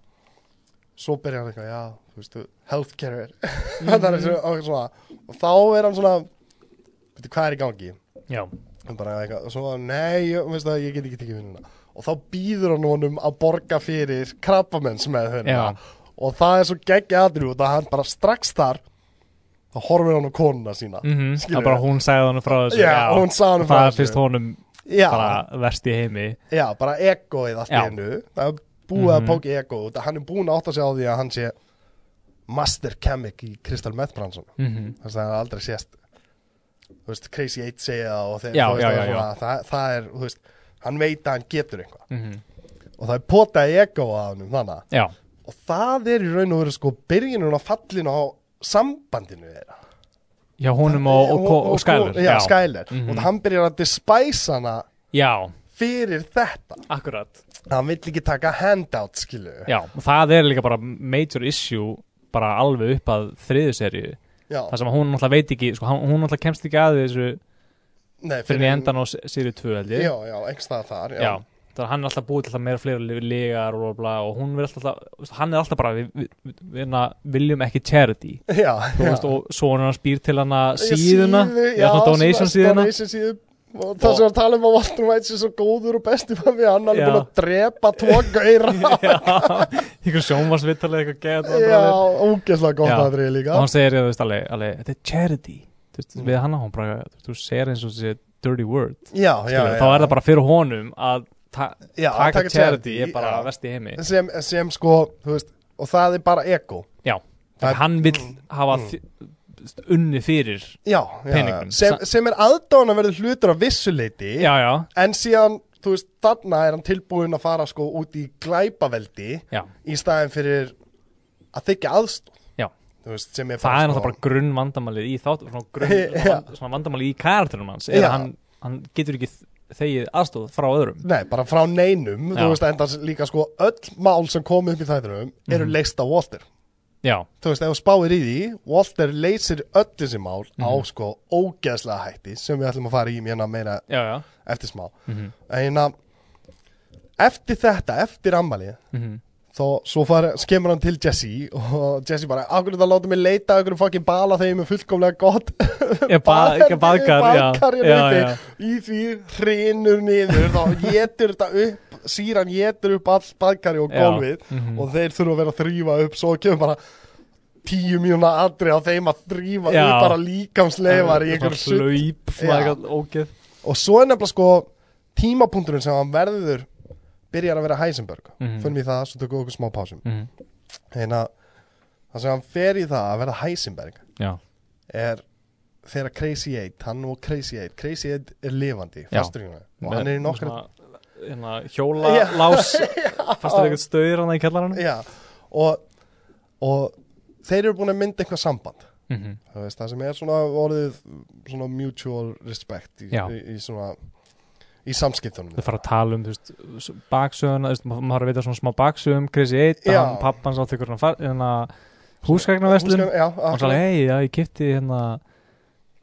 Speaker 1: svo byrjar hann eitthvað, já, þú veistu, healthcare mm -hmm. svo, og, svona, og þá er hann svona veitu, hvað er í gangi
Speaker 2: já,
Speaker 1: Hann bara, eitthvað, og svo, nei, ég, veistu, það, ég get ekki tekið vinnuna og þá býður hann honum að borga fyrir krabbamenns með hérna.
Speaker 2: Já.
Speaker 1: og það er svo geggja aðri og það hann bara strax þar þá horfir hann á konuna sína
Speaker 2: mhm,
Speaker 1: Skilurðu?
Speaker 2: það bara hún sagði hann frá þessu
Speaker 1: Já, hún sagði honum frá
Speaker 2: það
Speaker 1: þessu.
Speaker 2: finnst honum
Speaker 1: já,
Speaker 2: bara verst í heimi
Speaker 1: Já, bara egoið allt í
Speaker 2: Já.
Speaker 1: hennu Það er búið að
Speaker 2: Mhm.
Speaker 1: póki ego út Hann er búin að átta sig á því að hann sé Master Chemic í Crystal Meth Branson
Speaker 2: mhm,
Speaker 1: Þess að það er aldrei sést Þú veist, Crazy 8 segja það og þeir,
Speaker 2: Já,
Speaker 1: þú veist,
Speaker 2: já,
Speaker 1: það er
Speaker 2: já,
Speaker 1: svona- Það, það er, þú veist, hann veit að hann getur eitthvað
Speaker 2: mhm,
Speaker 1: Og það er potaði ego að hann um þannig
Speaker 2: já,
Speaker 1: Og það er í raun og veru sko byrjunum að fallinu á sambandinu þeirra
Speaker 2: já, honum og, og, og, og skælur
Speaker 1: Já, Skyler
Speaker 2: Mhm.
Speaker 1: Og hann byrjar að despæsa hana
Speaker 2: já,
Speaker 1: fyrir þetta
Speaker 2: akkurat
Speaker 1: Hann vill ekki taka handout, skilu
Speaker 2: Já, og það er líka bara major issue bara alveg upp að þriðu seríu
Speaker 1: Já.
Speaker 2: það sem að hún náttúrulega veit ekki sko, hann- hún náttúrulega kemst ekki að þessu
Speaker 1: Nei,
Speaker 2: fyrir í endan á se- seríu 2 held ég
Speaker 1: Já, já, einhvers staðar þar Já,
Speaker 2: Já, þannig að hann er alltaf búið til alltaf meira fleira li- ligar og, bla, bla, og hún er alltaf, alltaf hann er alltaf bara við, við, við, við viljum ekki charity
Speaker 1: já,
Speaker 2: þú
Speaker 1: já.
Speaker 2: veist og svo hann spýr til hann að síðuna
Speaker 1: Síðu,
Speaker 2: já, svona donation
Speaker 1: svona
Speaker 2: síðuna
Speaker 1: Donation síðu Og það sem var að tala um að Walter White sé svo góður og besti með við hann, hann
Speaker 2: Já.
Speaker 1: er búin að drepa tvo gauðra.
Speaker 2: Já, einhver sjónvarsvital eða eitthvað geð
Speaker 1: Já, ógeðslega gott
Speaker 2: Já.
Speaker 1: aðrið
Speaker 2: og
Speaker 1: líka. Mm.
Speaker 2: hann segir ég, þú veist, alveg, alveg þetta er charity þú veist, við hann að hún bara, þú veist, þú segir eins og þessi dirty word,
Speaker 1: Já, já,
Speaker 2: skilur,
Speaker 1: já.
Speaker 2: þá er það bara fyrir honum að ta
Speaker 1: Já, að
Speaker 2: taka
Speaker 1: taka
Speaker 2: charity,
Speaker 1: charity,
Speaker 2: ég er bara
Speaker 1: já.
Speaker 2: vest í heimi
Speaker 1: sem, sem sko, þú veist, og það er bara ego. Það-
Speaker 2: Þannig hann vill hafa mm. unni fyrir
Speaker 1: Já, já, já.
Speaker 2: Peningurinn.
Speaker 1: Sem, sem er aðdána verður hlutur af vissuleiti,
Speaker 2: já, já,
Speaker 1: en síðan, þú veist, þarna er hann tilbúin að fara sko út í glæpaveldi
Speaker 2: já,
Speaker 1: í staðin fyrir að þykja aðstóð.
Speaker 2: Já.
Speaker 1: Þú veist, sem er
Speaker 2: það er
Speaker 1: sko-
Speaker 2: náttúrulega bara grunn vandamalið í þátt svona, grunn,
Speaker 1: Já.
Speaker 2: svona vandamalið í karakterum hans er
Speaker 1: Já.
Speaker 2: að hann, hann getur ekki þegið aðstóð frá öðrum
Speaker 1: Nei, bara frá neinum,
Speaker 2: Já.
Speaker 1: þú veist, enda líka sko öll mál sem kom upp í þættinum eru
Speaker 2: Mhm.
Speaker 1: leist á Walter.
Speaker 2: já,
Speaker 1: Þú veist, ef þú spáir í því, Walter leysir öll þessi mál á
Speaker 2: Mhm.
Speaker 1: sko ógeðslega hætti sem við ætlum að fara í mérna meira
Speaker 2: já, já
Speaker 1: eftir smá.
Speaker 2: mm -hmm.
Speaker 1: En hérna, eftir þetta, eftir ammalið,
Speaker 2: Mhm.
Speaker 1: þá svo fara, skemur hann til Jesse og Jesse bara, akkur er það að láta mig leita að einhverjum fokkin bala þegar ég er með fullkomlega gott
Speaker 2: ég baðkar,
Speaker 1: baðkar
Speaker 2: já,
Speaker 1: hérna
Speaker 2: já,
Speaker 1: uppi.
Speaker 2: já,
Speaker 1: í því hrinur niður þá getur þetta upp, síran getur upp all baðkari og
Speaker 2: Já.
Speaker 1: gólfið
Speaker 2: Mhm.
Speaker 1: og þeir þurfa að vera að þrýfa upp svo kemur bara tíu mínuna atri á þeim að þrýfa
Speaker 2: Já.
Speaker 1: upp bara líkamsleifar í einhver sutt
Speaker 2: slöyp
Speaker 1: Já.
Speaker 2: ógeð
Speaker 1: og svo er nefnilega sko tímapunkturinn sem hann verður byrjar að vera Heisenberg
Speaker 2: Mhm.
Speaker 1: fyrir mig það, svo tökum við okkur smá pásum hérna, það sem hann fer í það að verða Heisenberg
Speaker 2: já,
Speaker 1: er þegar Crazy 8, hann og Crazy 8 Crazy 8 er lifandi,
Speaker 2: Já.
Speaker 1: fastur í hérna og hann er í nokkra
Speaker 2: Svona, hérna, hjóla lás fastur eitthvað stöður hann í kellarann
Speaker 1: já, og, og þeir eru búin að mynda eitthvað samband
Speaker 2: Mhm.
Speaker 1: það, veist, það sem er svona orðið svona mutual respect í,
Speaker 2: Já.
Speaker 1: í, í svona í samskiptunum
Speaker 2: þau fara að tala um þú veist, s- baksöguna, þú veist, ma- maður þarf að vita svona smá um baksögum Chrissy 1,
Speaker 1: Já.
Speaker 2: hann pappans átt ykkur hérna, húsgagnaverslun
Speaker 1: Húsgagn- já,
Speaker 2: og hann sagði,
Speaker 1: akkurat.
Speaker 2: hei, já, ég kipti hérna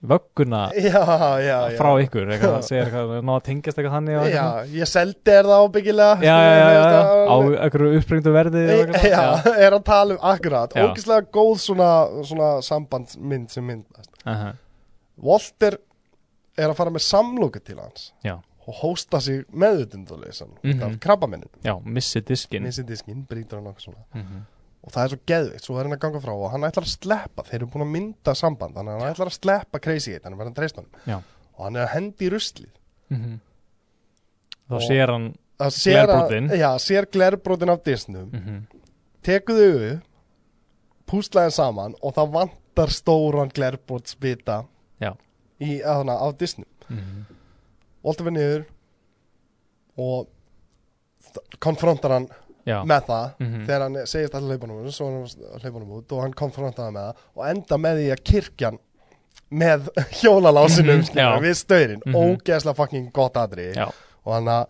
Speaker 2: vögguna
Speaker 1: já, já, já.
Speaker 2: frá ykkur, eitthvað, það segir eitthvað ná að tengjast eitthvað þannig og
Speaker 1: já,
Speaker 2: eitthvað.
Speaker 1: ég seldi er það ábyggilega
Speaker 2: já, já, já, já, á
Speaker 1: Á-
Speaker 2: einhverju uppbringdu verði og eitthvað.
Speaker 1: Eh, já, er að tala um akkurat
Speaker 2: Já.
Speaker 1: ógislega góð svona, svona sambandsmynd sem myndast
Speaker 2: Aha.
Speaker 1: Walter er að fara með samlóku til hans
Speaker 2: Já.
Speaker 1: og hósta sig meðutundulegsan mm
Speaker 2: Mhm.
Speaker 1: -hmm. af krabbamenninu,
Speaker 2: já, missi diskin
Speaker 1: missi diskinn, brýtur hann okkur svona
Speaker 2: mm -hmm.
Speaker 1: og það er svo geðvitt, svo er hann að ganga frá og hann ætlar að sleppa, þeir eru búin að mynda samband þannig að hann ætlar að sleppa crazy eitt, hann er verið að treysta
Speaker 2: Já.
Speaker 1: hann og hann er að hendi í ruslið
Speaker 2: þá
Speaker 1: Og-
Speaker 2: Mhm. sér hann
Speaker 1: Það sér að-
Speaker 2: Glerbrotin.
Speaker 1: Já, sér glerbrotin af disnum
Speaker 2: mm -hmm.
Speaker 1: tekur þau upp púslaðin saman og það vantar stóran glerbrotsbita
Speaker 2: Já.
Speaker 1: í, að, þannig, af disnum Walter fyrir niður og st- konfrontar hann
Speaker 2: já,
Speaker 1: með það
Speaker 2: Mhm.
Speaker 1: þegar hann segist alltaf hlaupanum svo er hann hlaupanum út og hann konfrontar hann með það og enda með því að kirkjan með hjólalásinum
Speaker 2: Mhm,
Speaker 1: skilur,
Speaker 2: já.
Speaker 1: við stöyrin,
Speaker 2: Mhm.
Speaker 1: ógeðslega fucking gott atri
Speaker 2: Já.
Speaker 1: og hann að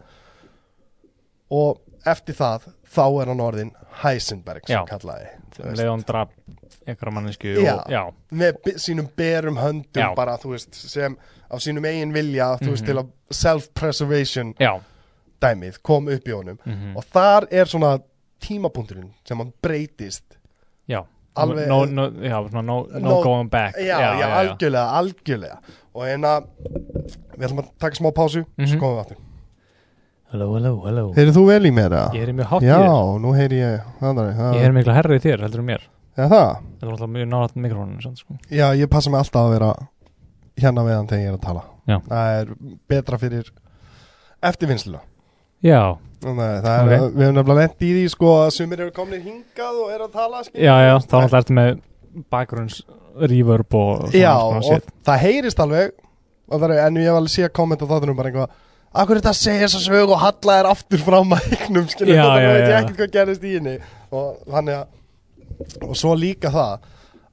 Speaker 1: og eftir það þá er hann orðin Heisenberg sem
Speaker 2: Já.
Speaker 1: kallaði
Speaker 2: um leið og hann drap einhverja mannesku
Speaker 1: Já.
Speaker 2: og, já,
Speaker 1: með bi- sínum berum höndum
Speaker 2: Já. Mhm.
Speaker 1: bara þú veist sem af sínum eigin vilja þú veist til að self-preservation
Speaker 2: já
Speaker 1: dæmið kom upp í honum
Speaker 2: mhm.
Speaker 1: og þar er svona tímapunkturinn sem hann breytist
Speaker 2: já,
Speaker 1: alveg-
Speaker 2: no, no, já, svona no, no,
Speaker 1: No-
Speaker 2: going back
Speaker 1: já, já, algjörlega, algjörlega og hérna við ætlum að taka smá pásu svo
Speaker 2: Mhm.
Speaker 1: komum við aftur
Speaker 2: hello, hello, hello
Speaker 1: Heyrðu þú vel í mér það?
Speaker 2: ég er í mjög hátt í
Speaker 1: Já,
Speaker 2: þér,
Speaker 1: nú heyri ég andari, það,
Speaker 2: ég er mikla herri í þér heldur um mér,
Speaker 1: Já, það?
Speaker 2: þetta er alltaf mjög nátt mikrofónum sann, sko.
Speaker 1: Já, ég passa mig alltaf að vera hérna við hann þegar ég er að tala
Speaker 2: Já.
Speaker 1: Það er betra fyrir eftirvinnsluna
Speaker 2: já,
Speaker 1: Nei, það er,
Speaker 2: Ok.
Speaker 1: Við hefum nefnilega lent í því sko að sumir eru komnir hingað og eru að tala skilur.
Speaker 2: já, já, þá náttúrulega ertu með bakgrunns reverb og svona,
Speaker 1: Já,
Speaker 2: svona
Speaker 1: og
Speaker 2: shit.
Speaker 1: það heyrist alveg og það er, En ég hef alveg sé að kommenta þáttunum bara eitthvað Akkur er þetta að segja þess að sög og halla er aftur frá mæknum skilur,
Speaker 2: Já,
Speaker 1: þetta
Speaker 2: já,
Speaker 1: veit ég
Speaker 2: já.
Speaker 1: ekkert hvað gerist í henni og þannig að og svo líka það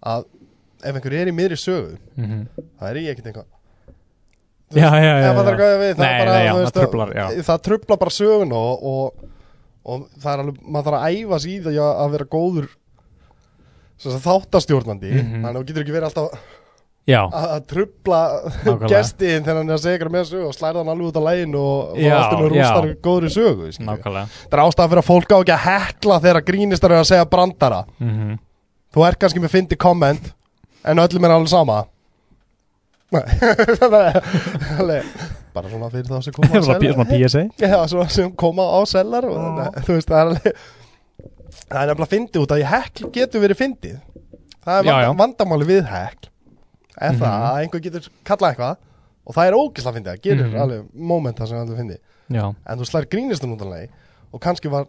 Speaker 1: að ef einhver er í miðri sögu
Speaker 2: Mhm.
Speaker 1: það er ég ekkert eitthvað Þú
Speaker 2: já, já, já,
Speaker 1: ef það er
Speaker 2: já.
Speaker 1: hvað við það
Speaker 2: Nei,
Speaker 1: bara,
Speaker 2: nei, já,
Speaker 1: þú
Speaker 2: það
Speaker 1: veist,
Speaker 2: truflar, já.
Speaker 1: það trubla bara sögun og, og, og það er alveg maður þarf að æfa sig í því að- að vera góður sem sagt þáttastjórnandi
Speaker 2: Mhm.
Speaker 1: þannig að þú getur ekki verið alltaf
Speaker 2: já,
Speaker 1: að- að trubla
Speaker 2: Nákvæmlega.
Speaker 1: gestiðin þegar hann er að segja ykkur með sögu og slæra hann alveg út á lægin og, og
Speaker 2: Já,
Speaker 1: allt um
Speaker 2: já.
Speaker 1: rústar góðri sögu skilju.
Speaker 2: nákvæmlega
Speaker 1: það er ástæða fyrir að fólk á ekki að hekla þegar grínistar eru að segja brandara
Speaker 2: mhm.
Speaker 1: þú er kannski með fyndi komment en öllum er alveg sama Nei, það er- alveg- bara svona fyrir þá sem
Speaker 2: Það
Speaker 1: koma
Speaker 2: er
Speaker 1: á
Speaker 2: svona P-
Speaker 1: sellar
Speaker 2: svona PSA
Speaker 1: Já, svona sem koma á sellar og, ne, þú veist, það er alveg það er nefnilega fyndið út að ég hekl getur verið fyndið það er
Speaker 2: Já,
Speaker 1: vanda,
Speaker 2: já.
Speaker 1: vandamáli við hekl er það
Speaker 2: Mhm.
Speaker 1: að einhver getur kallað eitthvað og það er ógislega fyndið, það gerir
Speaker 2: Mhm.
Speaker 1: alveg momenta sem er alveg fyndið,
Speaker 2: Já,
Speaker 1: en þú slær grínistum út alveg og kannski var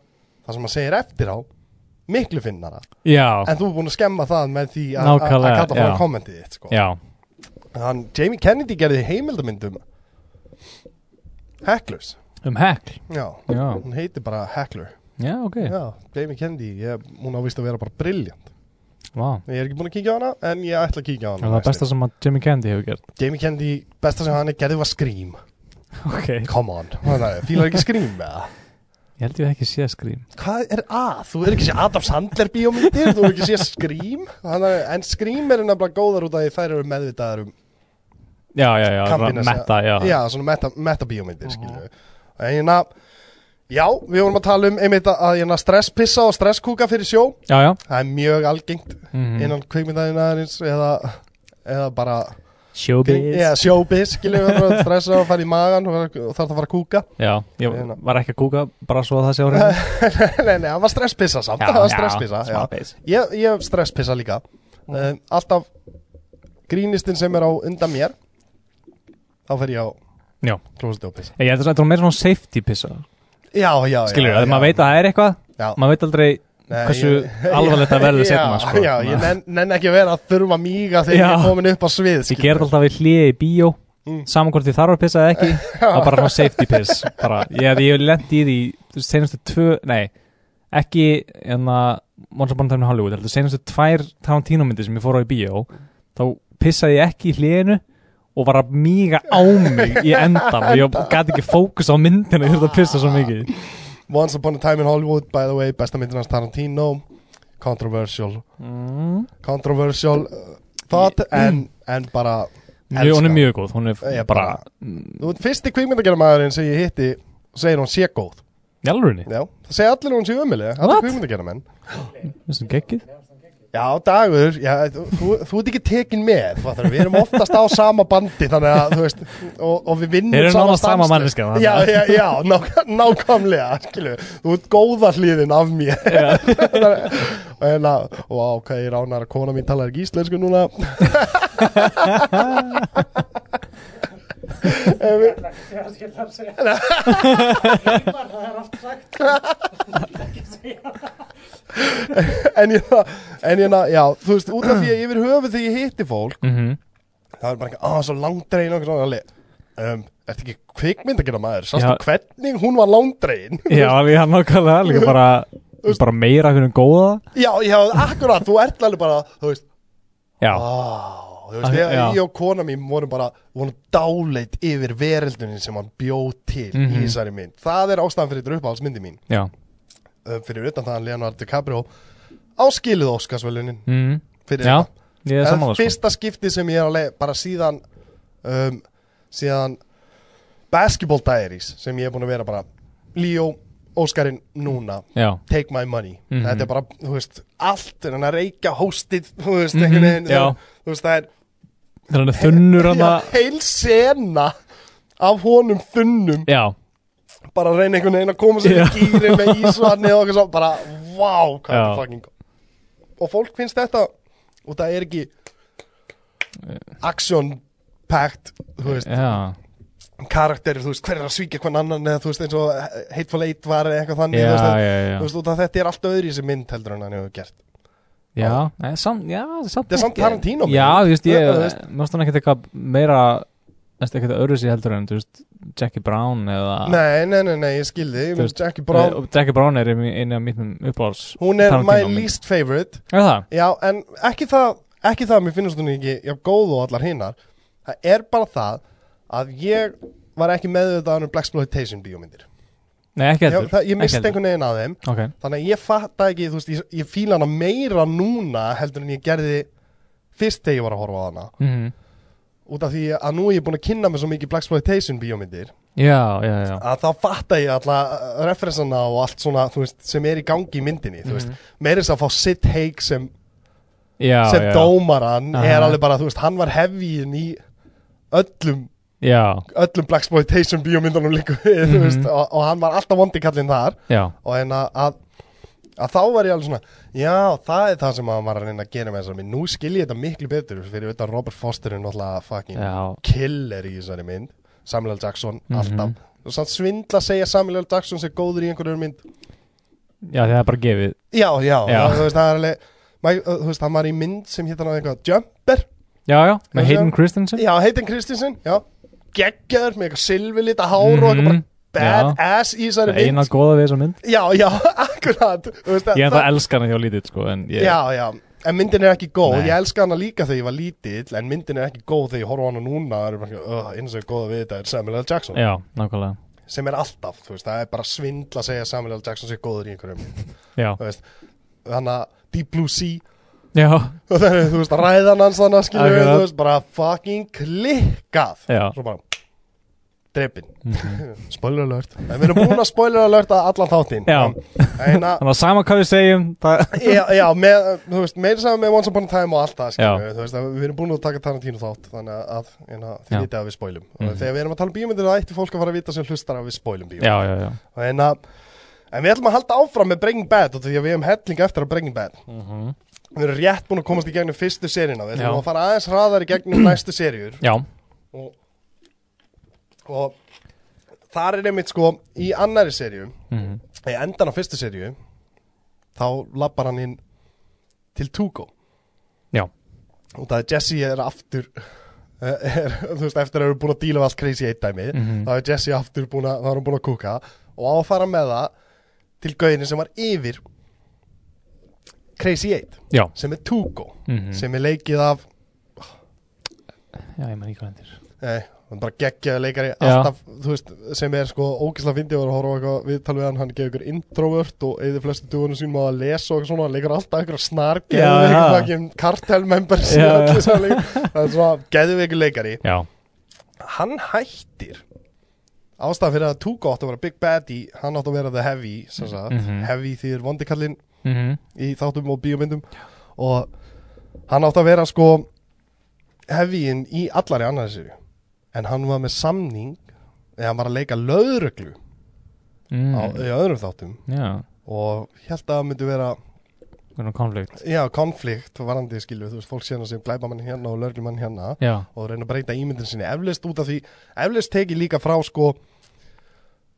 Speaker 1: það sem maður segir eftir á miklu finnara
Speaker 2: já,
Speaker 1: en þú er búin að skemma það með því að- að að
Speaker 2: Nákvæmlega,
Speaker 1: kalla frá
Speaker 2: já.
Speaker 1: kommentið þitt sko.
Speaker 2: já
Speaker 1: hann, Jamie Kennedy gerði um heimildamyndum Hecklers
Speaker 2: Um hekl
Speaker 1: já,
Speaker 2: Já,
Speaker 1: hún heitir bara Heckler
Speaker 2: já, ok
Speaker 1: já, Jamie Kennedy, ég, hún ávist að vera bara brilljant
Speaker 2: Vá
Speaker 1: ég er ekki búin að kíkja á hana, en ég ætla að kíkja á
Speaker 2: Er
Speaker 1: hana
Speaker 2: það
Speaker 1: næst.
Speaker 2: besta sem að Jimmy Candy hefur gert?
Speaker 1: Jamie Kennedy, besta sem hann er gerði var Scream
Speaker 2: Ok Ég
Speaker 1: come on, Hvað það er, fílar ekki Scream með það
Speaker 2: held ég hef ekki séð skrím
Speaker 1: hvað er að, þú er ekki sé Adam Sandler bíómyndir, þú er ekki sé Scream Þannig að- en Scream eru nefnilega góðar út af því þær eru meðvitaðar um
Speaker 2: Já, já, já,
Speaker 1: Kampinn
Speaker 2: ra-
Speaker 1: þessa-
Speaker 2: metta, já
Speaker 1: já, svona meta, meta bíómyndir skilju en hérna já, við vorum að tala um einmitt að- að hérna stresspissa og stresskúka fyrir sjó
Speaker 2: Já, já
Speaker 1: það er mjög algengt
Speaker 2: Mhm.
Speaker 1: innan kvikmyndaðinarins eða eða bara
Speaker 2: Showbiz
Speaker 1: yeah, sjóbis, skilju, við erum að stressa og fara í magan og, og þarf að fara að kúka
Speaker 2: Já, ég
Speaker 1: Hérna.
Speaker 2: var ekki að kúka bara svo að það sé á reyna
Speaker 1: nei, nei, það var stresspissa samt, það var stresspissa já.
Speaker 2: base
Speaker 1: ég, ég hef stresspissa líka
Speaker 2: Mm.
Speaker 1: um, alltaf grínistinn sem er á undan mér þá fer ég á
Speaker 2: Já.
Speaker 1: klósiti og pissa
Speaker 2: Ég held að þetta var meira svona safety pissa
Speaker 1: já, já, já
Speaker 2: Skilur,
Speaker 1: já,
Speaker 2: að maður veit að það er eitthvað
Speaker 1: Já.
Speaker 2: Maður veit aldrei
Speaker 1: Nei,
Speaker 2: hversu
Speaker 1: ég-
Speaker 2: alvarlegt það verður
Speaker 1: Já,
Speaker 2: seinna, sko.
Speaker 1: Já, ég
Speaker 2: Þannig
Speaker 1: nenn, nenn ekki að vera að þurfa míga þegar
Speaker 2: Já.
Speaker 1: ég er komin upp á svið
Speaker 2: Ég gerði alltaf við hliði í bíó
Speaker 1: Mm.
Speaker 2: Saman hvort ég þarf að pissa eða ekki Það var bara svona safety piss bara, Ég hef ég lent í því þú veist, Seinastu tvö, nei Ekki en að Once upon a time in Hollywood heldur, Seinastu tvær Tarantino myndi sem ég fór á í bíó Þá pissaði ég ekki í hliðinu Og var að míga á mig Í endan og ég gæti ekki fókus á myndina Ég þurfti að pissa svo mikið
Speaker 1: Once Upon a Time in Hollywood, by the way besta myndin hans Tarantino Controversial
Speaker 2: mm.
Speaker 1: Controversial uh, thought en, en bara
Speaker 2: Mjög, hún
Speaker 1: Elska.
Speaker 2: er mjög góð Hún er
Speaker 1: Ég
Speaker 2: bara
Speaker 1: bara- Þú veit, fyrsti kvikmyndagerðamæðurinn sem ég hitti segir hún sé góð
Speaker 2: Jálfurinni
Speaker 1: Já, það segir allir að hún sé ömulega Allir
Speaker 2: What?
Speaker 1: kvikmyndagerðamenn
Speaker 2: Þessum geggið
Speaker 1: Já, dagur, já, þú, þú, þú ert ekki tekin með fattar, Við erum oftast á sama bandi Þannig að, þú veist, og, og við vinnum
Speaker 2: Þeir eru
Speaker 1: sama
Speaker 2: nánast sama
Speaker 1: stanslaust.
Speaker 2: manneskja, þannig
Speaker 1: Já,
Speaker 2: að-
Speaker 1: já, já, nák nákvæmlega skilu. Þú ert góða hlýðin af mér Og hérna, vá, hvað ég ránar að kona mín talar ekki íslensku núna
Speaker 3: Það er ekki að skilja að segja það. Heimar, það er oft sagt.
Speaker 1: En ég, en ég, já, þú veist, út af því að yfir höfuð þegar ég hitti fólk
Speaker 2: mm -hmm.
Speaker 1: það er bara ekki, að svo langdregin og eitthvað svona alveg, um, ertu ekki kvikmynd að gera maður, sástu
Speaker 2: Já.
Speaker 1: hvernig hún var langdregin
Speaker 2: Já, alveg hann nákvæmlega Líka bara, bara meira hvernig góða
Speaker 1: já, já, akkurat, þú ert alveg bara þú veist,
Speaker 2: Já,
Speaker 1: á, þú veist,
Speaker 2: Ah,
Speaker 1: ég,
Speaker 2: já.
Speaker 1: ég og kona mín vorum bara, vorum dáleit yfir vereldunin sem hann bjóð til
Speaker 2: Mhm.
Speaker 1: í þessari mynd, það er ástæðan fyrir dröfbálsmyndi mín,
Speaker 2: já
Speaker 1: um, fyrir utan það að Leonardo DiCaprio áskilið Óskarsvelunin
Speaker 2: mm.
Speaker 1: fyrir
Speaker 2: Já,
Speaker 1: það.
Speaker 2: ég er
Speaker 1: Það er
Speaker 2: sammála sko.
Speaker 1: fyrsta skipti sem ég er að leið bara síðan um, síðan basketball diaries sem ég er búin að vera bara Leo, Óskarinn, núna
Speaker 2: Já,
Speaker 1: take my money,
Speaker 2: Mhm.
Speaker 1: þetta er bara þú veist, allt er hann að reykja hóstið þú veist,
Speaker 2: Mhm,
Speaker 1: einhvern veginn
Speaker 2: já.
Speaker 1: þú veist, það er
Speaker 2: þegar hann er þunnur hann
Speaker 1: já,
Speaker 2: að
Speaker 1: heil sena af honum þunnum
Speaker 2: Já,
Speaker 1: bara að reyna einhvern veginn að koma sér í
Speaker 2: Já.
Speaker 1: gýri með ísvarni og eitthvað svo bara, vá, hvað er
Speaker 2: Já.
Speaker 1: fucking og fólk finnst þetta og það er ekki action packed, þú veist,
Speaker 2: já,
Speaker 1: karakter þú veist, hver er að svíkja hvern annan eða þú veist, eins og Hateful Eight var eða eitthvað þannig
Speaker 2: já,
Speaker 1: þú veist,
Speaker 2: já, já
Speaker 1: þú veist, út af þetta er allt öðri sem mynd heldur en hann hefur gert
Speaker 2: Já, nei, samt, já, samt
Speaker 1: Þetta er samt
Speaker 2: ekki-
Speaker 1: Tarantino mynd.
Speaker 2: Já, þú veist, ég,
Speaker 1: Þú veist.
Speaker 2: mér stann ekkert eitthvað meira Þetta ekkert öðru sér heldur en, þú veist, Jackie Brown eða
Speaker 1: nei, nei, nei, nei, ég skildi, ég
Speaker 2: Ah. Þú
Speaker 1: mynd
Speaker 2: veist,
Speaker 1: Jackie Brown
Speaker 2: og Jackie Brown er einu af mínum uppáhalds
Speaker 1: hún er my
Speaker 2: Tarantino mynd.
Speaker 1: least favorite
Speaker 2: Er það?
Speaker 1: já, en ekki það ekki það að mér finnst hún ekki já, góð og allar hinnar það er bara það að ég var ekki meðvitaðan um Blaxploitation bíómyndir
Speaker 2: Nei, ekki
Speaker 1: ég,
Speaker 2: heldur
Speaker 1: það, ég
Speaker 2: ekki
Speaker 1: misti
Speaker 2: heldur.
Speaker 1: einhvern veginn að þeim
Speaker 2: Ok,
Speaker 1: þannig að ég fatta ekki, þú veist, ég, ég fíla hana meira núna heldur en ég gerði fyrst þegar ég var að horfa á hana
Speaker 2: mhm
Speaker 1: út af því að nú er ég búin að kynna mér svo mikið Blaxploitation bíómyndir
Speaker 2: Já, já, já
Speaker 1: að þá fatta ég alla referensana og allt svona, þú veist, sem er í gangi í myndinni, þú
Speaker 2: Mhm.
Speaker 1: veist, meirins að fá Sid Haig sem,
Speaker 2: Já,
Speaker 1: sem
Speaker 2: já
Speaker 1: dómaran
Speaker 2: Aha.
Speaker 1: er alveg bara, þú veist, hann var hefjín í öllum
Speaker 2: Já,
Speaker 1: öllum Blaxploitation bíómyndunum líka við, þú
Speaker 2: Mhm.
Speaker 1: veist, og, og hann var alltaf vondi kallinn þar
Speaker 2: já,
Speaker 1: og en að, að, að þá var ég alveg svona já, það er það sem hann var að reyna að gera með þessar mynd nú skil ég þetta miklu betur fyrir utan Robert Foster er náttúrulega fucking
Speaker 2: já,
Speaker 1: killer í þessari mynd Samuel L. Jackson,
Speaker 2: Mhm.
Speaker 1: alltaf og samt svindla að segja Samuel L. Jackson sem góður í einhverjum mynd
Speaker 2: já, það er bara gefið
Speaker 1: já, já,
Speaker 2: Já.
Speaker 1: þú veist, það er alveg maður- þú veist, hann var í mynd sem hittan á eitthvað Jumper
Speaker 2: Já, já, með
Speaker 1: Já,
Speaker 2: Hayden
Speaker 1: já.
Speaker 2: Christensen
Speaker 1: Já, heitin Kristinsen, já Geggjaður með eitthvað silfurlita hár og eitthvað bara
Speaker 2: Mhm,
Speaker 1: badass í þessari mynd
Speaker 2: Eina góða við þessa mynd
Speaker 1: Já, já, akkurat Þú veist,
Speaker 2: Ég en það elskar hann hjá lítið, sko en ég,
Speaker 1: Já, já, en myndin er ekki góð
Speaker 2: Nei.
Speaker 1: Ég elska hana líka þegar ég var lítill En myndin er ekki góð þegar ég horfa á hana núna Það er bara, ekki, "Ugh, eins og góða við þetta er Samuel L. Jackson
Speaker 2: já, nákvæmlega
Speaker 1: Sem er alltaf, þú veist, það er bara svindla að segja Samuel L. Jackson sé góður í einhverjum mynd.
Speaker 2: Já,
Speaker 1: Þú veist, Þannig að Deep Blue Sea
Speaker 2: já,
Speaker 1: og það er, þú veist, ræðan hans þannig að skilja við,
Speaker 2: Akkurat.
Speaker 1: þú veist, bara fucking klikkað
Speaker 2: Já.
Speaker 1: svo bara drepin spoiler alert en við erum búin að spoiler alert að allan þáttinn
Speaker 2: Já.
Speaker 1: en að
Speaker 2: þannig að sama hvað við segjum það,
Speaker 1: Já, já með, þú veist, meira saman með Once Upon a Time og allt það,
Speaker 2: Já.
Speaker 1: skiljum við, þú veist, að við erum búin að taka Tarantino þátt, þannig að, en að
Speaker 2: Já. Mhm.
Speaker 1: þið vitið að við spoilum. Mm. Þegar við erum að tala um bíómyndir, það ætti fólk að fara að vita sem hlustar að við spoilum bíómyndir.
Speaker 2: Já, já, já,
Speaker 1: En, að, en við ætlum að halda áfram með Breaking Bad og því að við hefum helling eftir að Breaking Bad Við erum rétt búin að komast í gegnum fyrstu seríuna Við ætlum
Speaker 2: Mhm. Já.
Speaker 1: að fara aðeins hraðar í gegnum næstu seríur
Speaker 2: já,
Speaker 1: og, og þar er einmitt sko í annari seríu
Speaker 2: Mhm.
Speaker 1: Í endan á fyrstu seríu Þá lappar hann inn til Tugo
Speaker 2: já,
Speaker 1: Og það er Jesse er aftur eh, er, Þú veist, eftir að við erum búin að díla við allt crazy eitt dæmi
Speaker 2: Mhm.
Speaker 1: þá er Jesse aftur búin að, þá er hann búin að kúka og á að fara með það til gauðinu sem var yfir Crazy 8
Speaker 2: já,
Speaker 1: sem er Tugo
Speaker 2: Mhm.
Speaker 1: sem er leikið af
Speaker 2: já, ég menn ekki hvað hendur
Speaker 1: nei, hann er bara geggjaði leikari
Speaker 2: Já.
Speaker 1: alltaf, þú veist, sem er sko ógislega fyndið og að horfa á eitthvað viðtal við hann, hann gefur ykkur introvert og eða flestu dugunum sínum á að lesa og eitthvað svona, hann leikur alltaf ykkur snar
Speaker 2: Já, já.
Speaker 1: geðveikur kartelmembers
Speaker 2: Já, já.
Speaker 1: það er svona geðveikur leikari
Speaker 2: Já,
Speaker 1: hann hættir ástæðan fyrir að Tugo átt að vera Big Baddy hann átt að vera The Heavy sem sagt,
Speaker 2: Mhm.
Speaker 1: Heavy þýðir vondikallinn
Speaker 2: mhm,
Speaker 1: í þáttum og bíómyndum og hann átt að vera sko Heavyin í allari annari sér en hann var með samning eða hann var að leika löðruglu
Speaker 2: mm,
Speaker 1: á, í öðrum þáttum
Speaker 2: já
Speaker 1: og held að það myndi vera
Speaker 2: Hvernig konflikt
Speaker 1: já, konflikt varandi skilu, þú veist, fólk séna sem glæbamann hérna og lögreglumann hérna
Speaker 2: Já,
Speaker 1: og reyna að breyta ímyndin sinni eflust út af því, eflust teki líka frá sko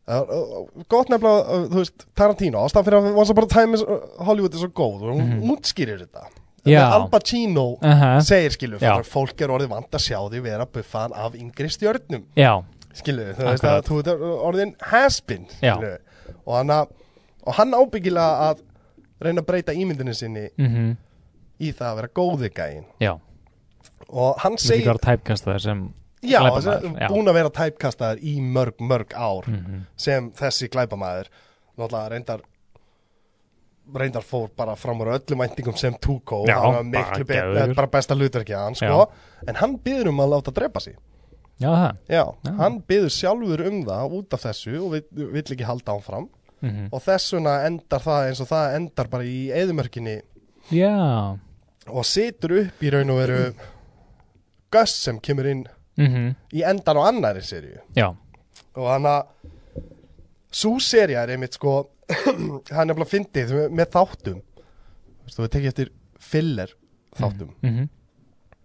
Speaker 1: uh, uh, gott nefnilega, uh, þú veist, Tarantino ástæðan fyrir að Once Upon a Time is, uh, Hollywood er svo góð og hún útskýrir þetta
Speaker 2: Mhm. Já.
Speaker 1: Al Pacino
Speaker 2: Aha.
Speaker 1: segir skilu
Speaker 2: Já.
Speaker 1: fyrir, fólk er orðið vant að sjá því vera buffan af yngri stjörnum
Speaker 2: já,
Speaker 1: skilu, þú veist að
Speaker 2: Akkurat.
Speaker 1: þú ert orðin has-been
Speaker 2: Já.
Speaker 1: skilu, og hann, að- og hann ábyggilega að reyna að breyta ímyndinu sinni
Speaker 2: mhm,
Speaker 1: í það að vera góði gæin
Speaker 2: já
Speaker 1: og hann
Speaker 2: Þú veit
Speaker 1: segir
Speaker 2: ekki hvað er tæpkast það sem
Speaker 1: Já,
Speaker 2: glæpamaður,
Speaker 1: þessi-
Speaker 2: já. Mhm.
Speaker 1: búin að vera tæpkastaður í mörg, mörg ár sem þessi glæpamaður náttúrulega reyndar reyndar fór bara fram úr öllum væntingum sem Tuko
Speaker 2: Já,
Speaker 1: hann var
Speaker 2: bara
Speaker 1: miklu bet-
Speaker 2: geðveikur.
Speaker 1: eh, bara besta hlutverkið hann sko en hann byður um að láta drepa sig
Speaker 2: Já, það
Speaker 1: Já, hann byður sjálfur um það út af þessu og vill, vill ekki halda án fram
Speaker 2: Mhm.
Speaker 1: og þess vegna endar það eins og það endar bara í eðumörkinni
Speaker 2: Já,
Speaker 1: og situr upp í raun og veru Gus sem kemur inn
Speaker 2: mhm,
Speaker 1: í endan á annari serju
Speaker 2: já,
Speaker 1: og hann að svo serja er einmitt sko hann er bara fyndið með, með þáttum Þú veist, þú veist, tekið eftir filler þáttum
Speaker 2: mhm,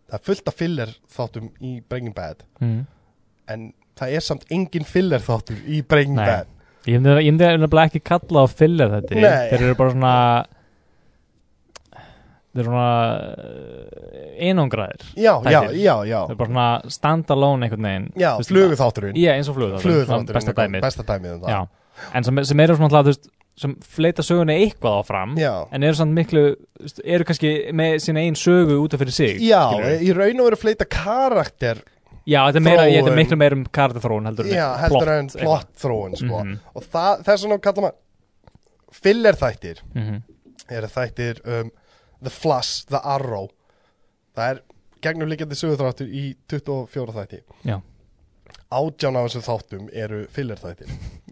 Speaker 1: það er fullt af filler þáttum í Breaking Bad
Speaker 2: mhm
Speaker 1: en það er samt engin filler þáttur í Breaking
Speaker 2: Nei.
Speaker 1: Bad
Speaker 2: Ég myndi ég myndi nefnilega ekki kalla á filler þetta
Speaker 1: Nei.
Speaker 2: Þeir eru bara svona Þeir eru svona eh, einangraðir
Speaker 1: já, já,
Speaker 2: Þættir.
Speaker 1: já, já,
Speaker 2: Þeir eru bara svona stand-alone einhvern veginn
Speaker 1: já
Speaker 2: Þú veist,
Speaker 1: flugu þátturinn
Speaker 2: Já, eins og flugu
Speaker 1: flugu
Speaker 2: Besta dæmið
Speaker 1: besta dæmið um það
Speaker 2: Já, en sem, sem eru svona alltaf, þú veist, sem fleita söguna eitthvað áfram
Speaker 1: já.
Speaker 2: en eru samt miklu, þú veist, eru kannski með sína einn sögu út af fyrir sig
Speaker 1: Já, e-
Speaker 2: skilurðu.
Speaker 1: í raun og veru fleita karakter
Speaker 2: já þetta er, meira, ég, þetta
Speaker 1: þróun.
Speaker 2: er miklu meira um karakterþróun heldur en
Speaker 1: Já, heldur
Speaker 2: plott,
Speaker 1: en plott þróun sko.
Speaker 2: Mhm.
Speaker 1: og það, þess vegna kallar maður filler þættir
Speaker 2: eitthvað. Mhm.
Speaker 1: eru þættir um, The Flush, The Arrow það er gegnumlíkjandi sögurþráttur í 24 þætti
Speaker 2: Já.
Speaker 1: átján af þessum þáttum eru filler þættir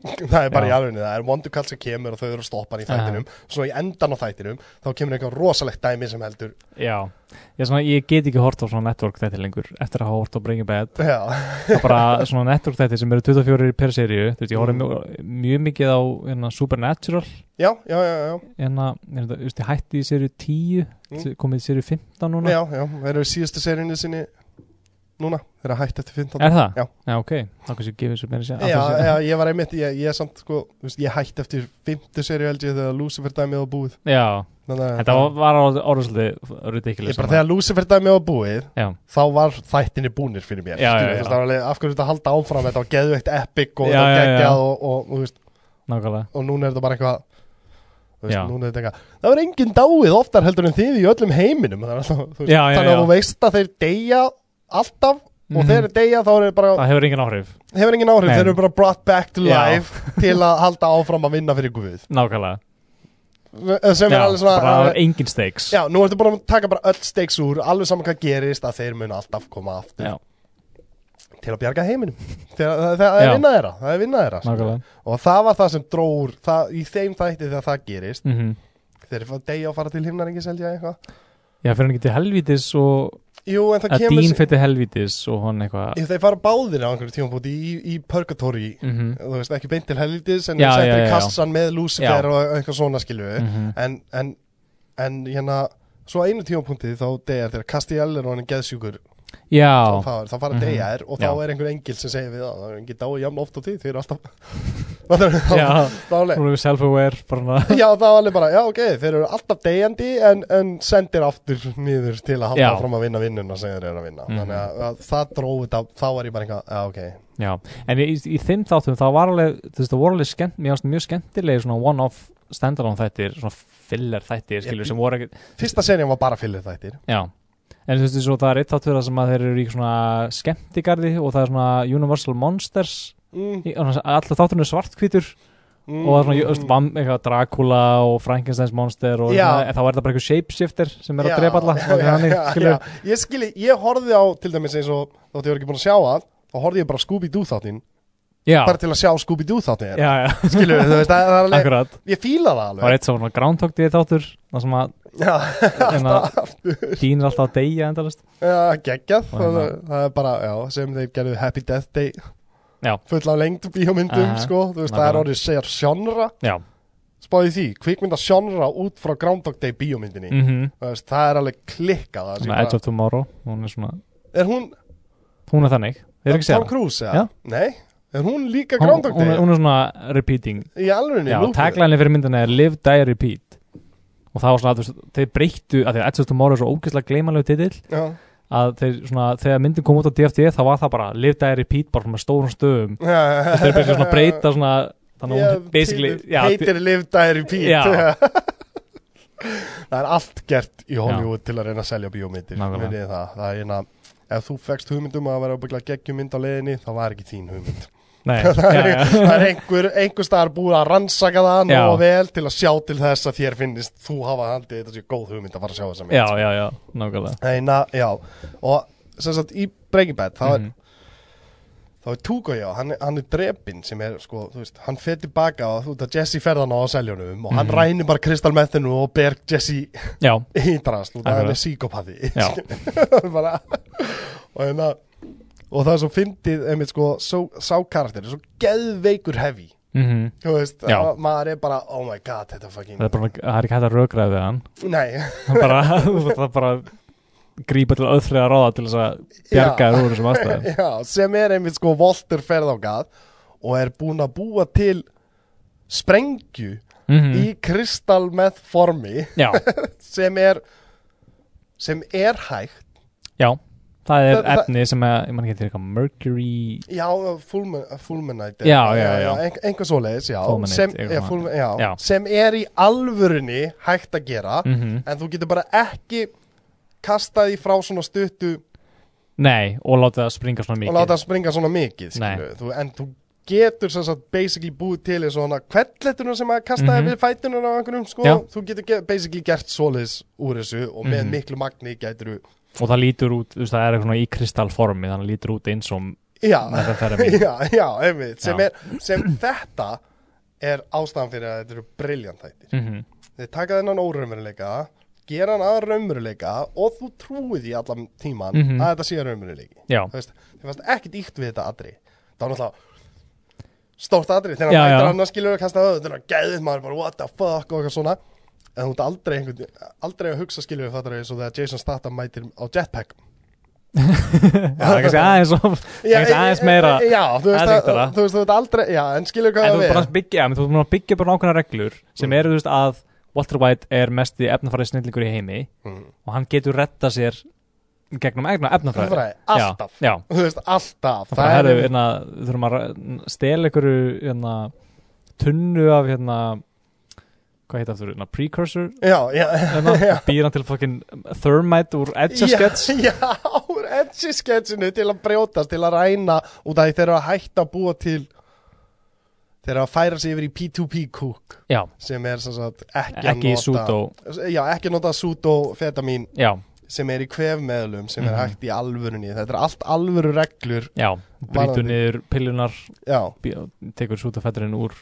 Speaker 1: það er bara í
Speaker 2: Já.
Speaker 1: alvegni, það er vondukall sem kemur og þau eru að stoppa hann í þættinum svo í endan á þættinum, þá kemur eitthvað rosalegt dæmi sem heldur
Speaker 2: Já, ég, er svona, ég get ekki hort á svona network þetta lengur eftir að hafa hort á Breaking Bad
Speaker 1: já,
Speaker 2: það er bara svona network þetta sem eru 24 per seríu, þú veist, ég
Speaker 1: Mm.
Speaker 2: horfði mjög, mjög mikið á hérna, Supernatural
Speaker 1: já, já, já, já.
Speaker 2: hérna, er þetta, þú veist, ég hætti í seríu 10
Speaker 1: Mm.
Speaker 2: komið í seríu 15 núna
Speaker 1: já, já, það eru síðustu seríunni sinni núna, þeir eru hætt eftir 15
Speaker 2: Er það?
Speaker 1: Já.
Speaker 2: ok, þá kannski gefið svo meira sér
Speaker 1: Já, já, ég var einmitt, ég, ég samt sko, þú veist, ég hætti eftir 50 seríu held ég þegar Lucifer dæmið var búið
Speaker 2: já.
Speaker 1: Þannig, að-
Speaker 2: Þetta var, var orð- orðið svolítið
Speaker 1: Ég
Speaker 2: ridiculous
Speaker 1: bara þegar Lucifer dæmi á búið
Speaker 2: Já.
Speaker 1: þá var þættinni búnir fyrir mér
Speaker 2: Já,
Speaker 1: skilur,
Speaker 2: já,
Speaker 1: þú veist,
Speaker 2: já.
Speaker 1: það var alveg, af hverju þetta halda áfram þetta var geðveikt epic og þetta
Speaker 2: Já, já,
Speaker 1: var
Speaker 2: já.
Speaker 1: geggjað og, og, og, þú veist,
Speaker 2: Nákvæmlega
Speaker 1: og núna er þetta bara eitthvað þú veist,
Speaker 2: Já.
Speaker 1: núna er þetta eitthvað það var enginn dáið oftar heldur en þið í öllum heiminum þannig að þú veist,
Speaker 2: Já, já,
Speaker 1: þannig
Speaker 2: já.
Speaker 1: að þú veist að þeir deyja alltaf og
Speaker 2: Mhm.
Speaker 1: þeir eru deyja þá er bara,
Speaker 2: Það hefur engin áhrif
Speaker 1: hefur engin áhrif
Speaker 2: Nei.
Speaker 1: þeir eru bara brought back to
Speaker 2: Já.
Speaker 1: life til að halda áfram að vinna fyrir Guð
Speaker 2: Nákvæmlega
Speaker 1: sem er
Speaker 2: Já,
Speaker 1: alveg svona
Speaker 2: bara það
Speaker 1: alveg-
Speaker 2: er engin stakes
Speaker 1: Já, nú ertu bara að taka bara öll steiks úr alveg saman hvað gerist að þeir munu alltaf koma aftur
Speaker 2: Já.
Speaker 1: til að bjarga heiminum þegar, það, það er
Speaker 2: Já.
Speaker 1: vinna þeirra, það er vinna þeirra sko.
Speaker 2: Nákvæmlega
Speaker 1: og það var það sem dró úr það, í þeim þætti þegar það gerist
Speaker 2: mm
Speaker 1: þeir eru að deyja og fara til himnar ekki selja eitthvað
Speaker 2: Já, fyrir hann ekki til helvítis og
Speaker 1: Jú, en það
Speaker 2: að
Speaker 1: kemur
Speaker 2: Dín fyrir til helvítis og hann eitthvað
Speaker 1: Ef þeir fara báðir á einhverjum tíma búti í, í purgatory
Speaker 2: Mhm,
Speaker 1: þú veist, ekki beint til helvitis en þeir
Speaker 2: Já, já,
Speaker 1: settir
Speaker 2: já,
Speaker 1: í
Speaker 2: já.
Speaker 1: kassan með Lucifer
Speaker 2: Já.
Speaker 1: og eitthvað svona skilju
Speaker 2: mhm.
Speaker 1: en, en, en hérna svo á einu tímapunkti þá deyjar þeir kasti í og hann er geðsjúkur
Speaker 2: Já,
Speaker 1: þá, þá fara
Speaker 2: Mhm.
Speaker 1: deyjar og þá
Speaker 2: Já.
Speaker 1: er einhver engil sem segir við það það er engin dáið jafn oft á því þeir eru alltaf Fattar þú?
Speaker 2: já,
Speaker 1: þá er alveg
Speaker 2: hún er self-aware bara hann
Speaker 1: já þá er alveg bara já ok þeir eru alltaf deyjandi en, en sendir aftur nýður til að halda
Speaker 2: Já.
Speaker 1: fram að vinna vinnuna sem þeir eru að vinna
Speaker 2: Mhm.
Speaker 1: þannig að, að það dróði þetta þá var ég bara eitthvað já ok
Speaker 2: Já, en í, í þeim þáttum þá var alveg, þú veist, það voru alveg skemmt, mér fannst mjög skemmtilegi svona one-off standalone þættir, svona filler þættir, skilur, sem voru ekki,
Speaker 1: fyrsta serið var bara fyllir þættir
Speaker 2: já. En þú veist, svo það er eitt þáttur þar sem að þeir eru í svona skemmtigarði og það er svona Universal Monsters,
Speaker 1: mm,
Speaker 2: í- og alltaf þátturinn er svartkvítur
Speaker 1: mm,
Speaker 2: og það er svona, þú veist, vamm, eitthvað Dracula og Frankensteins Monster og
Speaker 1: Já.
Speaker 2: svona, en þá er það bara eitthvað shapeshifter sem er
Speaker 1: Já,
Speaker 2: að drepa alla,
Speaker 1: já,
Speaker 2: og
Speaker 1: já,
Speaker 2: þannig,
Speaker 1: já,
Speaker 2: skilur,
Speaker 1: já. ég skilji, ég horfði á til dæmis eins og þótt ég var ekki búin að sjá að þá horfði ég bara Scooby-Doo þáttinn
Speaker 2: já,
Speaker 1: bara til að sjá Scooby-Doo þáttinn
Speaker 2: já, já,
Speaker 1: skilju, þú veist, það það er alveg
Speaker 2: akkurat.
Speaker 1: ég fíla það
Speaker 2: Það var
Speaker 1: alveg
Speaker 2: eitt svona Groundhog Day þáttur Það sem að
Speaker 1: já,
Speaker 2: hérna, Dín er alltaf að deyja endalist
Speaker 1: já, geggjað
Speaker 2: Og
Speaker 1: það,
Speaker 2: hérna-
Speaker 1: það er bara, já, sem þeir gerðu Happy Death Day
Speaker 2: Já.
Speaker 1: full af lengd bíómyndum,
Speaker 2: Aha.
Speaker 1: sko þú veist, það er
Speaker 2: Nákvæmlega.
Speaker 1: orðið segjar sjónra
Speaker 2: Já
Speaker 1: spáði því, kvikmynda sjónra út frá Groundhog Day bíómyndinni
Speaker 2: mm -hmm.
Speaker 1: þú veist, það er alveg klikkað það sé
Speaker 2: Edge
Speaker 1: bara,
Speaker 2: of Tomorrow Hún er svona
Speaker 1: er hún
Speaker 2: Hún er þannig Þið eru ekki
Speaker 1: Tom
Speaker 2: séð
Speaker 1: Cruise,
Speaker 2: Já.
Speaker 1: eða? Nei, er hún líka
Speaker 2: hana
Speaker 1: Groundhog
Speaker 2: hún,
Speaker 1: Day?
Speaker 2: er- hún er svona repeating
Speaker 1: í alveg,
Speaker 2: Já, taglæni fyrir myndina er Live, Die, Repeat Og það var svona að þú veist, Þeir breyttu að því að Edge of Tomorrow er svo ógeðslega gleymanlegu titill
Speaker 1: já,
Speaker 2: Að þeir svona Þegar myndin kom út á DFT þá var það bara Live, Die, Repeat bara svona með stórum stöðum
Speaker 1: já, já,
Speaker 2: Þeir byrjuðu svona að breyta svona Þannig að hún basically já,
Speaker 1: heitir live, die, repeat
Speaker 2: Já.
Speaker 1: það er allt gert í Hollywood til að reyna að selja bíómyndir
Speaker 2: Nákvæmlega.
Speaker 1: Munið þið það. það er eina ef þú fegst hugmyndum að vera ábyggla geggjumynd á leiðinni þá var ekki þín hugmynd
Speaker 2: Nei,
Speaker 1: það
Speaker 2: já,
Speaker 1: er,
Speaker 2: já.
Speaker 1: það er einhver, einhver staðar búið að rannsaka það
Speaker 2: Já.
Speaker 1: og vel til að sjá til þess að þér finnist þú hafa haldið þetta sé góð hugmynd að fara að sjá þessa mynd
Speaker 2: já, já, já, nákvæmlega
Speaker 1: Það er eina, já, og sem sagt í Breaking Bad þá er
Speaker 2: Mhm.
Speaker 1: þá er Tugo já, hann, er- hann er drepin sem er sko, þú veist, hann fer tilbaka og þú veist að Jesse ferðan á að selja honum og hann
Speaker 2: Mhm.
Speaker 1: rænir bara kristalmethinu og ber Jesse
Speaker 2: Já,
Speaker 1: í drast út að hann
Speaker 2: Akkurat.
Speaker 1: er síkopati
Speaker 2: já,
Speaker 1: bara og hérna og það er svo fyndið, einmitt sko, svo, sá karakter er svo geðveikur hefi
Speaker 2: mhm
Speaker 1: þú veist,
Speaker 2: Já.
Speaker 1: að maður er bara oh my god, þetta fucking
Speaker 2: það er bara, það er ekki hægt að rökraða við hann
Speaker 1: nei,
Speaker 2: hann bara, það er bara grípa til öðfriða ráða til þess að bjarga þér úr þessum aðstæðum
Speaker 1: Já, sem er einmitt sko Volter ferðangað og er búin að búa til sprengju
Speaker 2: Mhm.
Speaker 1: í kristalmeth formi
Speaker 2: já,
Speaker 1: sem er sem er hægt
Speaker 2: já, það er
Speaker 1: Það- það-
Speaker 2: efni sem að, ég man ekki til eitthvað Mercury
Speaker 1: já, fulmen- fulminite
Speaker 2: Já, já, já.
Speaker 1: ein- einhver svoleiðis, já,
Speaker 2: Fulminate,
Speaker 1: sem,
Speaker 2: eitthvað
Speaker 1: já,
Speaker 2: svona.
Speaker 1: fulmin, já,
Speaker 2: Já.
Speaker 1: sem er í alvörunni hægt að gera
Speaker 2: Mhm.
Speaker 1: en þú getur bara ekki kasta því frá svona stuttu
Speaker 2: nei, og láta það springa svona
Speaker 1: og
Speaker 2: mikið
Speaker 1: láta það springa svona mikið skilurðu. þú, en þú getur sem sagt basically búið til eins og hana kvelletunum sem að kastaði
Speaker 2: Mhm.
Speaker 1: við fætunum á einhverjum sko,
Speaker 2: Já.
Speaker 1: þú getur ge basically gert svoleiðis úr þessu og með
Speaker 2: Mhm.
Speaker 1: miklu magni gætur þú
Speaker 2: og það lítur út, þú veist, það er eitthvað svona í kristalformi þannig að það lítur út eins og
Speaker 1: já,
Speaker 2: með það færa mín
Speaker 1: já, já, einmitt sem,
Speaker 2: Já.
Speaker 1: Er, sem þetta er ástæðan fyrir að þetta eru briljant þættir
Speaker 2: Mhm.
Speaker 1: þeir taka þennan óraumurleika gera hann að raumurleika og þú trúið í allan tíman
Speaker 2: Mhm.
Speaker 1: að þetta sé raumurleiki
Speaker 2: Já,
Speaker 1: þú veist, þið fannst ekkert íkt við þetta atri það var náttúrulega stórt atri þegar
Speaker 2: Já,
Speaker 1: hann
Speaker 2: já.
Speaker 1: mætir annars skilur og kasta höfðu þannig að geðið maður bara what the fuck og eitthvað svona en þú ert aldrei, einhvern, aldrei að hugsa skilur þetta er eins og þegar Jason Statham mætir á jetpack
Speaker 2: já það er kannski aðeins of- það er kannski aðeins meira
Speaker 1: já, þú veist,
Speaker 2: aðeins
Speaker 1: að,
Speaker 2: yktara.
Speaker 1: þú veist þú ert aldrei, já, Mm. en skilur hvað
Speaker 2: En þú
Speaker 1: það
Speaker 2: er bara
Speaker 1: er
Speaker 2: að byggja, já, menn þú er búin að byggja bara nákvæmna reglur sem eru, þú veist, að Walter White er mest í efnafærið snillingur í heimi
Speaker 1: Mm.
Speaker 2: og hann getur retta sér gegnum egna efnafræði
Speaker 1: Efnafræði, alltaf.
Speaker 2: Já, já.
Speaker 1: þú veist alltaf
Speaker 2: Það er, herru, hérna, þurfum að ra- stela ykkur hérna, tunnu af hérna, hvað heit aftur, hérna, precursor
Speaker 1: já, já,
Speaker 2: hérna, býr hann til fokkin thermite úr edge
Speaker 1: Já,
Speaker 2: sketch
Speaker 1: Já, úr edge sketsinu til að brjótast, til að ræna út af því þeir eru að hætta að búa til þeir eru að færa sig yfir í P2P kúk
Speaker 2: Já,
Speaker 1: sem er sem sagt ekki, að
Speaker 2: ekki í
Speaker 1: nota-
Speaker 2: súdó
Speaker 1: Já, ekki nota súdófetamin
Speaker 2: Já,
Speaker 1: sem er í kvefmeðlum sem
Speaker 2: Mhm.
Speaker 1: er hægt í alvörunni þetta er allt alvöru reglur
Speaker 2: já, brýtu
Speaker 1: Varðandi.
Speaker 2: niður pillunar
Speaker 1: já,
Speaker 2: bí- tekur sútafetturinn úr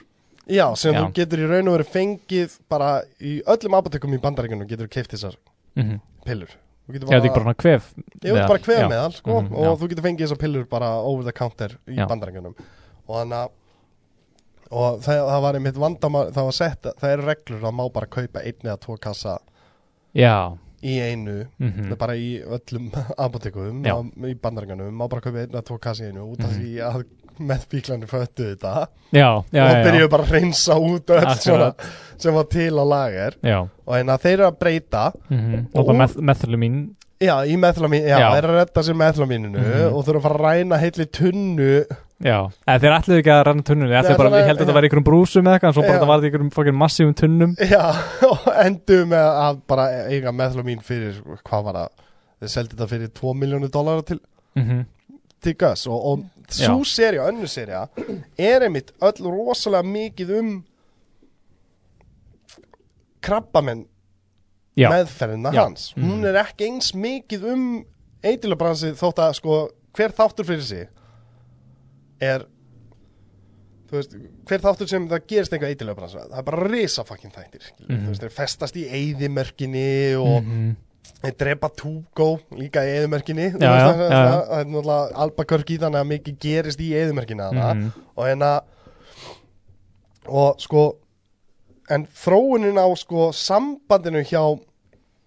Speaker 1: já sem
Speaker 2: Já.
Speaker 1: þú getur í raun og verið fengið bara í öllum apotekum í bandaríkunum getur þú keift þessar
Speaker 2: mm -hmm.
Speaker 1: pillur Þú getur
Speaker 2: Já, þetta er ekki bara svona kvef
Speaker 1: Ég vil
Speaker 2: meðal.
Speaker 1: bara
Speaker 2: Já.
Speaker 1: kveða með hann sko,
Speaker 2: Mhm,
Speaker 1: og
Speaker 2: já.
Speaker 1: þú getur fengið þessar pillur bara over the counter í
Speaker 2: Já.
Speaker 1: bandarengjunum og þannig að og það, það var einmitt vandamál það var sett, það eru reglur að má bara kaupa einn eða tvo kassa
Speaker 2: Já,
Speaker 1: í einu
Speaker 2: mhm,
Speaker 1: það er bara í öllum apotekum
Speaker 2: Já. Mm.
Speaker 1: á- í bandarengjunum, má bara kaupa einn eða tvo kassa í einu út af því að meðfíklanir föttu þetta
Speaker 2: já, já,
Speaker 1: og
Speaker 2: já, já.
Speaker 1: byrjuðu bara að reynsa út öll svona,
Speaker 2: Akkurat.
Speaker 1: sem var til á lager
Speaker 2: já.
Speaker 1: og þannig að þeir eru að breyta
Speaker 2: mhm.
Speaker 1: Og-
Speaker 2: Og bara meth methylamine
Speaker 1: Já, í methlamin, já,
Speaker 2: Já.
Speaker 1: já. er að redda sér methlamininu
Speaker 2: Mhm.
Speaker 1: og þurfa að fara að ræna heilli tunnu
Speaker 2: Já, eða þeir ætluðu ekki að ranna tunnunni Þeir ætluðu
Speaker 1: Þeir
Speaker 2: bara,
Speaker 1: ætluðu-
Speaker 2: ég held að þetta var í einhverjum brúsum eða eitthvað en Svo bara
Speaker 1: Já.
Speaker 2: þetta var í einhverjum fokkin massífum tunnum
Speaker 1: Já, og endur með að bara eiga methlamin fyrir, hvað var það, þeir seldi þetta fyrir 2 miljónu dólar til,
Speaker 2: Mhm,
Speaker 1: til gas og, og svo serja, önnu serja, er einmitt öll rosalega mikið um krabbamenn
Speaker 2: Já,
Speaker 1: meðferðina
Speaker 2: Já.
Speaker 1: hans. Hún
Speaker 2: Mhm.
Speaker 1: er ekki eins mikið um eitilabransi þótt að sko hver þáttur fyrir sig er þú veist, hver þáttur sem það gerist einhver eitilega brans, það er bara risa fucking þættir, mm
Speaker 2: Mhm.
Speaker 1: þú veist, þeir festast í eyðimerkinni og
Speaker 2: mhm.
Speaker 1: þeir drepa Tugo líka í eyðimerkinni þú
Speaker 2: Já,
Speaker 1: veist,
Speaker 2: já,
Speaker 1: það,
Speaker 2: já,
Speaker 1: það,
Speaker 2: já.
Speaker 1: það er náttúrulega Albuquerque þannig að mikið gerist í eyðimerkinna
Speaker 2: Mhm.
Speaker 1: og hérna og sko en þróunin á sko sambandinu hjá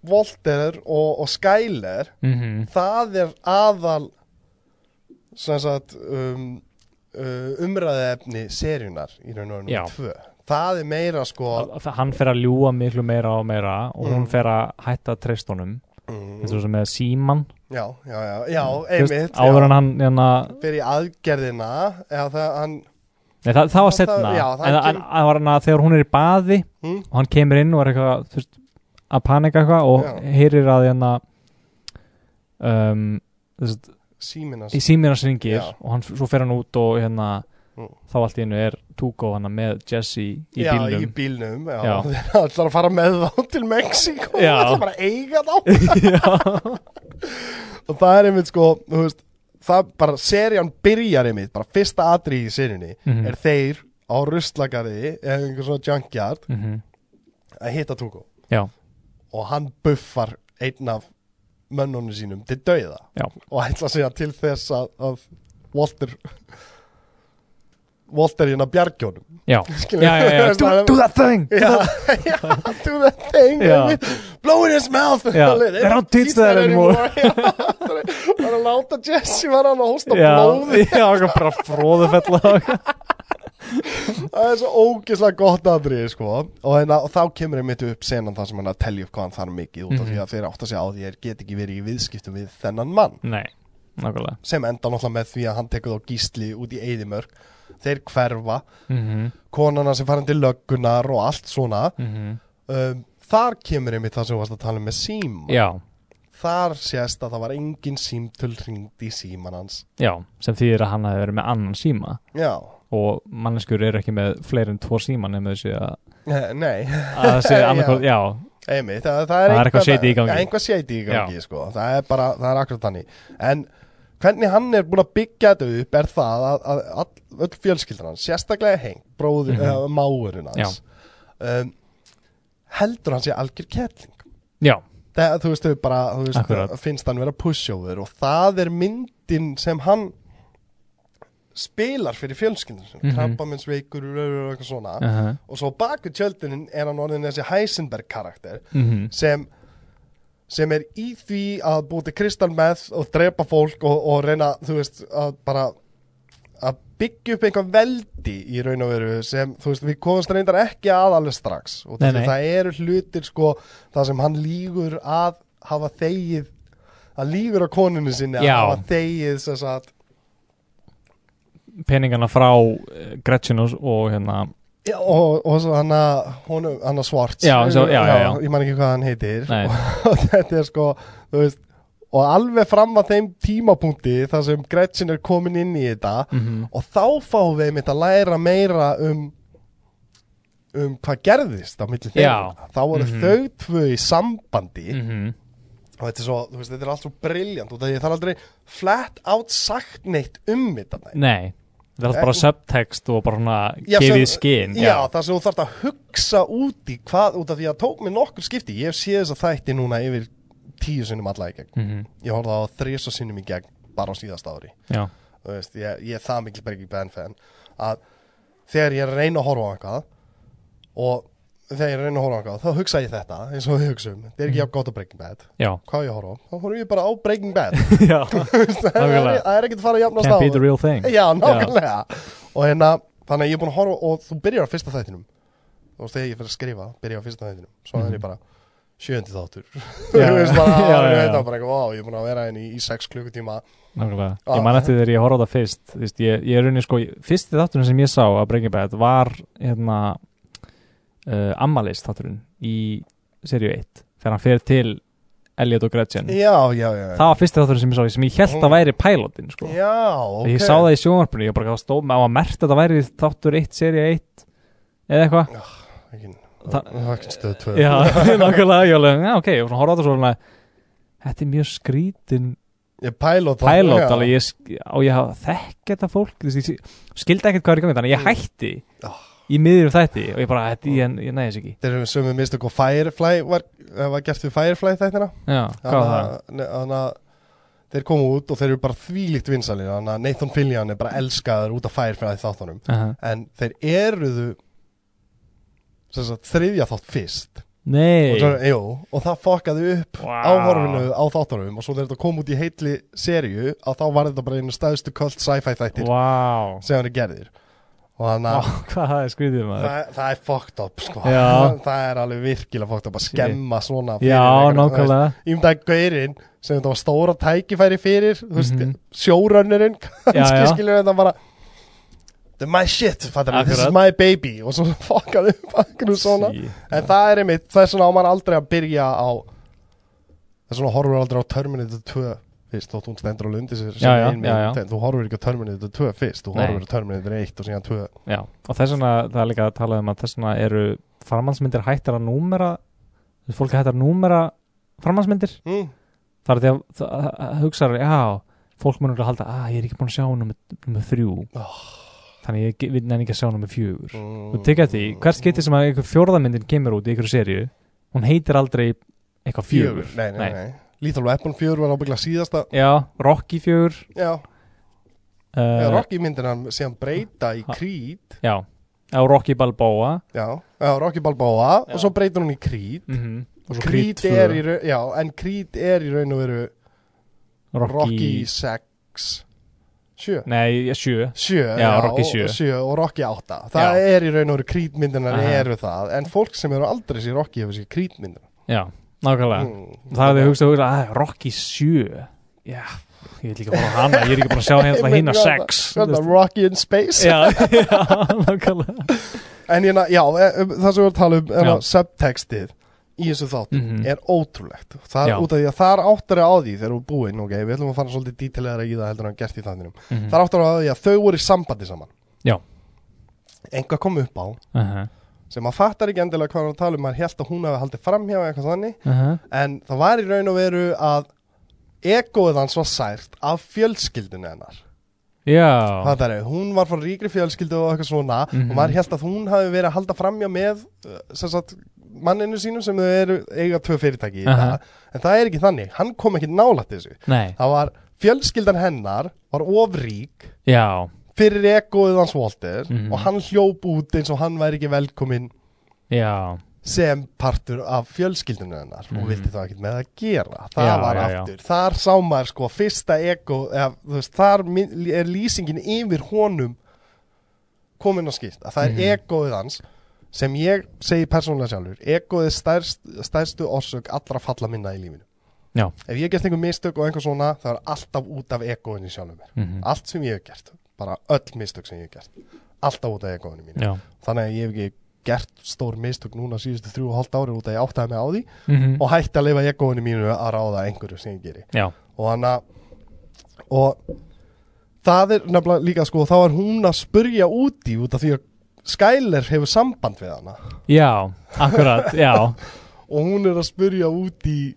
Speaker 1: Volter og, og Skyler
Speaker 2: mhm,
Speaker 1: það er aðal sem sagt um, uh, umræðefni seríunar í raun og
Speaker 2: Já.
Speaker 1: raunum tvö það er meira sko
Speaker 2: Þa- Hann fer að ljúa miklu meira og meira Og hún
Speaker 1: Mhm.
Speaker 2: fer að hætta að treysta honum Eins
Speaker 1: mm,
Speaker 2: og sem með síman
Speaker 1: já, já, já, já, einmitt
Speaker 2: Áður
Speaker 1: já,
Speaker 2: en hann, hérna
Speaker 1: fyrir aðgerðina eða það, hann,
Speaker 2: Nei, það, það var
Speaker 1: Það- það-
Speaker 2: setna
Speaker 1: já, það
Speaker 2: En en-
Speaker 1: kemur-
Speaker 2: það var hann að þegar hún er í baði
Speaker 1: Mm.
Speaker 2: og hann kemur inn og er eitthvað þú veist, að panika eitthvað og
Speaker 1: Já.
Speaker 2: heyrir að hérna um, þú veist,
Speaker 1: símina
Speaker 2: í símina syngir
Speaker 1: Já.
Speaker 2: og hann, svo fer hann út og hérna
Speaker 1: Mm.
Speaker 2: þá allt í einu er Tugo hann með Jesse í
Speaker 1: já,
Speaker 2: bílnum
Speaker 1: í bílnum já,
Speaker 2: Já.
Speaker 1: það ætlar að fara með þá til Mexiko
Speaker 2: Já.
Speaker 1: það ætlar bara að eiga þá
Speaker 2: já,
Speaker 1: og það er einmitt sko, þú veist það bara, serían byrjar einmitt bara fyrsta atri í seríunni
Speaker 2: Mhm.
Speaker 1: er þeir á ruslagariði eða einhver svona junkyard
Speaker 2: Mhm.
Speaker 1: að hitta Tugo
Speaker 2: já,
Speaker 1: og hann buffar einn af mönnunum sínum til dauða
Speaker 2: Já.
Speaker 1: og ætla að segja til þess að, að Walter Walter hérna bjargjónum
Speaker 2: já, já, já, já. Do, do that thing
Speaker 1: Já, já, do that thing
Speaker 2: Já.
Speaker 1: baby. Blow in his mouth
Speaker 2: Já, they don't teach that anymore.
Speaker 1: Já, Það er að láta Jesse var hann að hósta
Speaker 2: já,
Speaker 1: blóði
Speaker 2: já, eitthvað bara fróðufella
Speaker 1: Það er svo ógislega gott aðrið sko. og, hérna, og þá kemur einmitt upp senan þar sem hann er að telja upp hvað hann þarf mikið út af því
Speaker 2: Mhm.
Speaker 1: að þeir átt að segja á því að þeir get ekki verið í viðskiptum við þennan mann
Speaker 2: nei, nákvæmlega
Speaker 1: sem enda náttúrulega með því að hann tekur þá gísli út í Eidimörk þeir hverfa,
Speaker 2: mm -hmm.
Speaker 1: konana sem farin til löggunar og allt svona
Speaker 2: Mm -hmm.
Speaker 1: um, þar kemur einmitt það sem þú varst að tala um með síma
Speaker 2: já,
Speaker 1: þar sést að það var engin símtöl ringd í síman hans
Speaker 2: já, sem þýðir að hann hafi verið með annan síma
Speaker 1: já,
Speaker 2: og manneskur eru ekki með fleiri en tvo síma nema þessi að
Speaker 1: Eh, nei
Speaker 2: að það sé annarkvöld, já,
Speaker 1: einmitt, það, það er,
Speaker 2: Það er eitthvað
Speaker 1: eitthvað-
Speaker 2: shady í gangi.
Speaker 1: eitthvað shady í gangi sko. það er bara, það er akkurat þannig en hvernig hann er búin að byggja þetta upp er það að, að all, öll fjölskyldan hans, sérstaklega Heng, bróður, mm
Speaker 2: Mhm.
Speaker 1: máurinn hans, um, heldur hann sé algjör kettling.
Speaker 2: já,
Speaker 1: Það, þú veist, þau bara, þú veist,
Speaker 2: Akkurat.
Speaker 1: finnst hann vera pushover og það er myndin sem hann spilar fyrir fjölskyldan, mm -hmm.
Speaker 2: Mhm.
Speaker 1: krabba minn sveikur og eitthvað svona
Speaker 2: uh -huh.
Speaker 1: og svo baku tjöldinin er hann orðin þessi Heisenberg karakter
Speaker 2: mhm,
Speaker 1: sem sem er í því að búti kristal með og drepa fólk og, og reyna þú veist að bara að byggja upp einhver veldi í raun og veru sem þú veist við komumst reyndar ekki að alveg strax og
Speaker 2: Nei,
Speaker 1: því
Speaker 2: nei.
Speaker 1: það eru hlutir sko það sem hann lígur að hafa þegið að lígur á konunni sinni að
Speaker 2: Já.
Speaker 1: hafa þegið sem sagt
Speaker 2: peningana frá eh, Gretchen og, og hérna
Speaker 1: Já, og, og svo hann að honum- hann að svart
Speaker 2: Já, svo- já, já, já.
Speaker 1: ég man ekki hvað hann heitir
Speaker 2: Nei.
Speaker 1: og þetta er sko þú veist, og alveg fram að þeim tímapunkti þar sem Gretchen er komin inn í þetta
Speaker 2: mhm,
Speaker 1: og þá fáum við einmitt að læra meira um um hvað gerðist á milli
Speaker 2: Já.
Speaker 1: þeirra þá voru
Speaker 2: Mhm.
Speaker 1: þau tvö í sambandi
Speaker 2: mhm,
Speaker 1: og þetta er svo, þú veist, þetta er allt svo briljant og það er aldrei flat out sagt neitt um þetta nei.
Speaker 2: nei það er alltaf bara
Speaker 1: Eh,
Speaker 2: subtext og bara svona
Speaker 1: Já,
Speaker 2: gefið
Speaker 1: sem-
Speaker 2: skinn
Speaker 1: Já, það sem þú þarft að hugsa út í hvað, út af því að tók mér nokkur skipti Ég hef séð þess að þætti núna yfir tíu sinnum alla í gegn
Speaker 2: Mhm,
Speaker 1: Ég horfði á þrisa sinnum í gegn bara á síðasta ári
Speaker 2: já,
Speaker 1: Þú veist, ég, ég er það mikil Breaking Bad fan að þegar ég er að reyna að horfa á eitthvað og þegar ég er að reyna að horfa á eitthvað þá hugsa ég þetta eins og við hugsaum þetta er ekki jafn gott á Breaking Bad
Speaker 2: já,
Speaker 1: hvað á ég að horfa á, þá horfum ég bara á Breaking Bad
Speaker 2: já
Speaker 1: Þú veist, það er
Speaker 2: Nákvæmlega.
Speaker 1: það er ekkert að fara að jafnast á
Speaker 2: can't be the real thing
Speaker 1: Já, nákvæmlega Og hérna, þannig að ég er búin að horfa og þú byrjar á fyrsta þættinum og þegar ég fyrir að skrifa, byrjar á fyrsta þættinum svo er ég bara sjöndi þáttur
Speaker 2: Mhm. Já,
Speaker 1: Þú veist bara,
Speaker 2: já, já,
Speaker 1: ég
Speaker 2: já.
Speaker 1: veit það bara eitthvað, vá, ég er búin að vera henni í, í sex klukkutíma
Speaker 2: Nákvæmlega,
Speaker 1: Ah.
Speaker 2: ég man eftir þegar ég horfði á það fyrst þú veist, ég, ég er raunin sko, fyrsti þátturinn sem ég sá að Breaking Bad var hérna uh, ammalist þátturinn í seríu 1 þegar hann fer til Elliot og Gretchen
Speaker 1: Já, já, já
Speaker 2: það var fyrsti þátturinn sem ég sá sem ég held
Speaker 1: Mm.
Speaker 2: að væri pilotin sko.
Speaker 1: Já, ok
Speaker 2: ég sá það í sjónvarpunni, ég bara það stóð með á að merta þetta væri þáttur 1, seríu 1 eða eitthvað
Speaker 1: Ekki-
Speaker 2: Það-
Speaker 1: það var ekki stöð tvö
Speaker 2: Já, nákvæmlega, ég alveg, já ok, og svona horfði á þetta svona Þetta er mjög skrítin
Speaker 1: Ég pælót
Speaker 2: pilot alveg ég, sk- á ég hafa þekk þetta fólk þú veist, ég s- skildi ekkert hvað er í gangi þannig að ég hætti
Speaker 1: Mm. Ah.
Speaker 2: í miður um þætti og ég bara, þetta, ég, ég næði þess ekki
Speaker 1: Þeir eru sömu mistök og Firefly var, eh, var gert við Firefly þættina
Speaker 2: já, hvað var það?
Speaker 1: Þannig að þeir komu út og þeir eru bara þvílíkt vinsalir Þannig að Nathan Fillion er bara elskaður út af Firefly þáttunum
Speaker 2: Uh
Speaker 1: en þeir eruðu sem sagt, þriðja þátt fyrst
Speaker 2: nei,
Speaker 1: og, svo, jú, og það fokkaði upp
Speaker 2: Vá.
Speaker 1: áhorfinu á þáttunum og svo þegar þetta kom út í heitli serju að þá var þetta bara einu stæðstu kvöld sci-fi þættir
Speaker 2: wow
Speaker 1: sem hann er gerðir og þannig
Speaker 2: Vá,
Speaker 1: að
Speaker 2: hvað það er skrítið maður
Speaker 1: það, það er fucked up sko.
Speaker 2: Já.
Speaker 1: það er alveg virkilega fucked up að skemma svona
Speaker 2: já, nákvæmlega
Speaker 1: ímdaði gaurinn sem þetta var stóra tækifæri fyrir þú veist, mm
Speaker 2: Mhm.
Speaker 1: sjórönnurinn
Speaker 2: Já,
Speaker 1: kannski
Speaker 2: já.
Speaker 1: skilur þetta bara Þetta er my shit, fattar við, this is
Speaker 2: Akkurat.
Speaker 1: my baby og svo fokkaði upp akkur svona
Speaker 2: Sí.
Speaker 1: en það er einmitt, það er svona á maður aldrei að byrja á það er svona horfur aldrei á Terminator 2 fyrst þótt hún stendur alveg undir sér sem
Speaker 2: Já, já,
Speaker 1: ein mynd,
Speaker 2: já, já.
Speaker 1: en þú horfur ekki á Terminator 2 fyrst þú
Speaker 2: Nei.
Speaker 1: horfur á Terminator 1 og síðan 2
Speaker 2: já, og þess vegna, það er líka að tala um að þess vegna eru farmannsmyndir hættar að númera þú veist, fólk er hættar að númera farmannsmyndir
Speaker 1: mm.
Speaker 2: það er því að það að hugsa já, fólk munur að halda að ég er ekki búin að sjá nummer þrjú
Speaker 1: Ah.
Speaker 2: þannig ég ge- vil nefn ekki að sjá nummer fjögur mm. og tekja því, hvert skipti sem að einhver fjórðamyndin kemur út í einhverju seríu hún heitir aldrei eitthvað fjögur
Speaker 1: nei, nei, nei. Lethal Weapon 4 var ábyggla síðasta
Speaker 2: já, Rocky fjögur
Speaker 1: já, uh,
Speaker 2: uh,
Speaker 1: Rocky myndir hann síðan breyta í
Speaker 2: Ha-
Speaker 1: Creed
Speaker 2: já, á Rocky Balboa
Speaker 1: Já, já Rocky Balboa
Speaker 2: Já.
Speaker 1: og svo breytir hún í Creed
Speaker 2: mm -hmm. og svo
Speaker 1: Mhm. Creed,
Speaker 2: tvö,
Speaker 1: er í raun, já, en Creed er í raun og veru
Speaker 2: Rocky,
Speaker 1: Rocky 6 7
Speaker 2: nei, sjö
Speaker 1: 7,
Speaker 2: Já, Rocky sjö.
Speaker 1: og, 7 og Rocky 8 það
Speaker 2: Já.
Speaker 1: er í raun og veru Creed myndinar
Speaker 2: Aha.
Speaker 1: eru það, en fólk sem eru aldrei sér Rocky hefur sér Creed myndinar
Speaker 2: já, nákvæmlega
Speaker 1: mm.
Speaker 2: það er því hugsað hugsa, að Rocky 7 já, ég vil ekki bara hana ég er ekki bara að sjá hérna hérna 6
Speaker 1: Hérna, Rocky in Space
Speaker 2: já, já, nákvæmlega
Speaker 1: En hérna, já, e- um, það sem við erum að tala um er
Speaker 2: Já.
Speaker 1: að subtextið í þessu þáttum
Speaker 2: Mhm.
Speaker 1: er ótrúlegt það er
Speaker 2: Já.
Speaker 1: út af því að það er áttur á því þegar þú er búinn, ok, við ætlum að fara svolítið dítilegra í það heldur en hann gert í þættinum
Speaker 2: Mhm.
Speaker 1: það er áttur á því að þau voru í sambandi saman
Speaker 2: Já.
Speaker 1: Enga kom upp á
Speaker 2: Uh-huh,
Speaker 1: sem maður fattar ekki endilega hvað hann er að tala um maður held að hún hafi haldið framhjá eitthvað þannig
Speaker 2: uh-huh.
Speaker 1: en það var í raun og veru að egoið hans var sært af fjölskyldinu hennar
Speaker 2: Já,
Speaker 1: það er, hún var frá ríkri fjölskyldu og eitthvað svona
Speaker 2: Mhm.
Speaker 1: og maður held að hún hafi verið að halda framjá með uh, sem sagt, manninu sínum sem þau eru eiga tvö fyrirtæki í
Speaker 2: Aha.
Speaker 1: dag en það er ekki þannig, hann kom ekki nálætt þessu
Speaker 2: nei,
Speaker 1: það var, fjölskyldan hennar var ofrík
Speaker 2: já,
Speaker 1: fyrir egoið hans Walter
Speaker 2: Mhm.
Speaker 1: og hann hljóp út eins og hann væri ekki velkominn
Speaker 2: já,
Speaker 1: sem partur af fjölskyldunum hennar og
Speaker 2: Mhm.
Speaker 1: vildi það ekkert með að gera það
Speaker 2: Já,
Speaker 1: var
Speaker 2: já, já.
Speaker 1: aftur, þar sá maður sko fyrsta ego, eða, þú veist, þar mi- er lýsingin yfir honum komin á skýrt að það er
Speaker 2: Mhm.
Speaker 1: egoið hans sem ég segi persónulega sjálfur egoið er stærst, stærstu orsök allra falla minna í lífinu
Speaker 2: Já.
Speaker 1: ef ég hef gert einhver mistök og einhver svona það er alltaf út af egoinu sjálfur mér
Speaker 2: mhm,
Speaker 1: allt sem ég hef gert, bara öll mistök sem ég hef gert alltaf út af egoinu mínu
Speaker 2: já,
Speaker 1: þannig að ég hef ekki gert stór mistök núna síðustu þrjú og hálft ári út að ég áttaði mig á því
Speaker 2: mhm,
Speaker 1: og hætti að leifa egoinu mínu að ráða einhverju sem ég geri
Speaker 2: já,
Speaker 1: og hann að og það er nefnilega líka sko þá er hún að spurja út í út af því að Skyler hefur samband við hana
Speaker 2: já, akkurat, já,
Speaker 1: og hún er að spurja út í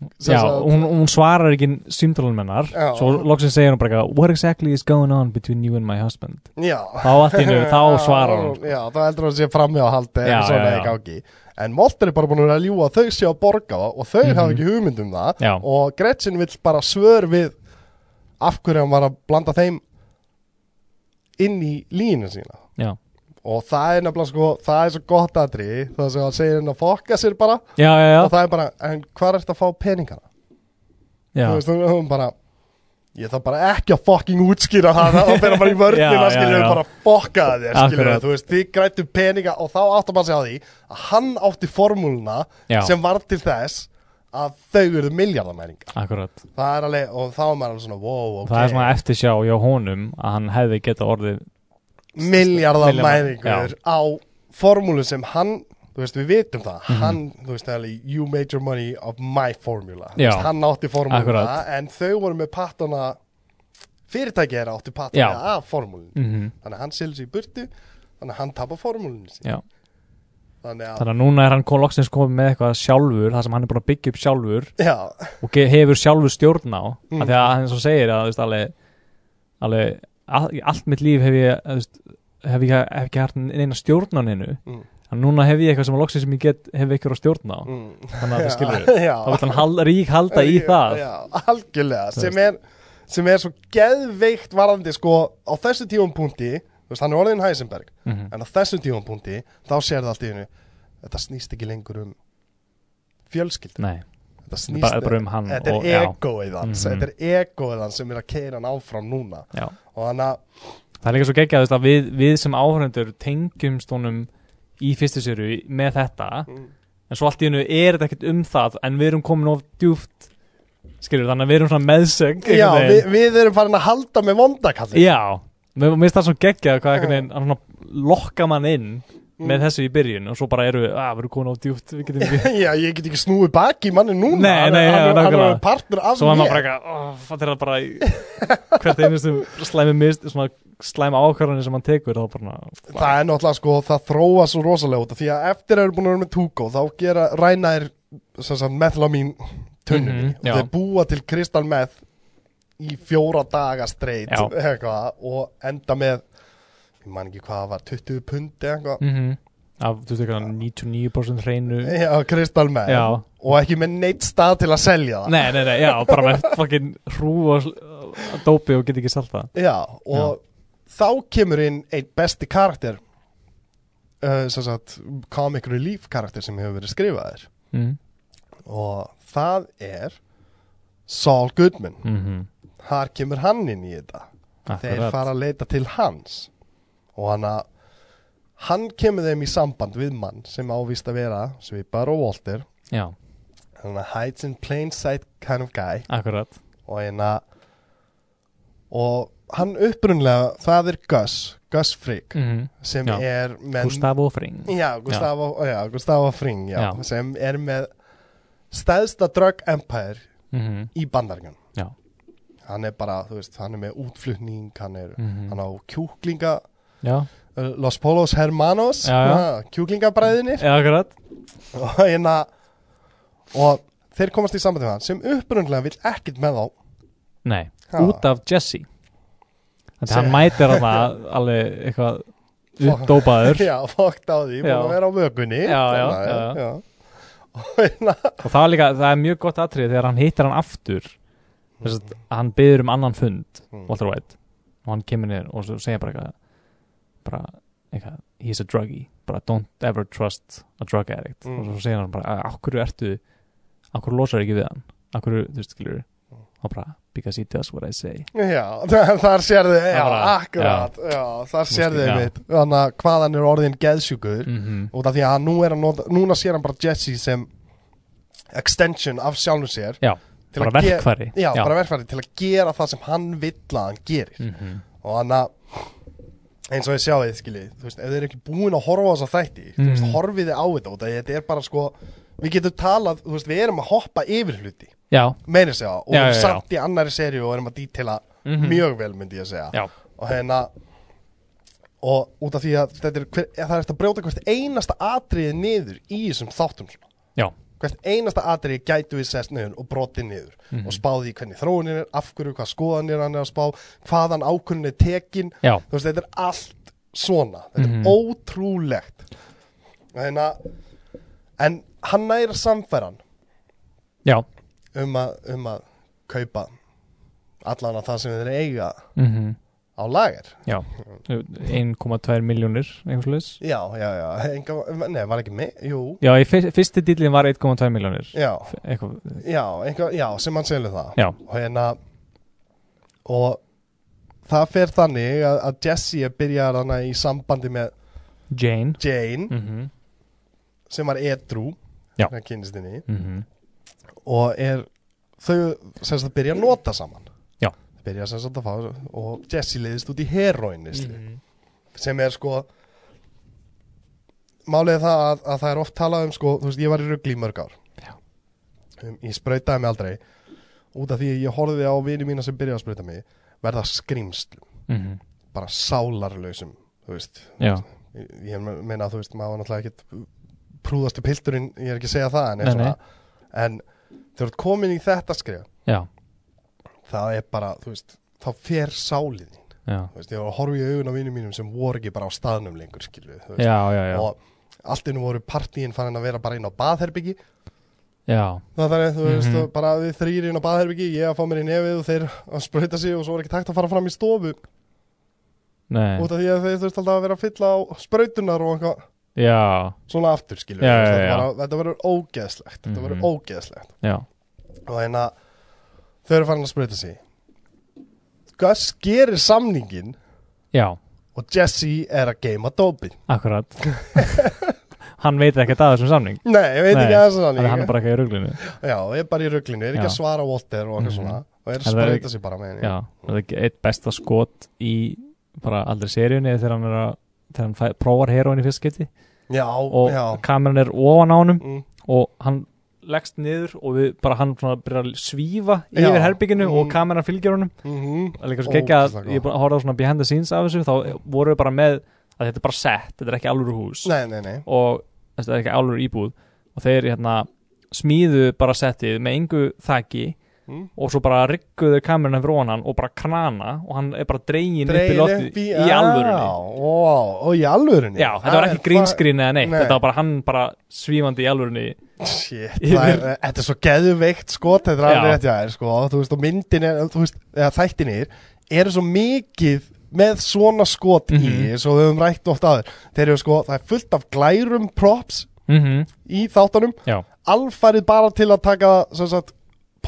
Speaker 1: sem
Speaker 2: já,
Speaker 1: sagt-
Speaker 2: hún, hún svarar ekki símtólunum hennar,
Speaker 1: Já.
Speaker 2: svo loksins segir hún bara eitthvað, what exactly is going on between you and my husband?
Speaker 1: já.
Speaker 2: Þá allt í hennu, þá svarar hún, sko.
Speaker 1: já, þá heldur hann sé framhjá haldi
Speaker 2: Já,
Speaker 1: en svona
Speaker 2: já, já.
Speaker 1: ekki áki en Molter er bara búin að vera að ljúga að þau sé að borga og þau
Speaker 2: Mhm.
Speaker 1: hafa ekki hugmynd um það
Speaker 2: já,
Speaker 1: og Gretchen vill bara svör við af hverju hann var að blanda þeim inn í línu sína
Speaker 2: já,
Speaker 1: og það er nefnilega sko, það er svo gott aðri það sem hann segir henni að fokka sér bara
Speaker 2: já, já, já,
Speaker 1: og það er bara, en hvað ertu að fá peningana?
Speaker 2: já,
Speaker 1: þú veist, þú hún bara ég þarf bara ekki að fokking útskýra það það fyrir bara í vörnina,
Speaker 2: Já, já,
Speaker 1: skilur
Speaker 2: já.
Speaker 1: bara fokka að þér, skilur
Speaker 2: Akkurat.
Speaker 1: þú veist, þið grættu peninga og þá áttum að segja því að hann átti formúluna
Speaker 2: Já.
Speaker 1: sem var til þess að þau eru miljardamæringar
Speaker 2: akkurat.
Speaker 1: Það er alveg, og þá er maður alveg svona, wow, ok
Speaker 2: Það er svona eftir sjá hjá honum að hann hefði geta orðið,
Speaker 1: Miljardar
Speaker 2: Milljarðar,
Speaker 1: mæringur á formúlu sem hann, þú veist, við vitum það
Speaker 2: Mhm.
Speaker 1: Hann, þú veist, það er alveg, you made your money of my formula Þú
Speaker 2: Já.
Speaker 1: veist, Hann átti formúluna,
Speaker 2: Akkurat.
Speaker 1: en þau voru með pattana Fyrirtæki er átti
Speaker 2: Já.
Speaker 1: pattana af formúlun
Speaker 2: mhm,
Speaker 1: Þannig að hann selur sig í burtu, þannig að hann tapar formúlunni sín
Speaker 2: já.
Speaker 1: Þannig að,
Speaker 2: Þannig að núna er hann kom loksins komið með eitthvað sjálfur, það sem hann er búin að byggja upp sjálfur
Speaker 1: já,
Speaker 2: og ge- hefur sjálfur stjórn á
Speaker 1: Mm.
Speaker 2: af því að hann svo segir að þú veist, alveg, alveg all, í allt mitt líf hef ég þú veist, hef ég hef ekki hægt neina stjórn á hennu
Speaker 1: Mm.
Speaker 2: en núna hef ég eitthvað sem að loksins sem ég get hef ykkur að stjórn á
Speaker 1: mm,
Speaker 2: þannig að það skilur
Speaker 1: já, já
Speaker 2: þá vil hann hal, rík halda í það
Speaker 1: já, algjörlega sem er, sem er svo geðveikt varðandi sko á þessu tíum punkti þú veist, hann er orðin Heisenberg
Speaker 2: Mhm.
Speaker 1: en á þessu tíum punkti þá sér það allt í hennu þetta snýst ekki lengur um fjölskyld
Speaker 2: Nei,
Speaker 1: þetta
Speaker 2: þetta er
Speaker 1: snýst
Speaker 2: bara, bara um hann
Speaker 1: þetta
Speaker 2: og,
Speaker 1: er
Speaker 2: já,
Speaker 1: egoið hans
Speaker 2: Mhm.
Speaker 1: þetta er egoið hans sem er að keira hann áfram núna
Speaker 2: já.
Speaker 1: og hann að
Speaker 2: Það er líka svo geggjað þú veist, að við, við sem áhörundur tengjumst honum í fyrstu séru með þetta en svo allt í hennu er þetta ekkert um það en við erum komin of djúft skilur þannig að við erum svona meðsöng einhvern
Speaker 1: já,
Speaker 2: veginn.
Speaker 1: við, við erum farin að halda með vondakallin
Speaker 2: Já, mér mér finnst það svo geggjað hvað einhvern veginn, hann svona lokka mann inn með þessu í byrjun og svo bara eru, að við erum komin of djúft við getum ekki,
Speaker 1: já, ég get ekki snúið baki í manni núna
Speaker 2: Nei,
Speaker 1: hann, er-
Speaker 2: nei, já,
Speaker 1: hann, er- hann
Speaker 2: nákvæmlega.
Speaker 1: er partur af
Speaker 2: svo var
Speaker 1: mér
Speaker 2: maður bara eitthvað "Ó, fattir það bara í hvert einnstu slæmi mist, svona slæma ákvarðanir sem hann tekur þá bara,
Speaker 1: Það er náttúrulega sko, það þróa svo rosalega út af því að eftir að eru búin að vera með Tugo þá gera rænaðir methlamin tunnunni
Speaker 2: Mhm,
Speaker 1: og
Speaker 2: já.
Speaker 1: þeir búa til kristal meth í fjóra daga streit
Speaker 2: Já.
Speaker 1: eitthvað, og enda með ég man ekki hvað það var, 20 pundi eitthvað
Speaker 2: mhm af, þú veist eitthvað, 99% hreinu
Speaker 1: Já, kristal meth
Speaker 2: já,
Speaker 1: og ekki með neitt stað til að selja það
Speaker 2: nei, nei, nei, já, bara með fucking hrú og sl- dópi og get ekki selt það
Speaker 1: Já, og þá kemur inn einn besti karakter uh, sem sagt comic relief karakter sem hefur verið skrifaðir
Speaker 2: mm.
Speaker 1: og það er Saul Goodman
Speaker 2: Mm -hmm.
Speaker 1: þar kemur hann inn í þetta þeir fara að leita til hans og hann að hann kemur þeim í samband við mann sem ávist að vera svipar og Walter
Speaker 2: Já,
Speaker 1: hann að hides in plain sight kind of guy
Speaker 2: akkurat
Speaker 1: og hann að og hann upprunlega það er Gus, Gus Frigg
Speaker 2: mm
Speaker 1: sem
Speaker 2: Já.
Speaker 1: er með
Speaker 2: Gustavo Fring
Speaker 1: Já, Gustavo, já. Gustavo Fring já,
Speaker 2: Já.
Speaker 1: sem er með stæðsta drug empire
Speaker 2: mm
Speaker 1: í bandargan
Speaker 2: Já.
Speaker 1: hann er bara, þú veist, hann er með útflutning hann er,
Speaker 2: -hmm.
Speaker 1: hann á kjúklinga
Speaker 2: Já,
Speaker 1: uh, Los Polos Hermanos ah,
Speaker 2: Já, já.
Speaker 1: kjúklingabræðinir
Speaker 2: Já, akkurat
Speaker 1: og hérna og þeir komast í sambandi með hann sem upprunlega vill ekkert með þá
Speaker 2: Nei,
Speaker 1: Ha.
Speaker 2: út af Jesse Þannig að
Speaker 1: Sem-
Speaker 2: hann mætir hann alveg eitthvað
Speaker 1: Fuck.
Speaker 2: uppdópaður
Speaker 1: Já, fokkt á því, búin
Speaker 2: Já.
Speaker 1: að vera á vökunni
Speaker 2: Já, já,
Speaker 1: Þannig að-
Speaker 2: já, já.
Speaker 1: Og hérna,
Speaker 2: og það er líka, það er mjög gott atrið þegar hann hittir hann aftur þess að hann byður um annan fund
Speaker 1: Mm.
Speaker 2: Walter White og hann kemur niður og svo segja bara eitthvað bara eitthvað, he's a druggie bara don't ever trust a drug addict
Speaker 1: Mm.
Speaker 2: og svo segja hann bara, "Á- á hverju ertu á hverju losar ekki við hann á hverju, þú veist, skilur
Speaker 1: Mm.
Speaker 2: og bara, because he does what I say
Speaker 1: já, þa- þar sérðu, já,
Speaker 2: bara-
Speaker 1: akkurat Já, þar sérðu
Speaker 2: já.
Speaker 1: einmitt Þannig að hvað hann er orðin geðsjúkur
Speaker 2: mm -hmm.
Speaker 1: Út af því að hann nú er að nota, núna sér hann bara Jesse sem extension af sjálfum sér
Speaker 2: Já,
Speaker 1: Til
Speaker 2: bara
Speaker 1: að ge-
Speaker 2: verkfæri
Speaker 1: Já, bara verkfæri til að gera það sem hann vill að hann gerir
Speaker 2: mm
Speaker 1: og hann að eins og ég sjá þið skiljið, þú veist, ef þið eru ekki búin að horfa á þessa þætti, þú veist,
Speaker 2: Mhm.
Speaker 1: horfið þið á þetta og þetta er bara sko, við getum talað þú veist, við erum að hoppa yfir hluti
Speaker 2: já,
Speaker 1: meina ég segja, og
Speaker 2: Já, já, já.
Speaker 1: samt í annari serju og erum að dítela
Speaker 2: Mhm.
Speaker 1: mjög vel myndi ég að segja,
Speaker 2: já,
Speaker 1: og hérna og út af því að þetta er, hver, að það er eftir að brjóta hvert einasta atriði niður í þessum þáttum svona
Speaker 2: já
Speaker 1: hvert einasta atriði gætu við sest niður og brotið niður og spáði í hvernig þróunin er, af hverju, hvað skoðanir hann er að spá hvaðan ákvörðin er tekin
Speaker 2: Já.
Speaker 1: þú veist, þetta er allt svona þetta
Speaker 2: Mhm.
Speaker 1: er ótrúlegt þannig að en hann næra samfæran
Speaker 2: já,
Speaker 1: um að, um að kaupa allan að það sem þeir eiga
Speaker 2: mm
Speaker 1: á lager
Speaker 2: já 1,2 miljónir, einhvers leis
Speaker 1: já, já, já, enga, nei, var ekki með jú,
Speaker 2: Já, í fyr- fyrsti dýlinn var 1,2 miljónir
Speaker 1: já,
Speaker 2: eitthvað,
Speaker 1: já, einhver, já, sem hann selur það
Speaker 2: já,
Speaker 1: og hérna og það fer þannig að, að Jesse er byrjar hana í sambandi með
Speaker 2: Jane
Speaker 1: Jane
Speaker 2: mm -hmm.
Speaker 1: sem var edru
Speaker 2: Já.
Speaker 1: hérna kynnist henni
Speaker 2: Mhm.
Speaker 1: og er þau sem sagt byrja að nota saman
Speaker 2: Já.
Speaker 1: byrja sem sagt að fá og Jesse leiðist út í
Speaker 2: Mm.
Speaker 1: heroin sem er sko málið er það að, að það er oft talað um sko, þú veist, ég var í rugli í mörg ár um, ég sprautaði mig aldrei út af því að ég horfði á vini mína sem byrjaði að sprauta mig verða skrimsl, bara sálarlausum þú veist,
Speaker 2: Mhm. Já,
Speaker 1: ég, ég meina þú veist, maður var náttúrulega ekkit prúðastu pilturinn, ég er ekki að segja það en,
Speaker 2: Nei,
Speaker 1: er svona, en þegar þú ert komin í þetta skrif,
Speaker 2: já,
Speaker 1: það er bara þú veist, þá fer sálið þín
Speaker 2: já
Speaker 1: þú veist, ég var að horfa í augun á vini mínum sem voru ekki bara á staðnum lengur, skilju þú veist,
Speaker 2: Já, já, já,
Speaker 1: og allt innum voru partíin farin að vera bara inn á baðherbyggi
Speaker 2: já,
Speaker 1: það þannig, þú veist,
Speaker 2: Mhm.
Speaker 1: mm bara við þrýr inn á baðherbyggi ég að fá mér í nefið og þeir að sprauta sig og svo var ekki takt að fara fram í stofu
Speaker 2: nei,
Speaker 1: út af því að þeir þurft alltaf að vera að fylla á sprautunar og eitthvað
Speaker 2: já,
Speaker 1: svona aftur, skilur
Speaker 2: Já,
Speaker 1: þú veist,
Speaker 2: já,
Speaker 1: þetta
Speaker 2: já.
Speaker 1: bara- þetta verður ógeðslegt þetta
Speaker 2: Mhm.
Speaker 1: verður ógeðslegt
Speaker 2: já,
Speaker 1: og hérna, þau eru farin að sprauta sig Gus gerir samningin
Speaker 2: já,
Speaker 1: og Jesse er að geima dópin
Speaker 2: akkurat Hann veit ekkert að þessum samning
Speaker 1: nei, ég veit
Speaker 2: Nei,
Speaker 1: ekki að það
Speaker 2: Þannig að hann er
Speaker 1: samning
Speaker 2: bara eitthvað í ruglinu
Speaker 1: já, og er bara í rugglinu, er ekki
Speaker 2: Já.
Speaker 1: að svara Walter og eitthvað
Speaker 2: Mhm.
Speaker 1: svona og er að
Speaker 2: En það er
Speaker 1: sprauta
Speaker 2: ekki-
Speaker 1: sig bara með henni
Speaker 2: Já, það er ekki eitt besta skot í bara aldrei seríunni þegar hann er að þegar hann fæ, prófar heroin í fyrst skipti
Speaker 1: já,
Speaker 2: og
Speaker 1: já
Speaker 2: kameran er ofan á honum
Speaker 1: Mm.
Speaker 2: og hann leggst niður og við bara hann svona byrjar að svífa
Speaker 1: Já.
Speaker 2: yfir herbygginu og
Speaker 1: Mm.
Speaker 2: kameran fylgir honum
Speaker 1: Mhm.
Speaker 2: Það er líka svo
Speaker 1: Ógeðslega
Speaker 2: gekkja að
Speaker 1: gott.
Speaker 2: ég er búin að horfa á svona behind the scenes af þessu þá voru við bara með að þetta er bara sett, þetta er ekki alvöru hús
Speaker 1: Nei, nei, nei
Speaker 2: og þetta er ekki alvöru íbúð og þeir hérna smíðu bara settið með engu þaki
Speaker 1: Mm.
Speaker 2: og svo bara rigguðu kameruna fyrir ofan hann og bara krana og hann er bara dregin upp í
Speaker 1: Dregin
Speaker 2: loftið í,
Speaker 1: já,
Speaker 2: alvörunni
Speaker 1: ó, Ó, í alvörunni
Speaker 2: Já, þetta var ekki grínskrín eða neitt,
Speaker 1: Nei.
Speaker 2: þetta var bara hann bara svífandi í alvörunni
Speaker 1: Shit,
Speaker 2: Yfir-
Speaker 1: það er, þetta er svo geðveikt sko, þetta er
Speaker 2: Já.
Speaker 1: alveg rétt, já, er, sko, þú veist, og myndin er, þú veist, eða þættinir eru svo mikið með svona skot í,
Speaker 2: Mhm.
Speaker 1: eins og við höfum rætt oft aður, þeir eru sko, það er fullt af glærum props
Speaker 2: mm
Speaker 1: í þáttunum,
Speaker 2: Já,
Speaker 1: alfarið bara til að taka, sem sagt,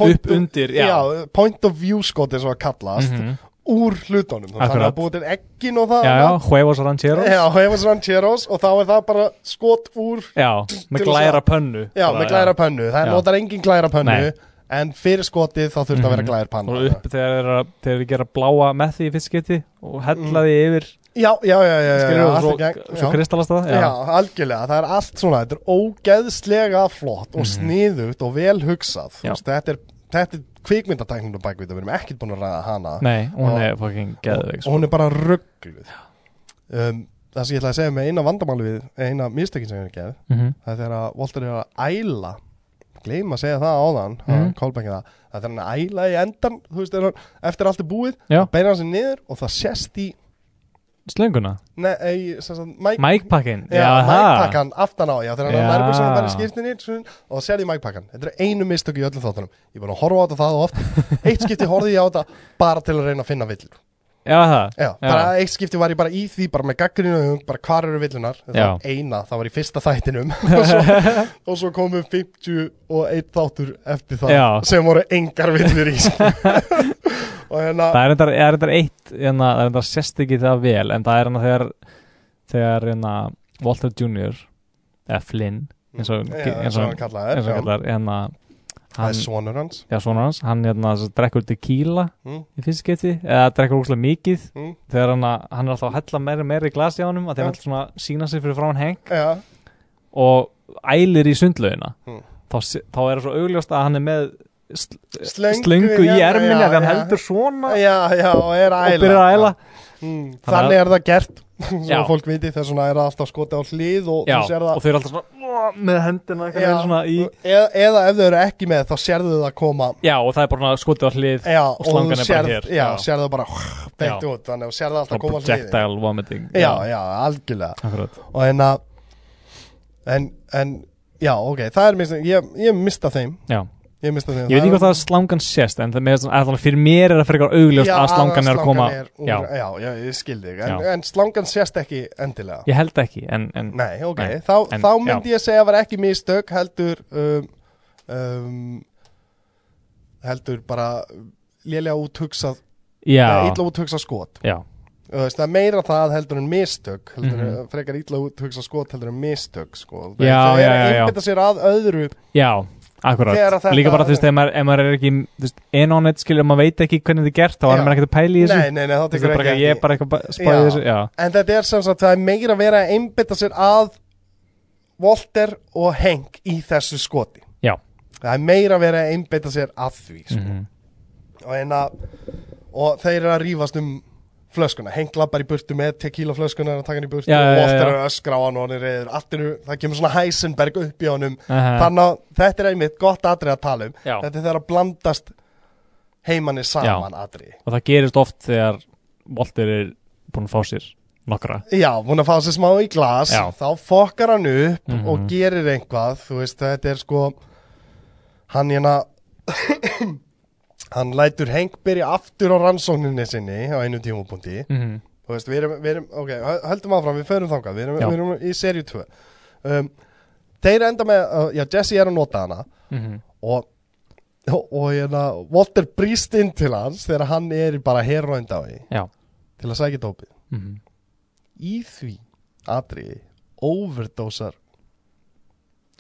Speaker 2: Upp undir, já.
Speaker 1: point of view skot er svo að kallast,
Speaker 2: Mhm.
Speaker 1: úr hlutunum, þannig að
Speaker 2: Akkurat.
Speaker 1: það búið til ekkin og það
Speaker 2: já, já,
Speaker 1: annað.
Speaker 2: Huevos Rancheros
Speaker 1: Já, Hefans Rancheros og þá er það bara skot úr
Speaker 2: Já, með
Speaker 1: Til að
Speaker 2: glæra
Speaker 1: sjá.
Speaker 2: pönnu
Speaker 1: Já,
Speaker 2: Bara,
Speaker 1: með glæra pönnu, það
Speaker 2: Já.
Speaker 1: notar engin glæra pönnu
Speaker 2: Nei. Mhm.
Speaker 1: En fyrir skotið þá þurft að vera glæra panna
Speaker 2: og upp þegar þeir, eru að- þeir gera bláa með því í fiskiti og hella því yfir
Speaker 1: Já, já, já, Mm. já, já,
Speaker 2: skilur,
Speaker 1: já,
Speaker 2: og
Speaker 1: allt
Speaker 2: svo,
Speaker 1: í gegn,
Speaker 2: svo
Speaker 1: já.
Speaker 2: kristallast það
Speaker 1: já, algjörlega, það er allt svona Þetta er ógeðslega flott og sniðugt og vel hugsað Þú
Speaker 2: Mhm. Já.
Speaker 1: veist, Þetta er, þetta er kvikmyndatæknum bakvið Við erum ekkert búin að ræða hana
Speaker 2: nei, hún
Speaker 1: Og-
Speaker 2: er fucking geðveik sko.
Speaker 1: Og hún er bara ruggluð um, Það sem ég ætla að segja með eina vandamáli við Eina mistökin sem ég er að geð
Speaker 2: mm -hmm.
Speaker 1: Það er þegar að Walter er að æla gleym að segja það áðan mm.
Speaker 2: Mhm.
Speaker 1: callbackið það, það er hann að æla í endan þú veist, þegar hann, eftir allt er búið
Speaker 2: Já.
Speaker 1: beina hann sér niður og það sést í
Speaker 2: Slönguna
Speaker 1: nei, ei, sem sagt, mæk,
Speaker 2: Mækpakkin
Speaker 1: já, mækpakkan aftan á, já, þegar hann
Speaker 2: Já.
Speaker 1: er nærmur sem hann bara í skýrtinni svona, og það sér í mækpakkan, þetta er einu mistök í öllum þáttunum, ég er búin að horfa á þetta það oft eitt skipti horfði ég á þetta bara til að reyna að finna villur
Speaker 2: Já, það
Speaker 1: Já, bara eitt skipti var ég bara í því bara með gaggrinu og bara hvar eru villunar það
Speaker 2: Já.
Speaker 1: var eina, það var í fyrsta þættinum og svo, og svo komu 50 og einn þáttur eftir það
Speaker 2: Já.
Speaker 1: sem voru engar villur í sko. og hérna
Speaker 2: Það er endar, er endar eitt hérna, Það er endar sérst ekki það vel En það er hérna þegar Þegar hérna Walter Jr. Eða Flynn eins og,
Speaker 1: Já, eins og hann kallaði
Speaker 2: eins og
Speaker 1: þér
Speaker 2: kallar Hérna
Speaker 1: það er
Speaker 2: hann,
Speaker 1: sonur hans
Speaker 2: Já, svona hans Hann hérna sem sagt drekkur tequila
Speaker 1: Mm.
Speaker 2: Í fyrst skipti Eða drekkur úrslega mikið
Speaker 1: Mm.
Speaker 2: Þegar hann, að- hann er alltaf að hella meira og meira í glasi á honum Þegar
Speaker 1: Já.
Speaker 2: hann ætla svona að sína sig fyrir frá hann heng
Speaker 1: Já,
Speaker 2: og ælir í sundlaugina
Speaker 1: Mm.
Speaker 2: þá, sé- þá er það svo augljóst að hann er með sl
Speaker 1: Slöngu
Speaker 2: slöngu í
Speaker 1: hérna,
Speaker 2: erminni
Speaker 1: já,
Speaker 2: að hann
Speaker 1: já.
Speaker 2: heldur svona
Speaker 1: já, já, og er að
Speaker 2: og byrjar að æla
Speaker 1: Mm,
Speaker 2: Þannig að-
Speaker 1: Þannig er það gert
Speaker 2: Já.
Speaker 1: Svo fólk viti þess vegna er það alltaf skoti á hlið og
Speaker 2: já,
Speaker 1: þú sér
Speaker 2: og
Speaker 1: það
Speaker 2: þau eru alltaf svona "Åh", með hendina einhvern veginn svona í
Speaker 1: eða, E-, eða ef þau eru ekki með þá sérðu það koma
Speaker 2: já og það er bara svona skotið á hlið
Speaker 1: Já,
Speaker 2: og slangan er bara
Speaker 1: sérð-
Speaker 2: hér,
Speaker 1: Já,
Speaker 2: já.
Speaker 1: sérðu það bara beint
Speaker 2: Já.
Speaker 1: út Þannig að þú sérðu alltaf koma
Speaker 2: og
Speaker 1: á hliðin
Speaker 2: projectile vomiting
Speaker 1: já, já, algjörlega
Speaker 2: akkurat
Speaker 1: og hérna en, en, já, ok, það er mista, ég, ég mista þeim
Speaker 2: já.
Speaker 1: ég mista þeim
Speaker 2: ég veit ekki hvað það er slangan sést en það með þess að fyrir mér er það frekar augljóst að slangan er að koma
Speaker 1: já.
Speaker 2: já,
Speaker 1: já, já, ég skildi ekki en,
Speaker 2: Já.
Speaker 1: en slangan sést ekki endilega
Speaker 2: ég held ekki en, en
Speaker 1: nei, ok,
Speaker 2: Nei,
Speaker 1: Þá,
Speaker 2: en-
Speaker 1: þá myndi ég segja að var ekki mistök heldur um, um, heldur bara lélega út hugsað
Speaker 2: já,
Speaker 1: illa út hugsað skot
Speaker 2: já,
Speaker 1: Þú veist, það er meira það heldur en mistök heldur, mm
Speaker 2: Mhm.
Speaker 1: frekar illa út hugsað skot heldur en mistök sko.
Speaker 2: Já,
Speaker 1: það er
Speaker 2: já, já,
Speaker 1: að
Speaker 2: já.
Speaker 1: einbytta sér að öðru
Speaker 2: já
Speaker 1: Þegar
Speaker 2: akkurat
Speaker 1: að þetta-
Speaker 2: líka bara þú veist ef maður, ef maður er ekki þú veist, en on it skilur maður veit ekki hvernig þetta er gert þá
Speaker 1: Já.
Speaker 2: er maður ekkert að pæla í þessu
Speaker 1: Nei, nei, nei, það
Speaker 2: Þú veist, það
Speaker 1: tekur
Speaker 2: er bara
Speaker 1: ekki
Speaker 2: eitthvað- ég er bara eitthvað að spá í
Speaker 1: Já.
Speaker 2: þessu já,
Speaker 1: En þetta er sem sagt, það er meira að vera að einbytta sér að Walter og Hank í þessu skoti
Speaker 2: Já.
Speaker 1: Það er meira að vera að einbytta sér að því sko.
Speaker 2: mm
Speaker 1: og, einna, og þeir eru að rífast um flöskuna, Hank lappar í burtu með tequila flöskuna er að taka hann í burtu
Speaker 2: Já, já,
Speaker 1: og
Speaker 2: já,
Speaker 1: Walter
Speaker 2: já.
Speaker 1: er að öskra á hann og hann er reyður Alltinu, það kemur svona Heisenberg upp í honum
Speaker 2: -huh.
Speaker 1: þannig að þetta er einmitt gott atrið að tala um
Speaker 2: Já.
Speaker 1: þetta er þegar að blandast heimanni saman já. atrið
Speaker 2: og það gerist oft þegar Walter er búin að fá sér nokkra
Speaker 1: Já, búin að fá sér smá í glas
Speaker 2: Já.
Speaker 1: þá fokkar hann upp
Speaker 2: Mhm.
Speaker 1: og gerir einhvað þú veist, þetta er sko hann hérna hann lætur Henk byrja aftur á rannsókninni sinni á einum tímapunkti
Speaker 2: mm -hmm.
Speaker 1: þú veist, við erum, við erum ok, hö- höldum áfram, við förum þangað við erum,
Speaker 2: Já.
Speaker 1: við erum í serju 2 um, þeir enda með, uh, já, Jesse er að nota hana og og, og hérna, Walter brýst inn til hans þegar hann er í bara herróindái
Speaker 2: Já.
Speaker 1: til að sækja dópið
Speaker 2: Mhm.
Speaker 1: í því atriði overdosar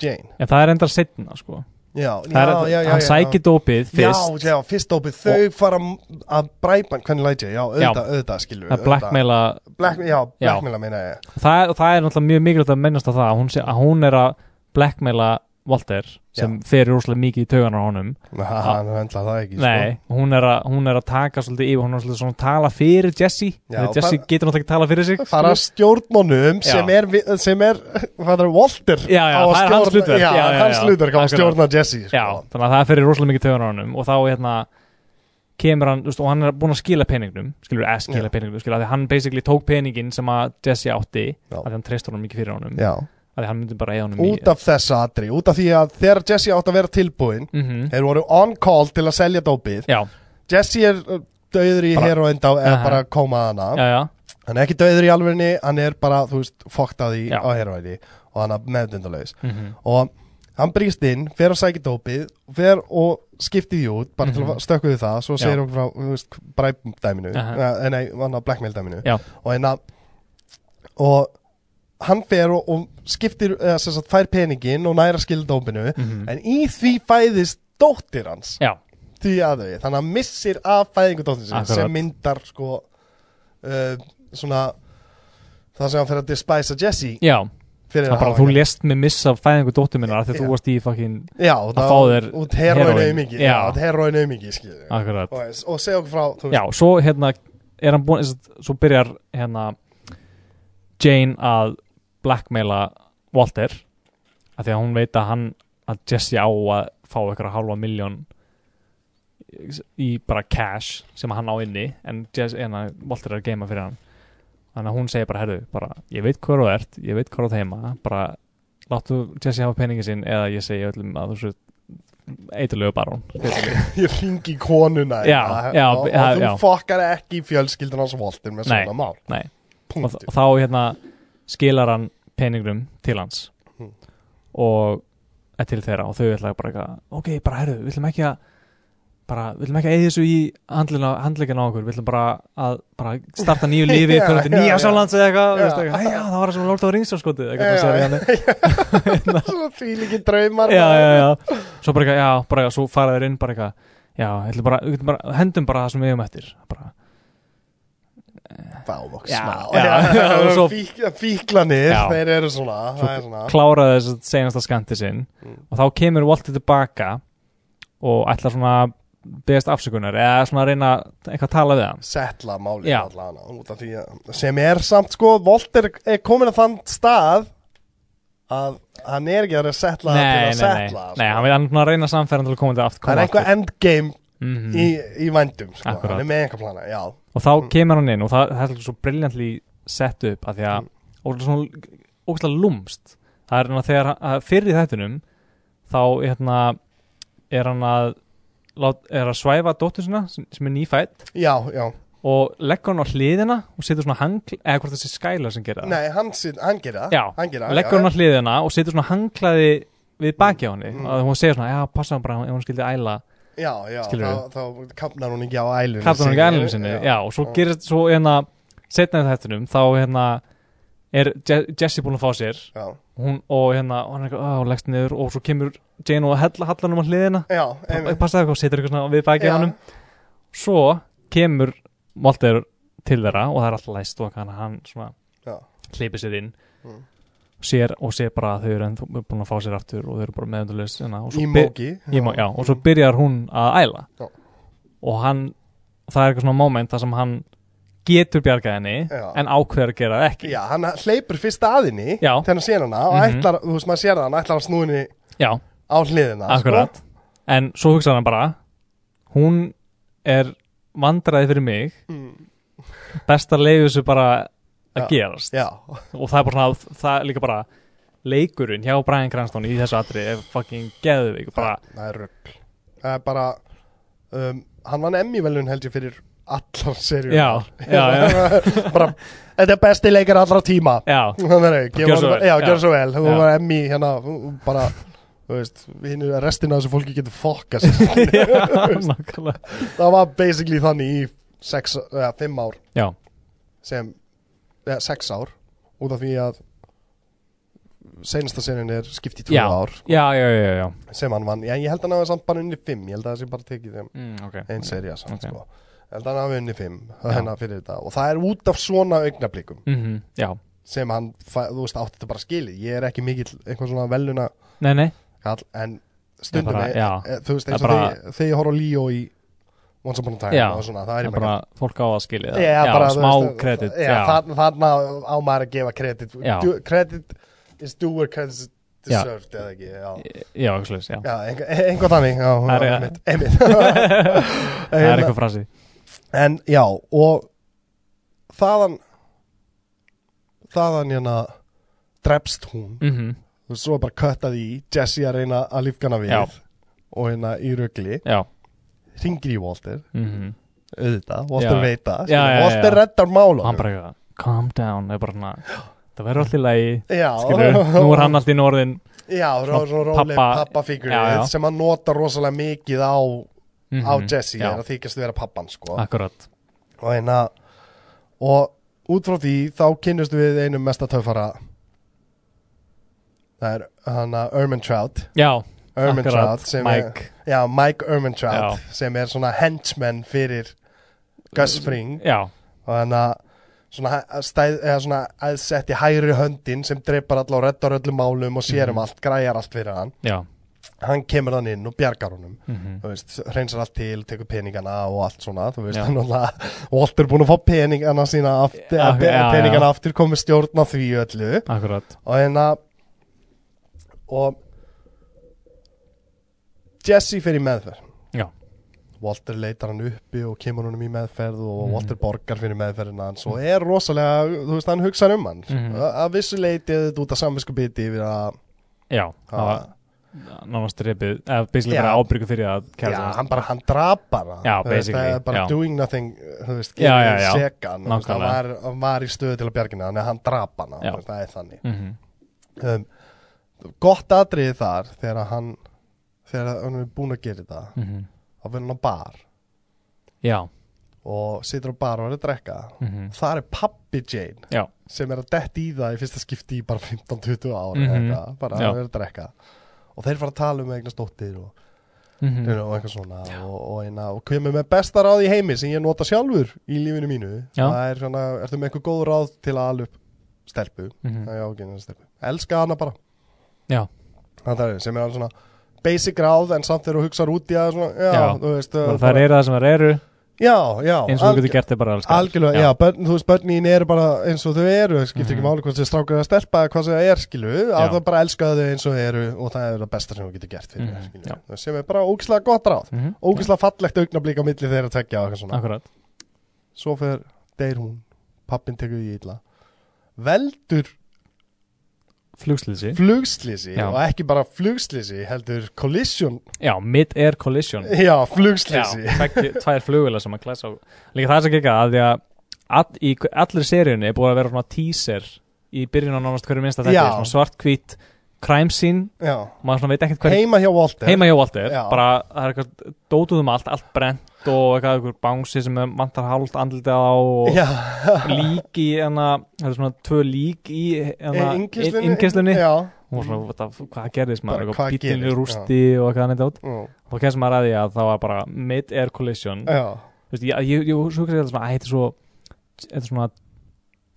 Speaker 1: Jane
Speaker 2: en það er endar setna sko.
Speaker 1: já,
Speaker 2: Það er,
Speaker 1: já, já, já,
Speaker 2: hann
Speaker 1: já.
Speaker 2: sækir dópið fyrst
Speaker 1: já, já, fyrst dópið, þau fara m- að bræpa hann, hvernig læt ég, já, auðvitað, auðvitað skilur
Speaker 2: að blackmaila
Speaker 1: black, já,
Speaker 2: Já.
Speaker 1: blackmaila meina ég
Speaker 2: það, er- og það er náttúrulega mjög mikilvægt að mennast á það að hún, sé, að hún er að blackmaila Walter sem fer rúslega mikið í tauganar á honum
Speaker 1: Næ, hann hendla það ekki, sko.
Speaker 2: Nei, hún er, að, hún er að taka svolítið yfir hún er svolítið svona að tala fyrir Jesse
Speaker 1: Já,
Speaker 2: Þegar Jesse
Speaker 1: bara-
Speaker 2: getur náttúrulega ekki að tala fyrir sig
Speaker 1: sko fara að stjórnmónum
Speaker 2: Já.
Speaker 1: sem er, vi- sem er, hvað er Walter
Speaker 2: Já, já,
Speaker 1: á að
Speaker 2: það er hans
Speaker 1: stjórna-
Speaker 2: hlutverk.
Speaker 1: já,
Speaker 2: Já, já,
Speaker 1: hans
Speaker 2: já.
Speaker 1: hlutverk á að
Speaker 2: Akkurat.
Speaker 1: stjórna Jesse sko.
Speaker 2: Já, þannig að það fyrir rosalega mikið töðan á honum og þá hérna kemur hann, þú veist, og hann er búin að skila peningnum skilur, eða skila
Speaker 1: Já.
Speaker 2: peningnum, skilur, að því hann basically tók peningin sem að Jesse átti
Speaker 1: Já.
Speaker 2: að því hann treystur honum mikið fyrir honum
Speaker 1: já.
Speaker 2: að því hann myndi bara eða honum
Speaker 1: út af þessa atriði, út af því að þegar Jesse átt að vera tilbúinn
Speaker 2: mm -hmm.
Speaker 1: þeir voru on call til að selja dópið
Speaker 2: Já,
Speaker 1: Jesse er uh, dauður í
Speaker 2: Bara-
Speaker 1: heroin eða
Speaker 2: Aha.
Speaker 1: bara koma hana
Speaker 2: já, já,
Speaker 1: hann er ekki dauður í alvegni, hann er bara þú veist, fokkt að því
Speaker 2: Já.
Speaker 1: á heroinni og hann er meðdundalaus
Speaker 2: mm
Speaker 1: og hann brýst inn, fer að sækja dópið fer og skipti því út bara til
Speaker 2: Mhm.
Speaker 1: að stökku því það, svo
Speaker 2: Já.
Speaker 1: segir hann frá þú veist, bræpdæminu,
Speaker 2: Aha.
Speaker 1: uh, nei, hann á blackmail dæminu
Speaker 2: Já.
Speaker 1: og hérna og hann fer og, og skiptir, eða sem sagt fær peningin og næra skilja dópinu
Speaker 2: Mhm.
Speaker 1: en í því fæðist dóttir hans
Speaker 2: já,
Speaker 1: því aðeins, þannig að hann missir af fæðingu dóttir sinni
Speaker 2: Akkurat.
Speaker 1: sem myndar sko uh, svona það sem hann fyrir að despæsa Jesse
Speaker 2: já
Speaker 1: fyrir
Speaker 2: það bara þú lest mig missa fæðingu dóttur minnar af því að þú
Speaker 1: Já.
Speaker 2: varst í fucking
Speaker 1: já,
Speaker 2: að fá þér
Speaker 1: út heroinu
Speaker 2: heroín.
Speaker 1: aumingi
Speaker 2: Já.
Speaker 1: heroinu aumingi skilur og,
Speaker 2: akkurat,
Speaker 1: og segja okkur frá þú
Speaker 2: já, svo hérna er hann búin, svo byrjar hérna Jane að blackmaila Walter af því að hún veit að hann að Jesse á að fá eitthvað halva miljón í bara cash sem hann á inni en, Jess, en að Walter er að geima fyrir hann þannig að hún segir bara, herru, bara ég veit hvað þú ert, ég veit hvað þú ert heima bara láttu Jesse hafa peningin sinn eða ég segi öllum að þú sér eiturlegu barón
Speaker 1: Ég ringi í konuna
Speaker 2: Já,
Speaker 1: hérna,
Speaker 2: já,
Speaker 1: og,
Speaker 2: já,
Speaker 1: og þú
Speaker 2: já.
Speaker 1: fokkar ekki í fjölskyldan hans Walter með
Speaker 2: Nei,
Speaker 1: svona mál
Speaker 2: nei. og,
Speaker 1: Punktur
Speaker 2: og þá hérna skilar hann peningrum til hans
Speaker 1: Hmm.
Speaker 2: og eh, til þeirra og þau ætla bara eitthvað ok, bara herru, við ætlum ekki að bara, við ætlum ekki að eigi þessu í handlina, handleikina á okkur, við ætlum bara að bara starta nýju lífi,
Speaker 1: Já,
Speaker 2: fyrir þetta
Speaker 1: já,
Speaker 2: nýja
Speaker 1: já.
Speaker 2: sálands eða eitthvað,
Speaker 1: Já.
Speaker 2: veistu eitthvað, "Æ, já, það var það sem lort á ringsjónskotið, eitthvað
Speaker 1: Já,
Speaker 2: það sér
Speaker 1: já.
Speaker 2: í hann
Speaker 1: Svona fílíki draumar
Speaker 2: já, já, já, svo bara eitthvað, já, bara eitthvað, svo fara þeir inn bara eitthvað, já, við ætlum bara, við ætlum bara hendum bara það sem við hefum eftir, bara,
Speaker 1: Fá okkur
Speaker 2: Já,
Speaker 1: smá
Speaker 2: já, já, og svo-
Speaker 1: Fík, Fíklanir,
Speaker 2: Já.
Speaker 1: þeir eru svona
Speaker 2: Svo
Speaker 1: Það er svona
Speaker 2: kláraði þess að senasta skanti sinn
Speaker 1: Mm.
Speaker 2: og þá kemur Walter tilbaka og ætlar svona að beðast afsökunar eða svona að reyna eitthvað að tala við hann
Speaker 1: settla málið
Speaker 2: Já.
Speaker 1: allan út af því að sem er samt sko Volter er komin að þann stað að hann er ekki að settla
Speaker 2: nei,
Speaker 1: til að
Speaker 2: nei, nei,
Speaker 1: settla sko.
Speaker 2: nei, hann vil hann svona reyna samferðan til að koma til aftur
Speaker 1: það er
Speaker 2: koma
Speaker 1: eitthvað
Speaker 2: aftur.
Speaker 1: endgame
Speaker 2: Mhm.
Speaker 1: í, í vændum sko.
Speaker 2: Akkurat.
Speaker 1: hann er með einhver plana já,
Speaker 2: og þá kemur hann inn og það, það er svo briljantli sett upp að því
Speaker 1: Mm.
Speaker 2: að og svona ógæslega lúmst það er hann að þegar að fyrir í þættunum þá hérna, er hann að lát, er að svæfa dóttur sinna sem, sem er nýfætt
Speaker 1: já, já.
Speaker 2: og leggur hann á hliðina og setur svona hangl eða hvort þessi skæla sem gera það
Speaker 1: nei, hann, sit- hann gera
Speaker 2: Já,
Speaker 1: hann gera
Speaker 2: leggur hann á hliðina og setur svona hanglaði við baki á henni
Speaker 1: Mm.
Speaker 2: og hún segir svona, já, passa hann bara ef hún skildi æla
Speaker 1: já, já,
Speaker 2: Skilur
Speaker 1: þá, þá kapnar hún ekki á ælunni
Speaker 2: kapta hann
Speaker 1: sinni.
Speaker 2: ekki ælunum sinni já, og svo
Speaker 1: Já.
Speaker 2: gerist, svo hérna setna í þættunum, þá hérna er Je Jesse búin að fá sér
Speaker 1: já,
Speaker 2: hún, og hérna, og hann er eitthvað, og leggst niður og svo kemur Jane og hella hallanum á hliðina
Speaker 1: já, einmitt.
Speaker 2: passaði eitthvað, setur eitthvað svona við baki á
Speaker 1: Já.
Speaker 2: hennum svo kemur Walter til þeirra og það er alltaf læst og hann, hann svona
Speaker 1: Já.
Speaker 2: hleypir sér inn
Speaker 1: Mm.
Speaker 2: og sér, og sér bara að þau eru ennþá búin að fá sér aftur og þau eru bara meðendurleis og, svo
Speaker 1: í
Speaker 2: byr-
Speaker 1: móki
Speaker 2: í mó- já, og svo byrjar hún að
Speaker 1: Mm.
Speaker 2: æla
Speaker 1: Já.
Speaker 2: og hann það er eitthvað svona moment þar sem hann getur bjargað henni
Speaker 1: Já.
Speaker 2: en ákveður að gera það ekki
Speaker 1: já, hann hleypur fyrst aðinni
Speaker 2: Já.
Speaker 1: þegar hann sér hana og
Speaker 2: Mhm.
Speaker 1: ætlar, þú veist maður sér það hann ætlar að snúinni
Speaker 2: Já,
Speaker 1: á hliðina sko.
Speaker 2: akkurat en svo hugsaði hann bara hún er vandræði fyrir mig
Speaker 1: sko. mm,
Speaker 2: best að leiði þessu bara að
Speaker 1: Já.
Speaker 2: gerast
Speaker 1: já,
Speaker 2: og það er bara svona, það er líka bara leikurinn hjá Brian Cranston í þessu atri er fucking geðvig bara,
Speaker 1: Það- Það er rugg Það er bara um, Hann vann Emmy velun held ég fyrir allar serjur
Speaker 2: já, já, já,
Speaker 1: bara, Þetta er besti leikar allra tíma
Speaker 2: já
Speaker 1: Þannig að
Speaker 2: Gjörðu
Speaker 1: gefa
Speaker 2: svo
Speaker 1: hann-
Speaker 2: vel,
Speaker 1: Já,
Speaker 2: já.
Speaker 1: gjör svo vel Þú
Speaker 2: Já.
Speaker 1: var Emmy hérna þú- bara Þú veist, hinn er restin af þessu fólki getur fokka sér
Speaker 2: nákvæmlega.
Speaker 1: Það var basically þannig í sex, eða, fimm ár
Speaker 2: já,
Speaker 1: sem, eða, sex ár út af því að seinasta serjun er skipt í tvö
Speaker 2: Já.
Speaker 1: ár
Speaker 2: já, já, já, já.
Speaker 1: sem hann vann, já, ég held að hann hafa samt bara unni fimm, ég held að það sé bara tekið þeim
Speaker 2: Mm, okay.
Speaker 1: einn serja samt
Speaker 2: Ok.
Speaker 1: sko en hann hafi unni fimm
Speaker 2: Já.
Speaker 1: hennar fyrir þetta og það er út af svona augnablikum
Speaker 2: mm já,
Speaker 1: sem hann, fæ, þú veist, átti þetta bara skilið ég er ekki mikill einhvern svona veluna
Speaker 2: nei, nei
Speaker 1: kall, en stundum
Speaker 2: Það er bara-
Speaker 1: er,
Speaker 2: já.
Speaker 1: er, þú veist, eins og
Speaker 2: Það er bara-
Speaker 1: þegar þegar ég horf á Líó í Once Upon a Time
Speaker 2: Já.
Speaker 1: og svona, það er
Speaker 2: það
Speaker 1: ég
Speaker 2: er bara fólk á að skilja það
Speaker 1: Já,
Speaker 2: já,
Speaker 1: bara, þú
Speaker 2: smá
Speaker 1: veist,
Speaker 2: kredit
Speaker 1: já, þarna- þarna á maður að gefa kredit
Speaker 2: Já.
Speaker 1: Du- credit is due where credit is
Speaker 2: Já.
Speaker 1: deserved eða ekki, já
Speaker 2: já, ekki slags, já
Speaker 1: Já, einhver, einhver þannig, já,
Speaker 2: Það er-
Speaker 1: já, einmitt, einmitt.
Speaker 2: það er eitthvað frasi
Speaker 1: En já, og þaðan þaðan hérna drepst hún
Speaker 2: mm
Speaker 1: og svo er bara köttað í Jesse að reyna að lífgana við
Speaker 2: Já.
Speaker 1: og hérna í rögli
Speaker 2: já,
Speaker 1: ringir í Walter,
Speaker 2: mhm
Speaker 1: auðvitað Walter
Speaker 2: Já.
Speaker 1: veit það,
Speaker 2: Já,
Speaker 1: skilur,
Speaker 2: já, já,
Speaker 1: Walter
Speaker 2: já.
Speaker 1: reddar mála
Speaker 2: og hann bara eitthvað, calm down er bara svona, það verður allir lægi
Speaker 1: já,
Speaker 2: skilur, nú er hann allt í norðin
Speaker 1: já, ró, ró, róleg
Speaker 2: pappa-
Speaker 1: pappafígur
Speaker 2: Já, já.
Speaker 1: sem hann notar rosalega mikið á,
Speaker 2: mm
Speaker 1: á Jesse,
Speaker 2: já,
Speaker 1: er að þykjast vera pappan sko.
Speaker 2: akkurat
Speaker 1: og hérna og út frá því þá kynnust við einum mesta töffara það er hann að Ermintrout
Speaker 2: já,
Speaker 1: Ermintrout
Speaker 2: akkurat,
Speaker 1: sem
Speaker 2: Mike
Speaker 1: er já, Mike Ermintrout
Speaker 2: Já.
Speaker 1: sem er svona henchman fyrir Gus Fring
Speaker 2: já,
Speaker 1: og hann að svona, stæð, eða svona aðsetti hægri höndin sem dreipar alla og reddar öllum málum og sér
Speaker 2: Mhm.
Speaker 1: um allt, græjar allt fyrir hann
Speaker 2: já
Speaker 1: hann kemur hann inn og bjargar honum
Speaker 2: mhm.
Speaker 1: þú veist, hreinsar allt til, tekur peningana og allt svona, þú veist,
Speaker 2: Já.
Speaker 1: þannig að Walter er búin að fá peningana sína aftur, ja,
Speaker 2: Já, já,
Speaker 1: peningana
Speaker 2: já.
Speaker 1: aftur, komið stjórna því öllu
Speaker 2: akkurat
Speaker 1: og hérna og Jesse fer í meðferð
Speaker 2: Já.
Speaker 1: Walter leitar hann uppi og kemur honum í meðferð og
Speaker 2: Mhm.
Speaker 1: Walter borgar fyrir meðferðina hans og er rosalega, þú veist, hann hugsaður um hann
Speaker 2: Mhm.
Speaker 1: að að vissu leiti eða þetta út af samvinsku biti yfir að,
Speaker 2: Já, það
Speaker 1: að
Speaker 2: var nánast reypið, eða basically
Speaker 1: Já.
Speaker 2: bara ábyrgu fyrir
Speaker 1: já,
Speaker 2: að kæra það.
Speaker 1: hann bara, hann draf bara
Speaker 2: Já,
Speaker 1: Þú veist,
Speaker 2: basically,
Speaker 1: það er bara
Speaker 2: já.
Speaker 1: doing nothing, þú veist,
Speaker 2: Já, já,
Speaker 1: gefur
Speaker 2: já.
Speaker 1: sekan þú veist, hann var,
Speaker 2: Nákvæmlega.
Speaker 1: hann var í stöðu til að bjargina þannig að hann draf hana,
Speaker 2: Já.
Speaker 1: þú veist, það er þannig
Speaker 2: Mm
Speaker 1: um, gott atriði þar þegar að hann þegar hann er búin að gera þetta þá verður hann á bar
Speaker 2: Mhm. Já,
Speaker 1: og situr á bar og verður að drekka
Speaker 2: mm
Speaker 1: þar er pappi Jane
Speaker 2: já,
Speaker 1: sem er að detti í það í fyrsta skipti í bara 15-20 ári mm
Speaker 2: Mhm.
Speaker 1: eitthvað, bara
Speaker 2: Já.
Speaker 1: að verður að drekka og þeir fara að tala um eignar stóttir og,
Speaker 2: mm
Speaker 1: og eitthvað svona og, og, eina, og kemur með besta ráð í heimi sem ég nota sjálfur í lífinu mínu
Speaker 2: Já.
Speaker 1: það er svona, ertu með einhver góð ráð til að ala upp stelpu,
Speaker 2: Mm.
Speaker 1: það er ágæðin stelpu elska hana bara
Speaker 2: Mhm. já,
Speaker 1: það er, sem er alveg svona basic ráð en samt þegar þú hugsaður út í það svona, já,
Speaker 2: Já.
Speaker 1: þú veist uh,
Speaker 2: bara það eru það sem það eru
Speaker 1: já, já,
Speaker 2: eins og þú getur gert þig bara alls staðar.
Speaker 1: algjörlega, já, börn, þú veist, börnin eru bara eins og þau eru, skiptir ekki máli hvort þau strákur eða stelpa eða hvað sem það er, skilu
Speaker 2: Mhm. Já.
Speaker 1: að það bara elskaðu þau eins og þau eru og það er það besta sem þú getur gert fyrir
Speaker 2: Mhm,
Speaker 1: þau,
Speaker 2: já.
Speaker 1: skilu, sem er bara ógislega gott ráð
Speaker 2: Mhm,
Speaker 1: ógislega fallegt augnablík á milli þeirra tveggja og eitthvað svona,
Speaker 2: Akkurat,
Speaker 1: svo fer deyr hún, pappin tekur því illa veldur
Speaker 2: flugslýsi
Speaker 1: flugslýsi
Speaker 2: Já.
Speaker 1: og ekki bara flugslýsi heldur collision,
Speaker 2: Já, mid-air collision
Speaker 1: já,
Speaker 2: Já,
Speaker 1: flugslýsi
Speaker 2: tvekki- tvær flugvila sem að klæsa á Líka það sem ekki að því að all, í hver- allri seríunni er búið að vera svona teaser í byrjun á nánast hverju minnsta þetta
Speaker 1: Já.
Speaker 2: svona svart-hvít crime scene
Speaker 1: já.
Speaker 2: maður svona veit ekkert hverju
Speaker 1: heima hjá Walter
Speaker 2: heima hjá Walter
Speaker 1: Já.
Speaker 2: bara það er eitthvað dótuðum allt, allt brent og eitthvað eitthvað bánsi sem er vantar hálft andlitið á og
Speaker 1: já,
Speaker 2: lík í hana, það er svona tvö lík í hana,
Speaker 1: Innkeyrslunni.
Speaker 2: innkestlunni
Speaker 1: já,
Speaker 2: og svona what the f- hvað gerðist
Speaker 1: Bara,
Speaker 2: maður,
Speaker 1: hvað
Speaker 2: eitthvað bíllinn í
Speaker 1: gerðist,
Speaker 2: rústi og eitthvað annað dót
Speaker 1: já,
Speaker 2: og þá kemst maður að því að það var bara mid-air collision
Speaker 1: já.
Speaker 2: Þú veist, ég, ég, ég svo hugsaði alltaf svona, æ, þetta er svo þetta er svona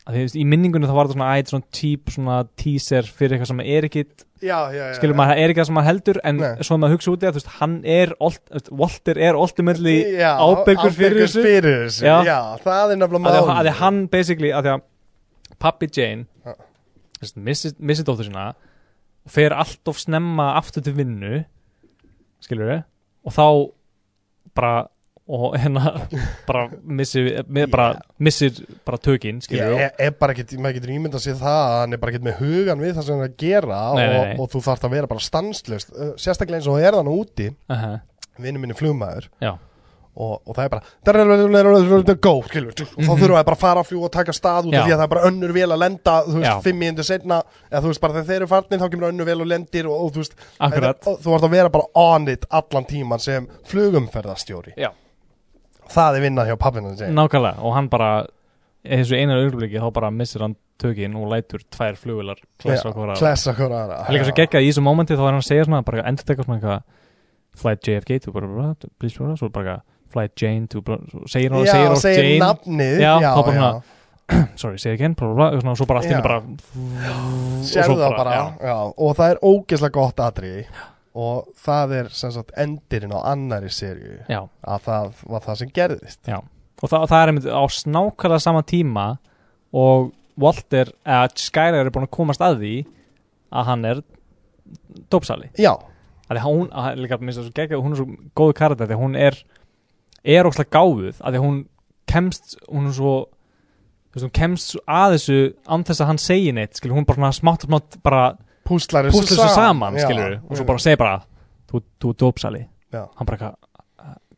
Speaker 2: að því, þú veist, í minningunni þá var þetta svona, æ, þetta er svona típ svona teaser fyrir eitthvað sem er ekki
Speaker 1: já, já, já
Speaker 2: skilur maður, það er ekki það sem maður heldur en
Speaker 1: Nei.
Speaker 2: svo maður hugsa út í það, þú veist, hann er olt, þú veist, Walter er ultimately
Speaker 1: Já,
Speaker 2: ábyrgur fyrir
Speaker 1: ábyrgur
Speaker 2: þessu.
Speaker 1: fyrir þessu.
Speaker 2: Já.
Speaker 1: Já. það er nefnilega
Speaker 2: að því
Speaker 1: máli
Speaker 2: að- að því að hann basically, að því að pappi Jane
Speaker 1: Já.
Speaker 2: þú veist, missir, missir dóttur sína og fer allt of snemma aftur til vinnu skilur við og þá bara og hérna bara missir, mi- bara, missir bara tökin, skilur við
Speaker 1: Ég er- er bara ekkert, maður getur ímyndað sér það að hann er bara ekkert með hugan við það sem hann er að gera
Speaker 2: Nei,
Speaker 1: og,
Speaker 2: nei, nei.
Speaker 1: og þú þarft að vera bara stanslust sérstaklega eins og það er þannig úti
Speaker 2: uh -huh.
Speaker 1: vinnu minni flugmaður
Speaker 2: Já.
Speaker 1: og, og það er bara go, skilur, og þá þurfa það bara að fara að fljúga og taka stað út af
Speaker 2: Mhm. Já.
Speaker 1: því að það er bara önnur vel að lenda þú veist,
Speaker 2: Já.
Speaker 1: fimm mínútur setna eða þú veist bara þegar þeir eru farnir þá kemur önnur vel og lendir og, og þú veist,
Speaker 2: Akkurat.
Speaker 1: þetta- og þú ert að vera bara on it allan tíman sem flugumferðarstjóri
Speaker 2: Já.
Speaker 1: það er vinnað hjá pappinu sem
Speaker 2: nákvæmlega og hann bara í þessu einar augnablikki þá bara missir hann tökin og lætur tvær flugular klessa okkur að
Speaker 1: klessa okkur aðra
Speaker 2: Það er líka svo geggjað í þessu mómenti þá er hann að segja svona bara endur teka svona eitthvað flight JFK to bara bara bara please bara svo bara eitthvað, flight Jane to bara svo segir hann
Speaker 1: já,
Speaker 2: segir hann
Speaker 1: segir
Speaker 2: Jane
Speaker 1: nafnið
Speaker 2: Já,
Speaker 1: já,
Speaker 2: þá bara
Speaker 1: já,
Speaker 2: svona- sorry segir again bara bara svona, og svo bara allt í
Speaker 1: Já.
Speaker 2: henni bara
Speaker 1: sérðu
Speaker 2: svo
Speaker 1: það bara
Speaker 2: já.
Speaker 1: já, og það er ógeðslega gott atriði og það er sem sagt endirinn á annari serju
Speaker 2: já
Speaker 1: að það var það sem gerðist
Speaker 2: og það, það er einmitt á snákala sama tíma og Walter eða Skyler er búin að komast að því að hann er dópsali
Speaker 1: já,
Speaker 2: að því hún, að líka minnst það svo geggjað hún er svo góðu karakter því að hún er er ókslega gáfuð að því að hún kemst, hún er svo þú veist, hún kemst svo að þessu án þess að hann segi neitt, skilur, hún bara svona smátt og smátt bara
Speaker 1: púslar þessu
Speaker 2: púsla þessu saman,
Speaker 1: já. Mm.
Speaker 2: skilur, og svo bara segi bara þú, þú dópsali,
Speaker 1: Já. Mm.
Speaker 2: hann bara eitthvað,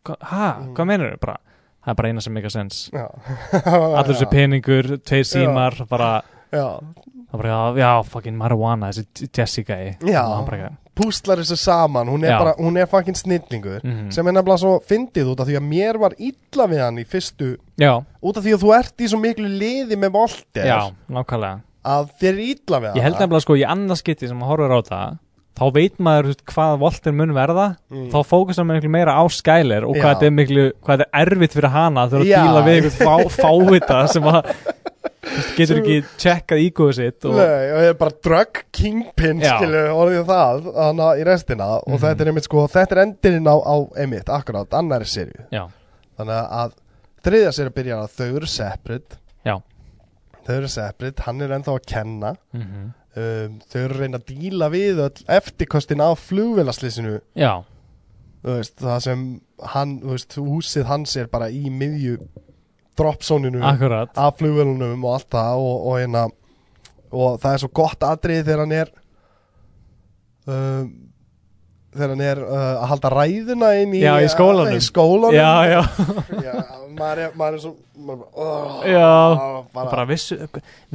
Speaker 2: "Hva- ha, hvað menur bara, það er bara eina sem meika sens
Speaker 1: já.
Speaker 2: allir þessi peningur, tveir símar bara,
Speaker 1: já.
Speaker 2: hann bara, já, fucking marijuana þessi Jessica í,
Speaker 1: Já.
Speaker 2: hann bara eitthvað
Speaker 1: púslar þessu saman, hún er,
Speaker 2: Já.
Speaker 1: bara, hún er fucking snillingur
Speaker 2: Mhm.
Speaker 1: sem er nefnilega svo fyndið út af því að mér var illa við hann í fyrstu
Speaker 2: já,
Speaker 1: út af því að þú ert í svo miklu liði með Volter
Speaker 2: já, nákvæmlega
Speaker 1: að þér er illa við hann
Speaker 2: Ég held nefnilega sko í annað skiti sem maður horfir á það þá veit maður þú veist, hvað Volter mun verða þá fókusar maður miklu meira á Skyler og
Speaker 1: Mm. Já.
Speaker 2: hvað þetta er miklu, hvað þetta er erfitt fyrir hana þegar
Speaker 1: Já.
Speaker 2: að díla við eitthvað fá, fávita sem að þú veist, getur ekki tjekkað ígóðu sitt og
Speaker 1: Nei, og ég er bara drug kingpin
Speaker 2: Já. Mhm.
Speaker 1: skilu, orðið það, þannig að í restina og þetta er einmitt sko, þetta er endurinn á, á einmitt, akkurát, annari serju
Speaker 2: Já,
Speaker 1: þannig að þriðja serju byrjar að þau eru separate
Speaker 2: já
Speaker 1: þau eru separate, hann er ennþá að kenna
Speaker 2: mm
Speaker 1: um, þau eru að reyna að díla við öll eftirkostin af flugvélaslýsinu
Speaker 2: Já,
Speaker 1: þú veist, það sem hann, þú veist, húsið hans er bara í miðju dropzóninu
Speaker 2: Akkurat
Speaker 1: af flugvelunum og allt það og, og, hérna, og það er svo gott atrið þegar hann er um, þegar hann er uh, að halda ræðuna inn í, uh,
Speaker 2: Já, í skólanum.
Speaker 1: í skólanum.
Speaker 2: Já, já
Speaker 1: Já, maður, er, maður er svo maður bara,
Speaker 2: Já.
Speaker 1: oh, bara,
Speaker 2: Bara vissu,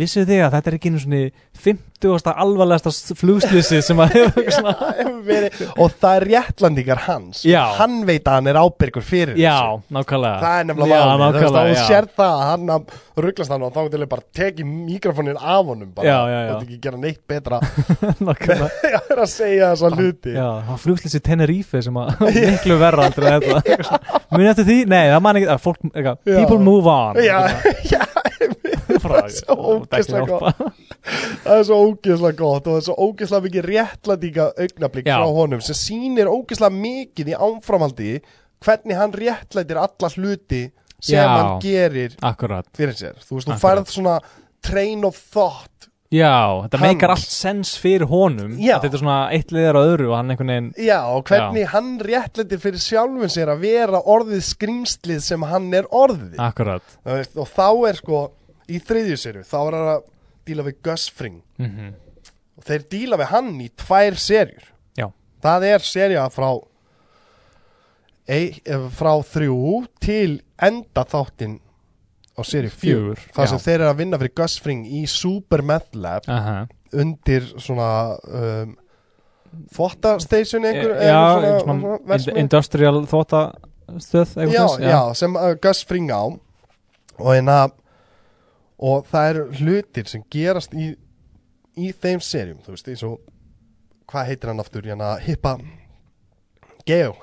Speaker 2: vissu þið að þetta er ekki einu svona 50. alvarlegasta flugslýsi sem að hefur svona
Speaker 1: hefur verið, og það er réttlandingar hans
Speaker 2: Já.
Speaker 1: hann veit að hann er ábyrgur fyrir þessu
Speaker 2: Já, nákvæmlega
Speaker 1: það er nefnilega
Speaker 2: Já,
Speaker 1: málið, þú veist,
Speaker 2: nákvæmlega,
Speaker 1: og
Speaker 2: já.
Speaker 1: sér það að hann að rugglast hann og þá til að bara teki mikrofónin af honum bara,
Speaker 2: Já, já, já.
Speaker 1: og ekki gera neitt betra
Speaker 2: Nákvæmlega
Speaker 1: það er að segja þessa hluti
Speaker 2: Já, það flugslissi Tenerife sem að miklu verra aldrei en þetta Muni eftir því? Nei, það man ekki að fólk, eitthvað,
Speaker 1: Já.
Speaker 2: people move on
Speaker 1: já, já,
Speaker 2: Frá,
Speaker 1: svo ógeðslega það er svo ógeðslega gott og það er svo ógeðslega mikið réttlætinga augnablík
Speaker 2: Já.
Speaker 1: frá honum sem sýnir ógeðslega mikið í ánframhaldi hvernig hann réttlætir alla hluti sem
Speaker 2: Já.
Speaker 1: hann gerir
Speaker 2: Akkurat,
Speaker 1: fyrir sér þú veist, þú
Speaker 2: Akkurat.
Speaker 1: færð svona train of thought
Speaker 2: já, þetta
Speaker 1: Hans.
Speaker 2: meikar allt sens fyrir honum
Speaker 1: Já.
Speaker 2: að Þetta er svona eitt liðar á öðru og hann einhvern veginn
Speaker 1: já, og hvernig hann réttlætir fyrir sjálfum sér að vera orðið skrýmslið sem hann er
Speaker 2: Ah.
Speaker 1: orðið
Speaker 2: Akkurat
Speaker 1: Þú veist, og þá er sko í þriðju serju, þá er hann að díla við Gus Fring
Speaker 2: mm
Speaker 1: og þeir díla við hann í tvær serjur
Speaker 2: Já.
Speaker 1: það er serja frá ei, eh, frá þrjú til enda þáttin á serju fjör
Speaker 2: Fjögur,
Speaker 1: það
Speaker 2: já.
Speaker 1: sem þeir eru að vinna fyrir Gus Fring í Super Meth Lab
Speaker 2: Aha.
Speaker 1: undir svona um, þvottastation einhver
Speaker 2: E- Já,
Speaker 1: eða
Speaker 2: svona, svona ind- industrial þvóttastöð
Speaker 1: já, já. sem uh, Gus Fring á og hérna og það eru hlutir sem gerast í, í þeim serjum þú veist, eins og hvað heitir hann aftur, hérna, hippa geo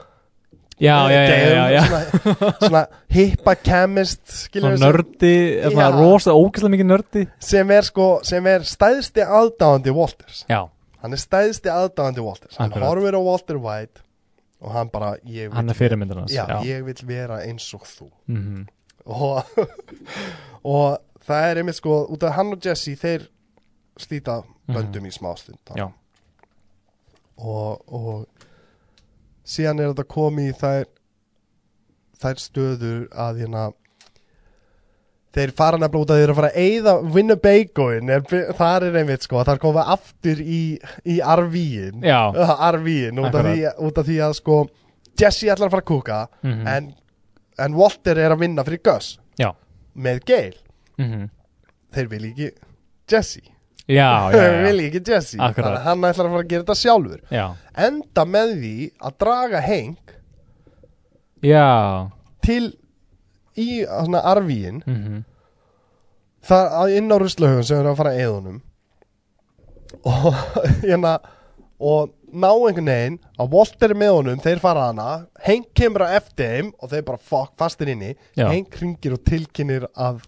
Speaker 2: já, já, já, já, já, já.
Speaker 1: Eh, Svona, svona hippa chemist skilur við,
Speaker 2: Svona nördi, svona
Speaker 1: Já.
Speaker 2: rosa, ógæslega mikið nördi
Speaker 1: sem er sko, sem er stæðsti aðdáandi Walters
Speaker 2: Já,
Speaker 1: hann er stæðsti aðdáðandi Walters hann
Speaker 2: Akkurat.
Speaker 1: horfir á Walter White og hann bara ég vil,
Speaker 2: hann er fyrirmyndin hans
Speaker 1: já,
Speaker 2: já.
Speaker 1: ég vil vera eins og þú
Speaker 2: Mhm.
Speaker 1: og, og það er einmitt sko út af hann og Jesse þeir slíta böndum í smástund
Speaker 2: Mhm. Já.
Speaker 1: og, og síðan er þetta komið í þær þær stöður að hérna Þeir fara nefnilega út að þeir eru að fara að eyða Winnebagoin, er, þar er einmitt sko, þar koma aftur í, í RV-in
Speaker 2: já.
Speaker 1: Arvíin út, af
Speaker 2: Akkurat.
Speaker 1: því- út af því að sko Jesse ætlar að fara að kúka
Speaker 2: Mhm.
Speaker 1: en, en Walter er að vinna fyrir Gus
Speaker 2: Já.
Speaker 1: með Gail
Speaker 2: Mhm.
Speaker 1: þeir vilja ekki Jesse
Speaker 2: já, já,
Speaker 1: þeir
Speaker 2: já,
Speaker 1: vilja ekki Jesse
Speaker 2: Akkurat.
Speaker 1: þannig að hann ætlar að fara að gera þetta sjálfur
Speaker 2: já,
Speaker 1: enda með því að draga Hank
Speaker 2: já,
Speaker 1: til í svona, Arvíin
Speaker 2: mhm.
Speaker 1: það að- inn á ruslahauðum sem er að fara að eðunum og hérna og ná einhvern veginn að Walter er með honum, þeir fara hana Hank kemur á eftir þeim og þeir bara fuck fastir inni,
Speaker 2: Já.
Speaker 1: Hank ringir og tilkynir að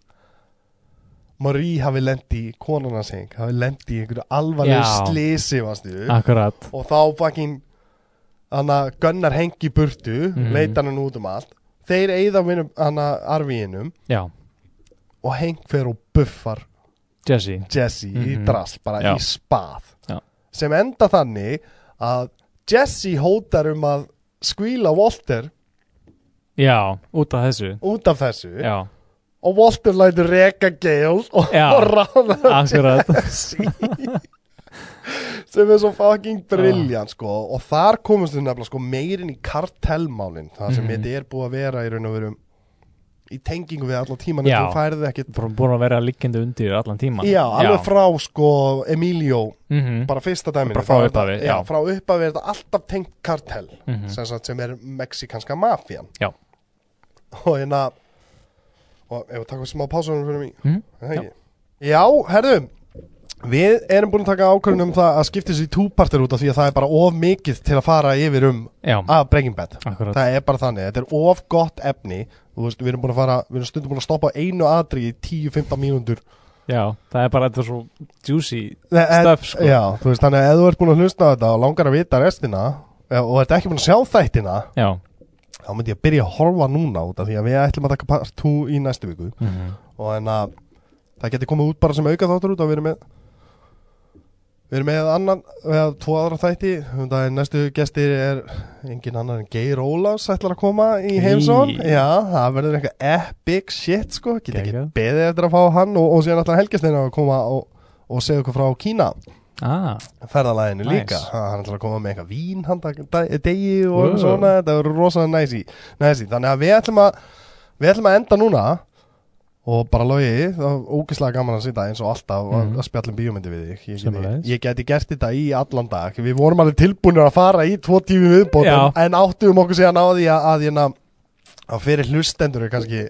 Speaker 1: Marie hafi lendi, konan hans Hank hafi lendi í einhverju alvarlegu
Speaker 2: Já. Ah.
Speaker 1: slisi vastu,
Speaker 2: akkurat
Speaker 1: og þá fucking hana, gunnar Hank í burtu
Speaker 2: Mhm.
Speaker 1: leitar hann út um allt þeir eigða hana arvíinum
Speaker 2: já,
Speaker 1: og Hank fer og buffar
Speaker 2: Jesse
Speaker 1: Jesse í
Speaker 2: Mhm.
Speaker 1: drasl, bara
Speaker 2: Já.
Speaker 1: í spað
Speaker 2: Já.
Speaker 1: sem enda þannig að Jesse hótar um að skvíla Walter
Speaker 2: já, út af þessu
Speaker 1: út af þessu
Speaker 2: já,
Speaker 1: og Walter lætur reka Gale og,
Speaker 2: Já.
Speaker 1: og ráða
Speaker 2: akkurat
Speaker 1: Jesse sem er svo fucking brilljant sko. og þar komumst við nefnilega sko, meirin í kartelmálin það sem
Speaker 2: Mhm.
Speaker 1: þetta er búið að vera í raun og verum í tengingu við allan tíman
Speaker 2: Já.
Speaker 1: þú færið ekkit
Speaker 2: Bú- búin að vera liggjandi undir allan tíman
Speaker 1: Já, alveg frá sko Emilio
Speaker 2: Mhm.
Speaker 1: bara fyrsta dæminu
Speaker 2: Bara frá
Speaker 1: Þá er þetta-
Speaker 2: upphafi,
Speaker 1: já,
Speaker 2: já.
Speaker 1: frá upphafi er þetta alltaf tengt kartell
Speaker 2: Mhm.
Speaker 1: sem, sagt, sem er mexikanska mafían
Speaker 2: Já.
Speaker 1: og hérna og ef við takum smá pásunum fyrir mig
Speaker 2: Mhm,
Speaker 1: mm, já. já, herðu við erum búin að taka ákvörðun um það að skipta þessu í túpartir út af því að það er bara of mikið til að fara yfir um
Speaker 2: já,
Speaker 1: að Breaking Bad
Speaker 2: akkurat
Speaker 1: það er bara þannig, þetta er of gott efni Þú veist, við erum búin að fara, við erum stundum búin að stoppa á einu atri í 10-15 mínútur
Speaker 2: já, það er bara þetta er svo juicy
Speaker 1: Nei, en-
Speaker 2: Stöf, sko.
Speaker 1: Já, þú veist, þannig að ef þú ert búin að hlusta á þetta og langar að vita restina eh, og ert ekki búin að sjá þættina
Speaker 2: já,
Speaker 1: þá myndi ég að byrja að horfa núna út af því að við ætlum að taka part 2 í næstu viku hérna,
Speaker 2: mhm.
Speaker 1: og en að það geti komið út bara sem auka þáttur út að við erum með Við erum með annan, eða tvo aðra þætti um daginn næstu gestir er engin annar en Geir Ólafs ætlar að koma í heimsón
Speaker 2: Hey.
Speaker 1: Já, það verður eitthvað epic shit sko, get ekki
Speaker 2: Geggjað.
Speaker 1: beðið eftir að fá hann og, og síðan ætlar Helgesteina að koma og, og segja okkur frá Kína
Speaker 2: Ah,
Speaker 1: ferðalæðinu
Speaker 2: Nice.
Speaker 1: líka ha, hann ætlar að koma með eitthvað vín handa degi og
Speaker 2: Wow.
Speaker 1: eitthvað svona, þetta verður rosalega næsi næsi, þannig að við ætlum að við ætlum að enda núna og bara logi, það var ógislega gaman að sita eins og alltaf mm.
Speaker 2: Mhm.
Speaker 1: að spjallum bíómyndi við þig ég geti,
Speaker 2: Sömuleiðis.
Speaker 1: ég geti gert þetta í allan dag við vorum alveg tilbúinir að fara í tvo tími viðbótum,
Speaker 2: Já.
Speaker 1: en áttum okkur síðan á því að, að, hérna- að fyrir hlustendur er kannski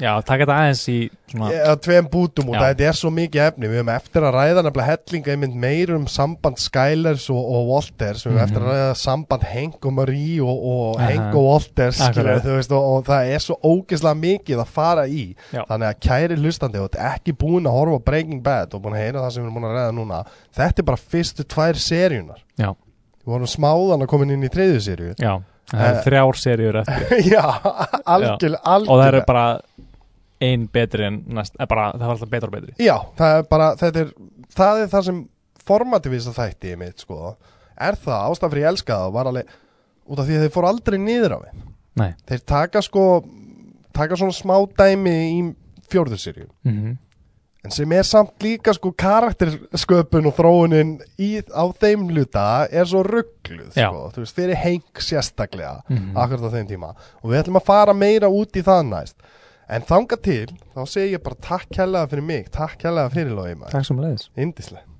Speaker 2: já, taka þetta aðeins í svona,
Speaker 1: Já, tveim bútum og
Speaker 2: Já.
Speaker 1: þetta er svo mikið efni Við höfum eftir að ræða nefnilega hellinga einmitt meir um samband Skylers og, og Walters Við höfum
Speaker 2: Mhm.
Speaker 1: eftir að ræða samband Hank og Marie og, og
Speaker 2: Aha.
Speaker 1: Hank og Walters skilur,
Speaker 2: Akkurat.
Speaker 1: þú veist, og, og það er svo ógeðslega mikið að fara í
Speaker 2: Já.
Speaker 1: Þannig að kæri hlustandi og þetta ekki búin að horfa á Breaking Bad og búin að heyra það sem við erum búin að ræða núna Þetta er bara fyrstu tvær seríunar
Speaker 2: Já.
Speaker 1: Við vorum smáðan að komin inn í þriðju seríu
Speaker 2: já, það er
Speaker 1: Eh.
Speaker 2: þrjár seríur eftir
Speaker 1: Já, algjör, algjör
Speaker 2: og það er bara ein betri en næst, eh, bara, það var alltaf betra og betri
Speaker 1: Já, það er bara, þetta er, það er það sem formativisa þætti ég mitt, sko, er það, ástæðan fyrir ég elska það var alveg, út af því að þeir fór aldrei niður á við.
Speaker 2: Nei.
Speaker 1: Þeir taka sko, taka svona smá dæmi í fjórðursýrju,
Speaker 2: mm -hmm.
Speaker 1: en sem er samt líka sko karaktersköpun og þróunin í, á þeim hluta er svo ruggluð,
Speaker 2: Já.
Speaker 1: sko, þú veist, fyrir heng sérstaklega
Speaker 2: Mhm.
Speaker 1: akkurat á þeim tíma og við ætlum að fara meira út í það næst. En þanga til, þá segi ég bara takk kærlega fyrir mig, takk kærlega fyrir logi maður.
Speaker 2: Takk sem leiðis
Speaker 1: Indislegt